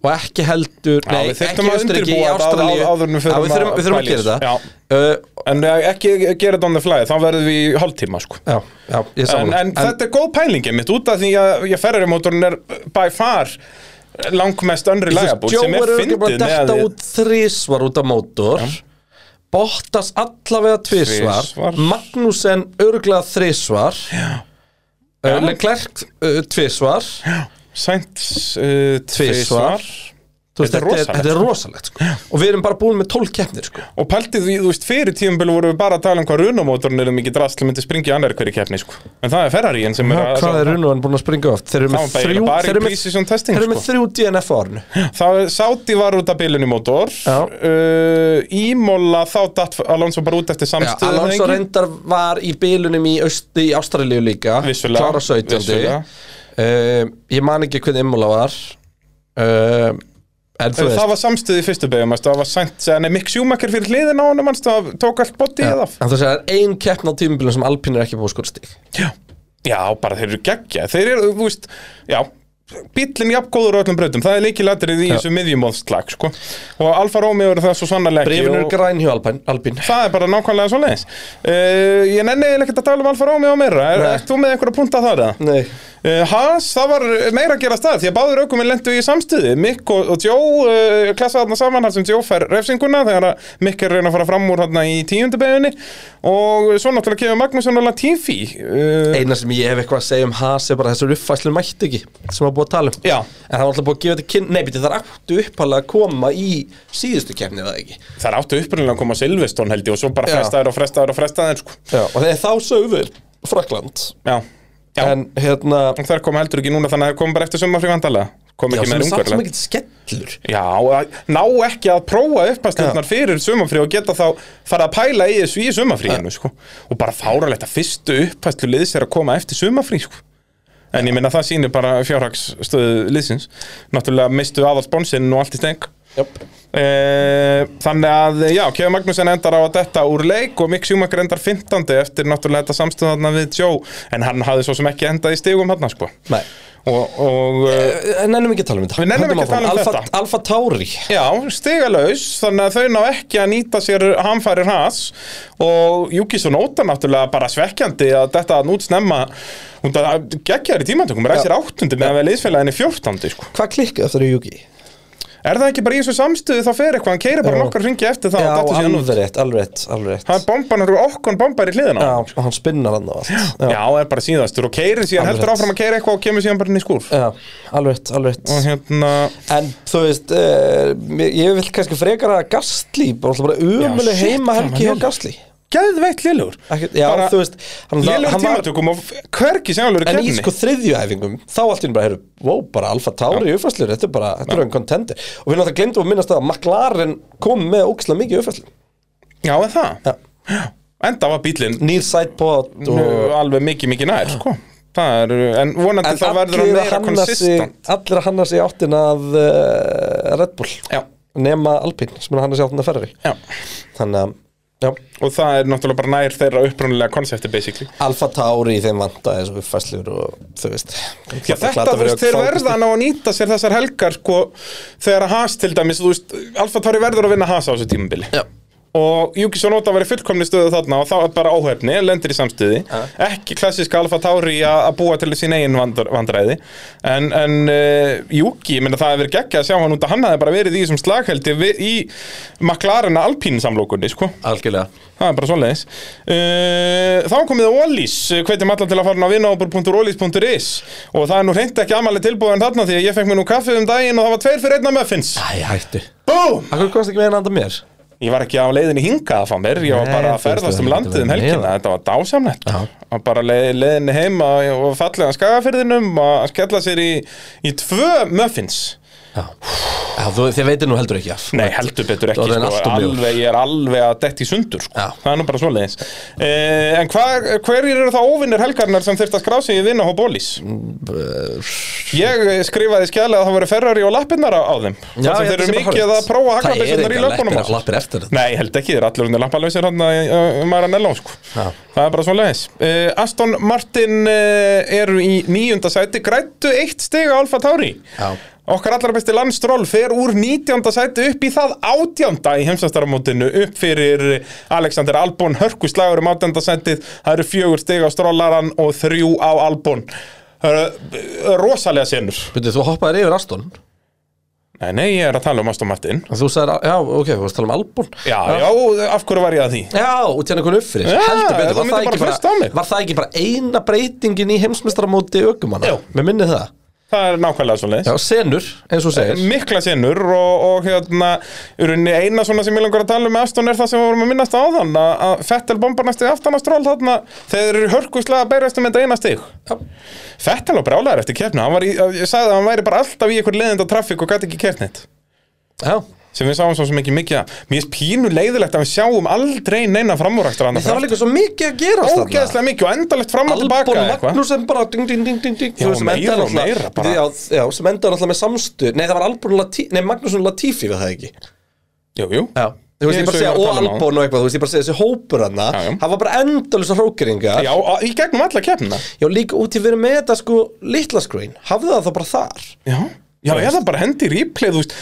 S5: og ekki heldur
S3: Já,
S5: nei,
S3: við þyrftum
S5: ekki
S3: að
S5: Östuríki í
S3: undirbúa þetta
S5: Ástralíu
S3: áður- áður en við
S5: Já,
S3: förum
S5: við þurfum
S3: að
S5: við þurfum að
S3: pæla í
S5: gera
S3: þessu.
S5: þetta
S3: Já.
S5: uh,
S3: En eh, ekki gera þetta on the fly, þá verðum við í hálftíma sko.
S5: já, já, ég sá
S3: en, en, þetta er góð pælingi mitt út af því að ég ferri mótorinn er by far langmest önri lagabúl
S5: Joe
S3: sem er
S5: er örugglega
S3: fyndin
S5: bara að detta út þrísvar út af mótor Bottas allavega tvísvar
S3: Tvisvar.
S5: Magnussen örglega þrísvar uh, Leclerc uh, tvísvar
S3: sænt uh, tvisvar
S5: Þú veist,
S3: Þetta er
S5: þetta, er,
S3: rosalegt,
S5: þetta er rosalegt sko. og við erum bara búin með 12 keppnir sko.
S3: Og pæltið því, þú veist, fyrir tíumbil voru við bara að tala um hvað runamótorn er um mikið drasl myndi springa í annar hverju keppni, sko. En það er Ferraríin sem er að...
S5: hvað er Runovan búin að springa oft þeir eru
S3: Það
S5: með
S3: var bara
S5: þrjú,
S3: eiginlega bara í
S5: þeir eru með,
S3: pre-season testing,
S5: þeir eru með
S3: sko.
S5: þrjú DNF á árinu
S3: Það er Sáti var út af bilinu mótor.
S5: Já.
S3: Uh, Ímóla þá datt Alonso bara út eftir
S5: Já,
S3: samstöðu.
S5: Alonso reyndar var í bilunum í, Östi, í Ástralíu líka
S3: Vissulega,
S5: klára 17
S3: vissulega.
S5: um, ég man ekki hvernig Imola var um, en þú
S3: Það
S5: veist
S3: var samstöði í fyrstu beigum, það var sænt, nei, Mick Schumacher fyrir hliðin á honum, manst, það tók allt botti
S5: en
S3: eða.
S5: þú veist, það er ein keppn á tímubilum sem Alpín er ekki búið skorstið
S3: Já. Já, bara þeir eru geggja. Þeir eru, þú veist, já, bíllinn jafn góður á öllum brautum. Það er leikilatrið í þessu miðjumóðslag, sko. Og Alfa Romeo eru það svo sannarlega ekki
S5: brefin eru
S3: og-
S5: græn hjá Alpín, Alpín.
S3: Það er bara nákvæmlega svo leiðis uh, Ég nenni eiginlega ekkert að tala um Alfa Romeo og meira er,
S5: Nei.
S3: Ert þú með einhverja punta þar eða?
S5: Nei,
S3: Uh, Hans, það var meira að gera stað því að báður aukuminn lendu í samstöði Mikk og, og Jó uh, klassa þarna saman þar sem Jó fær refsinguna þegar að Mikk er að reyna að fara fram úr þarna í tíundabeginni og svo náttúrulega kemur Magnússon og Latifi uh,
S5: eina sem ég hef eitthvað að segja um Haas er bara þessar uppfæslu mætti ekki sem var búið að tala um
S3: Já.
S5: en það var alltaf búið að gefa þetta kynna nei, beti, það er aftu uppalega að koma í síðustu keppni eða ekki
S3: Það er áttu upprunalega að koma Silveston held ég og svo bara
S5: Já.
S3: frestaður og frestaður og frestaður sko.
S5: Já, og þegar þá sögður Frakland
S3: Já, já.
S5: en hérna
S3: En þær kom heldur ekki núna þannig að það kom bara eftir sumafrí vandalega kom
S5: Já, sem
S3: ekki
S5: er
S3: með
S5: samt
S3: ungarlega
S5: sem ekkert skellur
S3: Já, að ná ekki að prófa uppastlutnar fyrir sumafrí og geta þá fara að pæla í þessu í sumafríinu sko. og bara fáralegt að fyrstu uppastlu liðs er að koma eftir sumafrí sko. en ég minna það sýnir bara fjárhagsstöðu liðsins náttúrulega mistu aðal sponsinn og allt í steng
S5: Jöp.
S3: Eh, Þannig að, já, Kevin Magnússon endar á að detta úr leik og Mick Schumacher endar 15. eftir náttúrulega þetta samstöðna við Joe en hann hafði svo sem ekki endað í stigum hann sko.
S5: Nei,
S3: og, og eh,
S5: en nennum ekki að tala um þetta
S3: Við nennum
S5: Höldum
S3: ekki að tala um
S5: áfram.
S3: þetta.
S5: Alfa, Alfa Tauri
S3: Já, stigalaus, þannig að þau ná ekki að nýta sér hamfærir hans og Júkis og Nóta náttúrulega bara svekkjandi að þetta að nút snemma hún það geggjaður í tímantökum, ræsir áttundi meðan við liðsfélaginni fjórtandi sko.
S5: Hvað klikkaði eftir í Juki?
S3: Er það ekki bara í þessu samstöðu þá fer eitthvað, hann keirir bara
S5: Já.
S3: nokkar ringi eftir það
S5: Já,
S3: og dættu síðan út
S5: alveg rétt, alveg rétt, alveg rétt
S3: Hann bomban eru okkon bombar í hliðina
S5: Já, og hann spinnar hann og allt
S3: Já,
S5: Já,
S3: er bara síðastur og keirir síðan
S5: Alveg
S3: heldur
S5: rétt.
S3: áfram að keira eitthvað og kemur síðan bara inn í skúr
S5: já alveg rétt, alveg rétt
S3: og hérna,
S5: En þú veist, eh, mér- ég vil kannski frekar að Gastli bara, alltaf bara umuleg
S3: shit,
S5: heima
S3: hvað
S5: helgi hjá
S3: hann er.
S5: Gastli
S3: geðveitt lélugur
S5: Ekkert- Já,
S3: Bara
S5: þú veist hann,
S3: Lélugur
S5: um hann var,
S3: tímantökum og hverki sem alveg
S5: En í sko þriðju æfingum, þá allt í einu bara, heyrðu, wow, bara Alfa Tauri í uppfæslur, þetta er bara, þetta er hann kontender Og við náttúrulega glemdum um að minnast það að McLaren kom með ógislega mikið uppfæslum
S3: Já, er það?
S5: sko- Já.
S3: Já. Enda var bílinn
S5: nýr sætpot og
S3: alveg mikið mikið nær, sko. Það er, en vonandi það verður hann meira
S5: sig,
S3: konsistent.
S5: allir að hanna sig áttin að uh, Red Bull
S3: Já,
S5: nema Alpine sem er að hanna sig áttin að Ferrari
S3: já.
S5: þannig að já,
S3: Og það er náttúrulega bara nær þeirra upprunalega konsepti, basically.
S5: Alfa Tauri í þeim vanda þessu uppfæslur og þú veist
S3: Já, þetta, þú veist, þeir verða ná að nýta sér þessar helgar, sko, þegar að Haas til dæmis, þú veist, Alfa Tauri verður að vinna Haas á þessu tímabili.
S5: Já.
S3: og Yuki Sonota var í fullkomni stöðu þarna og þá er bara óhefni, lendir í samstöði ekki klassísk Alfa Tauri a- að búa til sín eigin vandr vandræði en, en uh, Yuki, ég meina það hefur geggjað að sjá hann út að hann hafði bara verið í þessum slagheldi við, í McLaren Alpine samlókunni, sko
S5: Algjörlega
S3: Það er bara svoleiðis uh, Þá komið eh, að Ólís Hvetjum allan til að fara á vinahópur.ólís.is Og það er nú reynd ekki amaleg tilbúið en þarna Því að ég fekk mér nú kaffi um daginn og það var tveir fyrir einna muffins
S5: Æ, hættu
S3: Búm!
S5: Akkur komst ekki með hann að mér
S3: Ég var ekki á leiðinni hingað að fá mér Ég var
S5: Nei,
S3: bara að
S5: þú
S3: ferðast
S5: veist,
S3: um
S5: þú
S3: landið um
S5: veist,
S3: helgina
S5: já.
S3: Þetta var dásamlegt
S5: Já.
S3: Og bara leið, leiðinni heima og fallega skagafyrðinum að skella sér í, í tvö muffins
S5: Já, Já þú, þið veitir nú heldur ekki af
S3: Nei, heldur betur ekki,
S5: Það er
S3: sko,
S5: allt um
S3: alveg, ég er alveg að detti sundur, sko,
S5: Já.
S3: það er nú bara svoleiðis. Eh, en hva, hverjir eru þá óvinnir helgarnar sem þurft að skrá sig í vinahóp Ólís? Ég eh, skrifaði í skjalið að það voru Ferrari og lappirnar á, á þeim,
S5: Já, ég
S3: þar sem þeir
S5: held sé
S3: eru
S5: bara
S3: mikið
S5: hárrétt.
S3: að prófa
S5: Það er
S3: haglabessunar í
S5: engar
S3: löpunum.
S5: lappir- lappir eftir þetta
S3: Nei, ég held ekki, þeir eru allir undir lampalausir hann um Maranello sko.
S5: Já.
S3: Það er bara svo leiðis uh, Aston Martin uh, eru í nýjunda sæti Grættu eitt stig á Alfa Tauri
S5: Já.
S3: Okkar allra besti landstról fer úr 19. sæti upp í það 18. í heimsastaramótinu upp fyrir Alexander Albon, hörkuslagur um 18. sætið, það eru fjögur stig á strólaran og þrjú á Albon uh, rosalega senur
S5: Byrju, þú hoppaðir yfir Aston
S3: Nei, nei, ég er að tala um Aston Martin
S5: Þú sagðir, já, ok, þú varst að tala um Albon
S3: Já, já, af hverju var ég að því?
S5: Já, og tjána einhvern upp fyrir
S3: Já,
S5: Heldur betur,
S3: þú
S5: var það,
S3: myndir bara
S5: ekki
S3: treysta á mig.
S5: var það ekki bara eina breytingin í heimsmestramóti aukumanna?
S3: Jú.
S5: Mér minni það
S3: Það er nákvæmlega svo leiðis
S5: Já, senur, eins og þú segir
S3: mikla sinnur og, og hérna, í rauninni eina svona sem ég langar að tala um með Aston er það sem við vorum að minnast á þann að Fettel bombar næstu aftan að stról þarna þegar þeir eru hörkuslega að berjast um þetta eina stig
S5: Já.
S3: Fettel var brálaður eftir keppna hann var í, ég sagði að hann væri bara alltaf í einhver leðinda traffík og gæti ekki keppnit
S5: Já,
S3: sem við sáum svo sem ekki mikið að mér er pínu leiðilegt að við sjáum aldrei neina framúrækstur
S5: það var líka svo mikið að gera
S3: ógeðslega mikið og endalegt fram og tilbaka
S5: Albon
S3: eitthvað.
S5: Magnús sem bara ding, ding, ding, ding, ding,
S3: Já,
S5: þú veist, sem
S3: meira
S5: endar
S3: og
S5: náttúrulega-
S3: meira bara.
S5: já, já, sem endaði alltaf með samstu Nei, það var Albon Latifi, nei, Magnús Latifi var það ekki
S3: Jú, jú.
S5: Já, þú veist,
S3: Ég
S5: ég bara
S3: sé
S5: segja,
S3: að
S5: og
S3: tala um það.
S5: Albon og eitthvað, þú veist, ég bara segja þessi hópur hann
S3: Já, já.
S5: Það var bara endalisa hrókeringa
S3: Já, á- í gegnum alla keppna
S5: Já, líka út í verið með þetta, sko, litla screen Hafðu það þá bara þar
S3: Já, já eða bara hendi replay, þú veist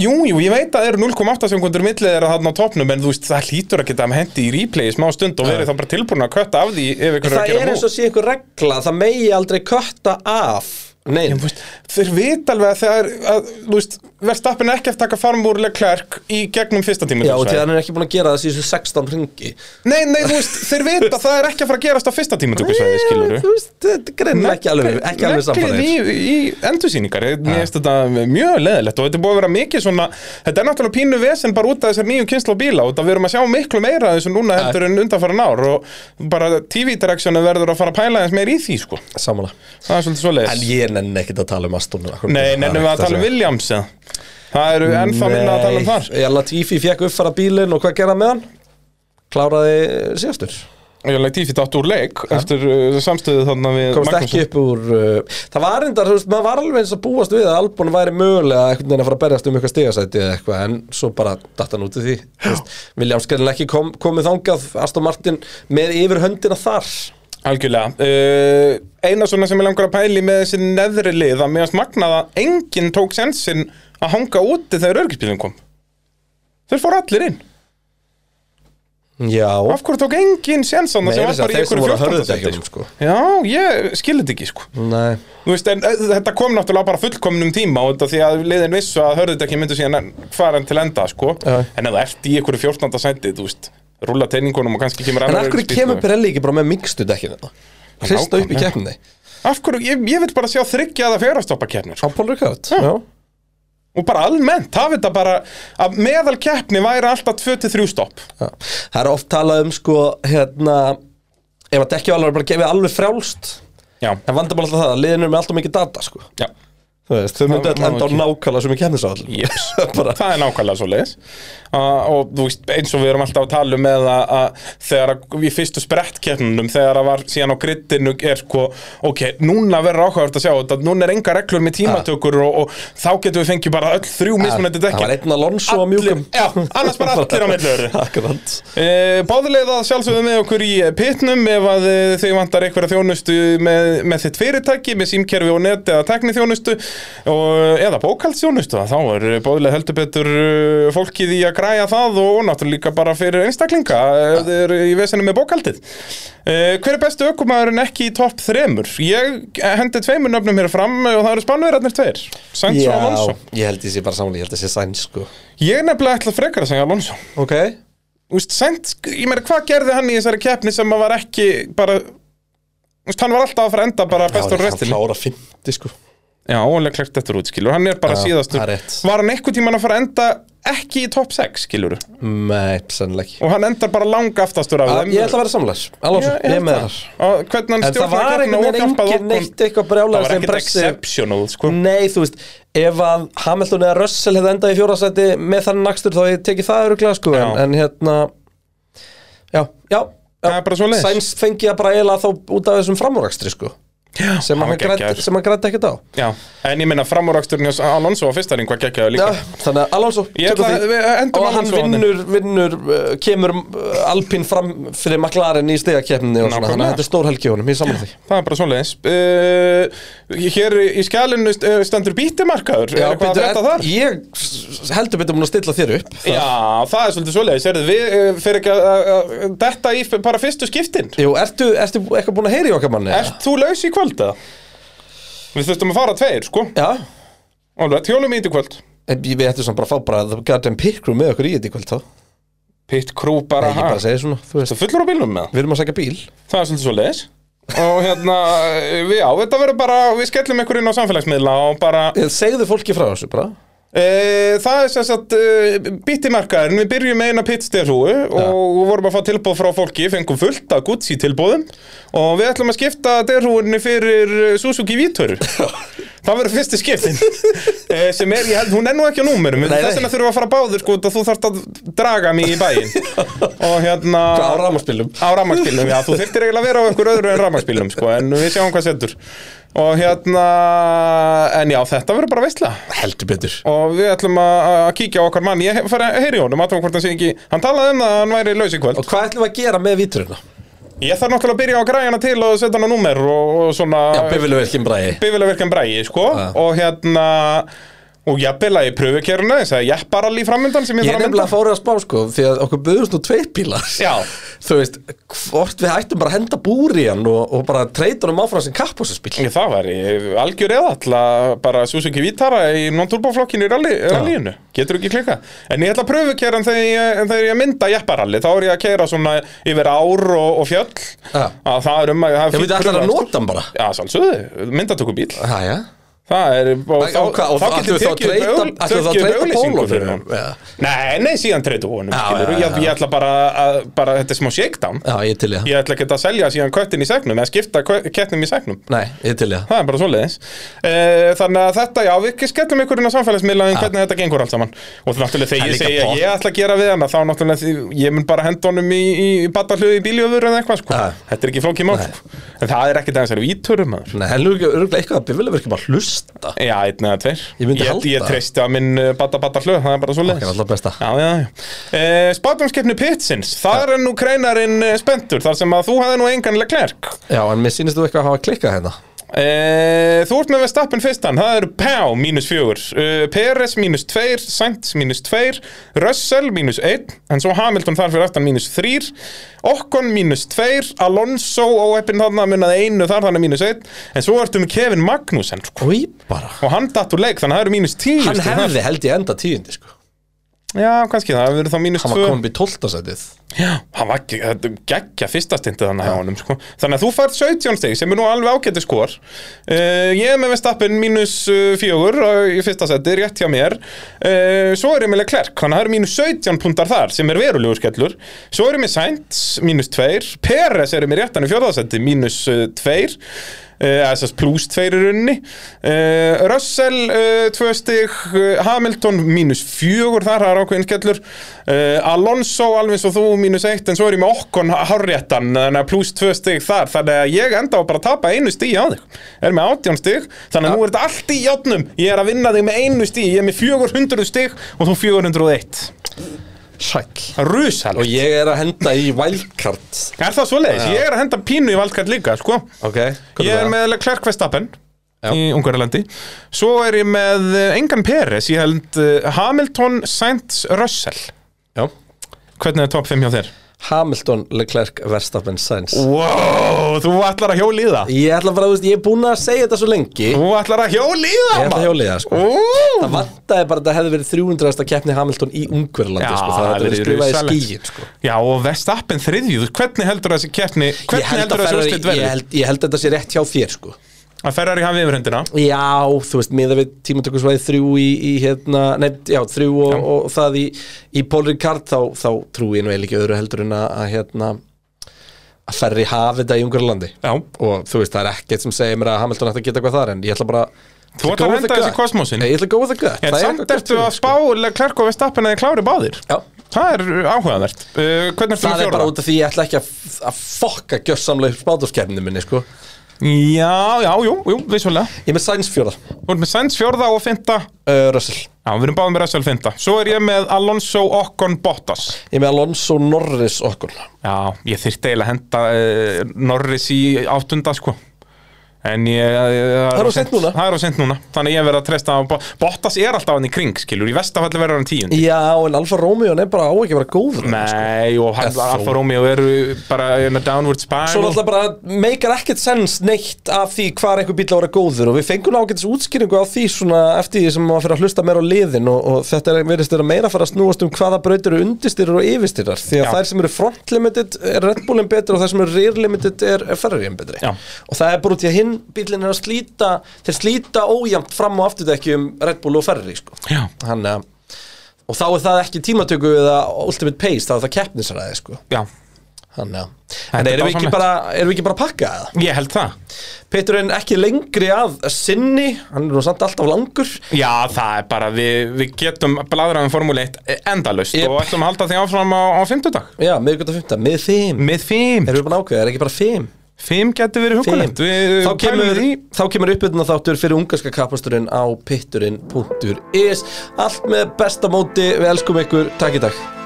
S3: Jú, jú, ég veit að það eru 0,8 sekundur millið þeirra þarna á topnum en þú veist, það hlýtur að geta að hendi í replay í smá stund og verið þá bara tilbúin að kötta af því ef ykkur
S5: Það er eins og sé einhver regla, það megi aldrei kötta af Nei,
S3: En, þú veist, þeir vita alveg að þegar að, þú veist, verðstappin er ekki eftir að taka farm úr Leclerc í gegnum fyrsta tíma
S5: já, og því að hann er ekki búin að gera það síðan 16 ringi
S3: Nei, nei, þú veist, þeir vita að það er ekki að fara að gerast á fyrsta tíma tökusvæði, skilur
S5: Þú veist, þetta er greinlega ekki alveg, ekki alveg samfæðir
S3: Neglið í, í endursýningar, ég mér finnst þetta mjög leðilegt og þetta er búið að vera mikið svona, þetta er náttúrulega pínu vesen bara út af þessar nýju kynslu á bíla og það við erum að sjá miklu meira af þessu núna heldur en undanfæran ár og bara TV Directionu verður að fara að pæla eins meir í því sko,
S5: Samanlega
S3: það er svolítið
S5: En
S3: svoleiðis.
S5: ég nenni ekkert að tala um Aston
S3: Nei, nefnum við að tala um Williams eða? Það eru ennþá minna að tala um þar.
S5: Já, Latifi fekk uppfara bílinn og hvað gerða með hann? Kláraði síðastur
S3: Ég leik tífitt átt úr leik eftir uh, samstöðu þarna við
S5: Komst ekki upp úr uh, Það var reyndar, þú veist, maður var alveg eins að búast við að Albon væri mögulega einhvern veginn að fara að berjast um eitthvað stigasæti eða eitthvað en svo bara datt hann út í því Þú veist, Williams greinlega ekki kom, komið þangað Aston Martin með yfir höndina þar
S3: Algjörlega. Uh, eina svona sem ég langar að pæli með þessi neðri lið að meðast magnað að enginn tók sensin að hanga úti þegar örgisbílum kom. Þeir fór allir inn.
S5: Já,
S3: Af hverju tók enginn sensan það
S5: meira þess
S3: sem var
S5: að
S3: bara í
S5: þeir sem
S3: ykkur
S5: voru að
S3: 14.
S5: hörðu
S3: sæti?
S5: ekki sko.
S3: Já, ég skilði þetta ekki sko.
S5: Nei,
S3: Þú veist, en uh, þetta kom náttúrulega bara fullkomnum tíma og þetta því að liðin vissu að hörðu þetta ekki myndu síðan faran til enda sko.
S5: Já.
S3: En ef það ert í ykkur 14. sæti, þú veist, rúla teiningunum og kannski kemur
S5: en
S3: annar
S5: af hverju
S3: öryggisbíll sko.
S5: kemur
S3: og-
S5: Pirelli ekki bara með mingstu dekkinu Hrista upp í
S3: nákvæmlega.
S5: keppni
S3: Af hverju, ég, ég vil bara sjá þryggja eða fjörastoppa kemur
S5: Á Paul Ricard
S3: Já.
S5: Já.
S3: og bara almennt, hafa þetta bara að meðal keppni væri alltaf 2-3 stopp
S5: Já. Það er oft talað um sko hérna ef að dekkjavalar er bara gefið alveg frjálst
S3: já,
S5: En vandamál alltaf það að liðin eru með alltaf mikið data sko
S3: já,
S5: Þú veist, þau myndu
S3: Það
S5: öll enda á
S3: má ekki.
S5: nákvæmlega sem ég kemur sá allir
S3: Jeps.
S5: Bara,
S3: það er nákvæmlega svo leiðis og þú veist, eins og við erum alltaf að tala um með að, að þegar að í fyrstu sprettkeppnunum þegar að var síðan á grittinu er sko, ok, núna verður áhugavert að sjá þetta, núna er enga reglur með tímatökur og, og þá getum við fengið bara öll þrjú mismunandi
S5: það var
S3: dekkin
S5: einn Alonso á mjúkum
S3: já, annars bara allir á milli öðru
S5: Akkurant
S3: Eh, Báðulegða sjálfsögðu með okkur í pitnum ef eh, að eh, þau vantar einhverja þjónustu með, með þitt fyrirtæki, með símkerfi og net eða teknithjónustu og, eða bókaldsjónustu þá er bóðilega heldur betur uh, fólkið í að græja það og, og náttúrulega líka bara fyrir einstaklinga eh, ef þeir eru í vesinu með bókaldið uh, Hver er bestu ökumæðurinn ekki í topp þremur? Ég hendi tveimur nöfnum hér fram uh, og það eru spannverðarnir tveir Sainz og Alonso
S5: ég held ég sé bara saman, ég held ég sé sæns sko
S3: Ég nefnilega ætla frekar að segja Alonso
S5: Ok
S3: Úst, Sainz, ég meina, hvað gerði hann í þessari keppni sem að var ekki bara Úst, hann var alltaf að fara að enda bara
S5: Hann
S3: bestur restin
S5: klára 50 sko
S3: Já, og leklegt þetta er útskilur, hann er bara
S5: Já,
S3: síðastur
S5: það er rétt.
S3: Var hann einhvern tímann að fara að enda ekki í topp 6, skilur
S5: Nei, sennilega ekki
S3: Og hann endar bara langa aftastur af
S5: Ah,
S3: þeim
S5: Ég ætla að vera samlæs, alveg
S3: um- Já,
S5: ég er með
S3: það.
S5: þar
S3: Og Hvernig hann
S5: En það
S3: stjórnaði
S5: var
S3: keppni
S5: einhvern
S3: og
S5: veginn
S3: hjálpaði
S5: engin
S3: Ocon.
S5: neitt Mm. eitthvað
S3: Það var
S5: brjálæðast
S3: ekkert exceptional, sko
S5: Nei, þú veist, ef að Hamilton eða Russell hefði endað í fjórasæti með þann nakstur þá hefði ég tekið það öruglega sko en,
S3: Já.
S5: en hérna, já, já,
S3: Það er bara
S5: já.
S3: svoleiðis.
S5: Sæns fengi að bara eiginlega þá út af þessum framúrakstri sko
S3: Já,
S5: sem
S3: hann
S5: hann,
S3: var
S5: græddi-
S3: geggjaður.
S5: sem hann grætti ekkert á
S3: Já, en ég meina framúraksturinn hjá Alonso á fyrsta ring var geggjaður
S5: Já,
S3: líka
S5: þannig að Alonso
S3: Ég
S5: tökum
S3: ætla að
S5: því.
S3: við endum
S5: og hann
S3: Alonso á hann.
S5: vinnur, vinnur uh, kemur uh, Alpin fram fyrir McLaren í stegakeppninni og svona,
S3: Nákvæmlega.
S5: þannig að þetta er stór helgi honum, ég saman því
S3: Það er bara svoleiðis uh, Hér í skjælinu st- eh, stendur bítimarkaður Er eitthvað að
S5: bíddu,
S3: breyta
S5: en-
S3: þar?
S5: ég heldur betur mun að stilla þér upp það-
S3: Já, það er svolítið svoleiðis Erðu við eh, fyrir ekki að- að að- detta í f- bara fyrstu skiptin?
S5: Jú, ertu, ertu eitthvað búin að heyra í okkar manni?
S3: Ert þú laus í kvöld eða? Við þurftum að fara tveir, sko
S5: Já,
S3: Alveg, tjólum í þetta í kvöld
S5: En við ættum samt bara að fá bara að gæta um pikkrum með okkur í þetta í kvöld þá Nei,
S3: Pitt krú bara
S5: ég bara segi svona, þú veist
S3: Það fullur á bílum með það
S5: Við erum að sækja bíl
S3: Það er svolítið svoleiðis Og hérna, eh, við, já, þetta verður bara Við skellum ykkur inn á samfélagsmiðla og bara
S5: Ég Segðu fólki frá þessu bara
S3: E, það er sem sagt e, bittimarkaðurinn, við byrjum með eina pittstyrhúu og vorum að fá tilbóð frá fólki, fengum fullt af Gucci tilbóðum og við ætlum að skipta derhúinni fyrir eh, Suzuki Vítor það verður fyrsti skiptin e, sem er, ég held, hún er nú ekki á númerum
S5: Nei,
S3: þess
S5: nei.
S3: vegna þurfum við að fara báður sko, út að þú þarft að draga mig í bæinn og hérna
S5: Á rámaspilum
S3: á rafmagnsbílnum, já, þú þyrftir eiginlega að vera á einhver öðru en rafmagnsbílnum, sko, en við sjáum hvað setur og hérna en já, þetta verður bara veistlega
S5: Heldur betur
S3: og við ætlum að að kíkja á okkar mann ég fer að heyri honum, aðtöfum hvort hann sé ekki hann talaði um það að hann væri laus í kvöld
S5: Og hvað ætlum við að gera með vítruna?
S3: ég þarf náttúrulega að byrja á græjana til og setja hann á númer og, og svona
S5: Já, bifiluverkjum bræði
S3: bifilega virkan bræði sko
S5: Já.
S3: og hérna og jafnvel að ég pröfu kéruna þess að ég bara allir framöndan sem
S5: Ég
S3: ég,
S5: er
S3: þarf að mynda
S5: nefnilega fórið að spá sko Því að okkur buðust nú tveir bílar
S3: Já.
S5: Þú veist, hvort við ættum bara að henda búri hann og, og bara treyta honum áfram sem kappbúsaspil
S3: Ég, það væri algjör eða alltaf bara Suzuki Vitara í non-turboflokkinu í rally, rallyinu, getur ekki klika en ég ætla að pröfu kæran þegar, ég- en þegar ég mynda jepparalli, þá er ég að kæra svona yfir ár og, og fjöll
S5: Já.
S3: að það er um að það sko.
S5: Ég
S3: er
S5: veit að ætla að nota hann bara
S3: Já, sálsögðu, myndatöku bíl
S5: Hæja
S3: Það er, og
S5: Og hvað, og
S3: þá
S5: ætlum
S3: getur
S5: við þá að
S3: tekið
S5: treyta-
S3: upp
S5: ætlum við þá að
S3: tekið upp
S5: treyta
S3: auglýsingu
S5: Polo fyrir
S3: honum.
S5: honum, eða?
S3: Nei, nei, síðan treytu honum,
S5: Já,
S3: skilur
S5: já,
S3: ég,
S5: já.
S3: ég ætla bara, að, bara, þetta er smá shakedown
S5: Já, ég er til í það
S3: Ég ætla ekki að selja síðan köttin í segnum eða skipta kö- kettinum í segnum
S5: Nei, ég er til í það
S3: Það er bara svoleiðis e, Þannig að þetta, já, við skellum ykkur inn á samfélagsmiðlaðin hvernig þetta gengur allt saman Og
S5: Það
S3: náttúrulega
S5: er
S3: þegar ég
S5: líka
S3: segja
S5: pott.
S3: ég ætla að gera við hana Þá náttúrulega því, ég mun bara henda honum í, í, í batalöðu í bíljöfur eða eitthvað sko.
S5: Já.
S3: Þetta er ekki flókið mál sko. En það er ekki dæmis að víturum maður
S5: Nei, hann er öruglega eitthvað að bifiluverkjum að hlusta
S3: Já, einn eða tveir
S5: Ég myndi
S3: ég,
S5: halda
S3: ég
S5: það.
S3: treysti að minn bata bata hlöð, það er bara svo
S5: Það er alltaf besta.
S3: Já, já, já e, Spátumskeppni Pitsins, þar er nú kreinarinn eh, spenntur Þar sem að þú hafði nú enganlega klerk
S5: Já, en mér sýnist þú eitthvað að hafa klikkað hérna
S3: Eh, Þú ert með Vestappen fyrstan, það eru Pá mínus fjögur, uh, Peres mínus tveir, Sainz mínus tveir, Russell mínus einn, en svo Hamilton þar fyrir aftan mínus þrýr, Okkon mínus tveir, Alonso og eppin þarna munnaði einu þar þannig mínus einn, en svo ertu með Kevin Magnussen sko,
S5: Í bara
S3: og hann datt úr leik þannig að það eru mínus tíu.
S5: Hann
S3: stig þar.
S5: hefði held ég enda tíundi sko
S3: Já, kannski það, það verður þá mínus
S5: Hann var
S3: tvö.
S5: komin upp í tóltasætið
S3: Já, hann var ekki, þetta er geggja fyrsta stindi þannig hjá honum sko. Þannig að þú færð 17 stig sem er nú alveg ágæti skor uh, Ég er með Vestappen mínus uh, fjögur uh, í fyrsta seti, rétt hjá mér uh, Svo er ég með Leclerc, þannig að það eru mínus 17 puntar þar sem er verulegur skellur Svo er ég með Sainz, mínus 2 Peres er ég með réttan í fjórðasetti, mínus 2 uh, SS plus 2 í runni uh, Russell uh, 2 stig uh, Hamilton mínus 4 þar, það er ákveðin skellur uh, Alonso alveg eins og þú mínus 1 en svo er ég með Okkon hárréttan þannig að plus 2 stig þar þannig að ég enda á bara að tapa einu stig á þig er með 18 stig, þannig að nú er þetta allt í játnum ég er að vinna þig með einu stig ég er með 400 stig og þú 401
S5: Sæll Og
S3: Rúsalegt
S5: ég er að henda í wildcard
S3: Er það svoleiðis? Ég er að henda pínu í valdkart líka, sko
S5: Ok, hvað
S3: Ég er með Leclerc Vestappen í Ungarlandi Svo er ég með eh, engan Peres, ég held eh, Hamilton, Sainz, Russell
S5: Já.
S3: Hvernig er topp 5 hjá þér?
S5: Hamilton, Leclerc, Verstappen, Sainz
S3: Wow, þú ætlar að hjóli í það
S5: Ég ætla bara, þú veist, ég er búin að segja þetta svo lengi Ég
S3: Þú ætlar að hjóli í það
S5: ætla að hjóliða, sko
S3: Ú,
S5: Það vantaði bara að þetta hefði verið 300. keppni Hamilton í Ungverlandi,
S3: Já,
S5: sko Það
S3: það
S5: hefði verið
S3: hefði verið
S5: skrifað í
S3: rosalegt.
S5: skíin, sko
S3: Já, og Vestappen þriðju, þú- hvernig heldur þessi keppni,
S5: Ég
S3: hvernig
S5: held, að
S3: heldur þessi
S5: Ferrari,
S3: úrslit
S5: ég,
S3: verði?
S5: held, ég held að þetta sé rétt hjá þér, sko
S3: Að Ferrari hafi yfirhendina?
S5: Já, þú veist, miða við tímatökusvæði þrjú í, í hérna, nei, já, þrjú og, og það í, í Paul Ricard þá, þá trúi ég nú eiginlega ekki öðru heldur en að, að hérna, að ferri hafi þetta í Ungarlandi
S3: Já.
S5: og þú veist, það er ekkert sem segir mér að Hamilton ætti að geta eitthvað þar en ég ætla bara
S3: Þú ætlar að henda þessu í kosmósinn.
S5: Nei, Ég ætla að góða það gött
S3: En samt ertu að spá Leclerc og Vestappen að þið klári báðir?
S5: sko. Já,
S3: Það er áhugavert. Uh, hvernig ertu
S5: það
S3: með
S5: er bara
S3: fjóra?
S5: út af því ég ætla ekki að, að fokka gjössamlega spáðurskefni minni, sko
S3: Já, já, jú, jú, vissulega.
S5: Ég er með Sainz fjóra,
S3: Þú ert með Sainz fjórða og fynda.
S5: uh, Russell
S3: Já, við erum báðum með Russell fynda. Svo er ég með Alonso Ocon Bottas.
S5: Ég er með Alonso Norris okkur
S3: Já, ég þyrfti eiginlega að henda uh, Norris í áttunda, sko. En ég... eh,
S5: Það er of seint núna.
S3: Það er á sent núna. Þannig ég verð að treysta á... Bo- Bottas er alltaf hann í kring, skilur. Í vestafalli verður hann tíundi.
S5: Já, en Alfa Romeo er bara á ekki að vera góður
S3: Nei, og hann,
S5: Ef þó.
S3: Alfa Romeo eru bara in a downward spiral.
S5: Svo náttúrulega bara meikar ekkert sens neitt af því hvað er einhver bíl að vera góður og við fengum ágætis útskýringu á því svona eftir því sem maður fyrir að hlusta meira á liðin og, og þetta er, verðist vera meira að fara að snúast um hvaða brautir eru undirstyrir og yfirstyrir því að
S3: Já.
S5: þær sem eru front limited er Red Bullin betri og þær sem eru rear limited er Ferrariin betri
S3: Já.
S5: og það er bara út í að hinn bílinn er að slíta þeir slíta ójæmt fram og afturdekki um Red Bull og Ferrari sko.
S3: Já.
S5: Hann, eh, og þá er það ekki tímatöku eða ultimate pace, þá er það keppnisræði sko.
S3: Já,
S5: Hann, já.
S3: Þetta
S5: En
S3: er
S5: erum við, ekki
S3: dásamlegt.
S5: bara, erum við ekki bara að pakka það?
S3: ég held það.
S5: Peturinn ekki lengri að sinni, hann er nú samt alltaf langur
S3: Já, það er bara, við, við getum um bladraðum Formule 1 endalust
S5: Jep.
S3: og ætlum að halda því áfram á, á fimmtudag.
S5: Já, miðgönda 15, mið 5
S3: Með fimm.
S5: Erum við búin að ákveða, er ekki bara 5?
S3: Fimm getur verið hugulegt. Við
S5: Þá kemur,
S3: pælum í-
S5: þá kemur uppbyrna þáttur fyrir ungarska kapasturinn á pitturinn.is Allt með besta móti, við elskum ykkur, takk í dag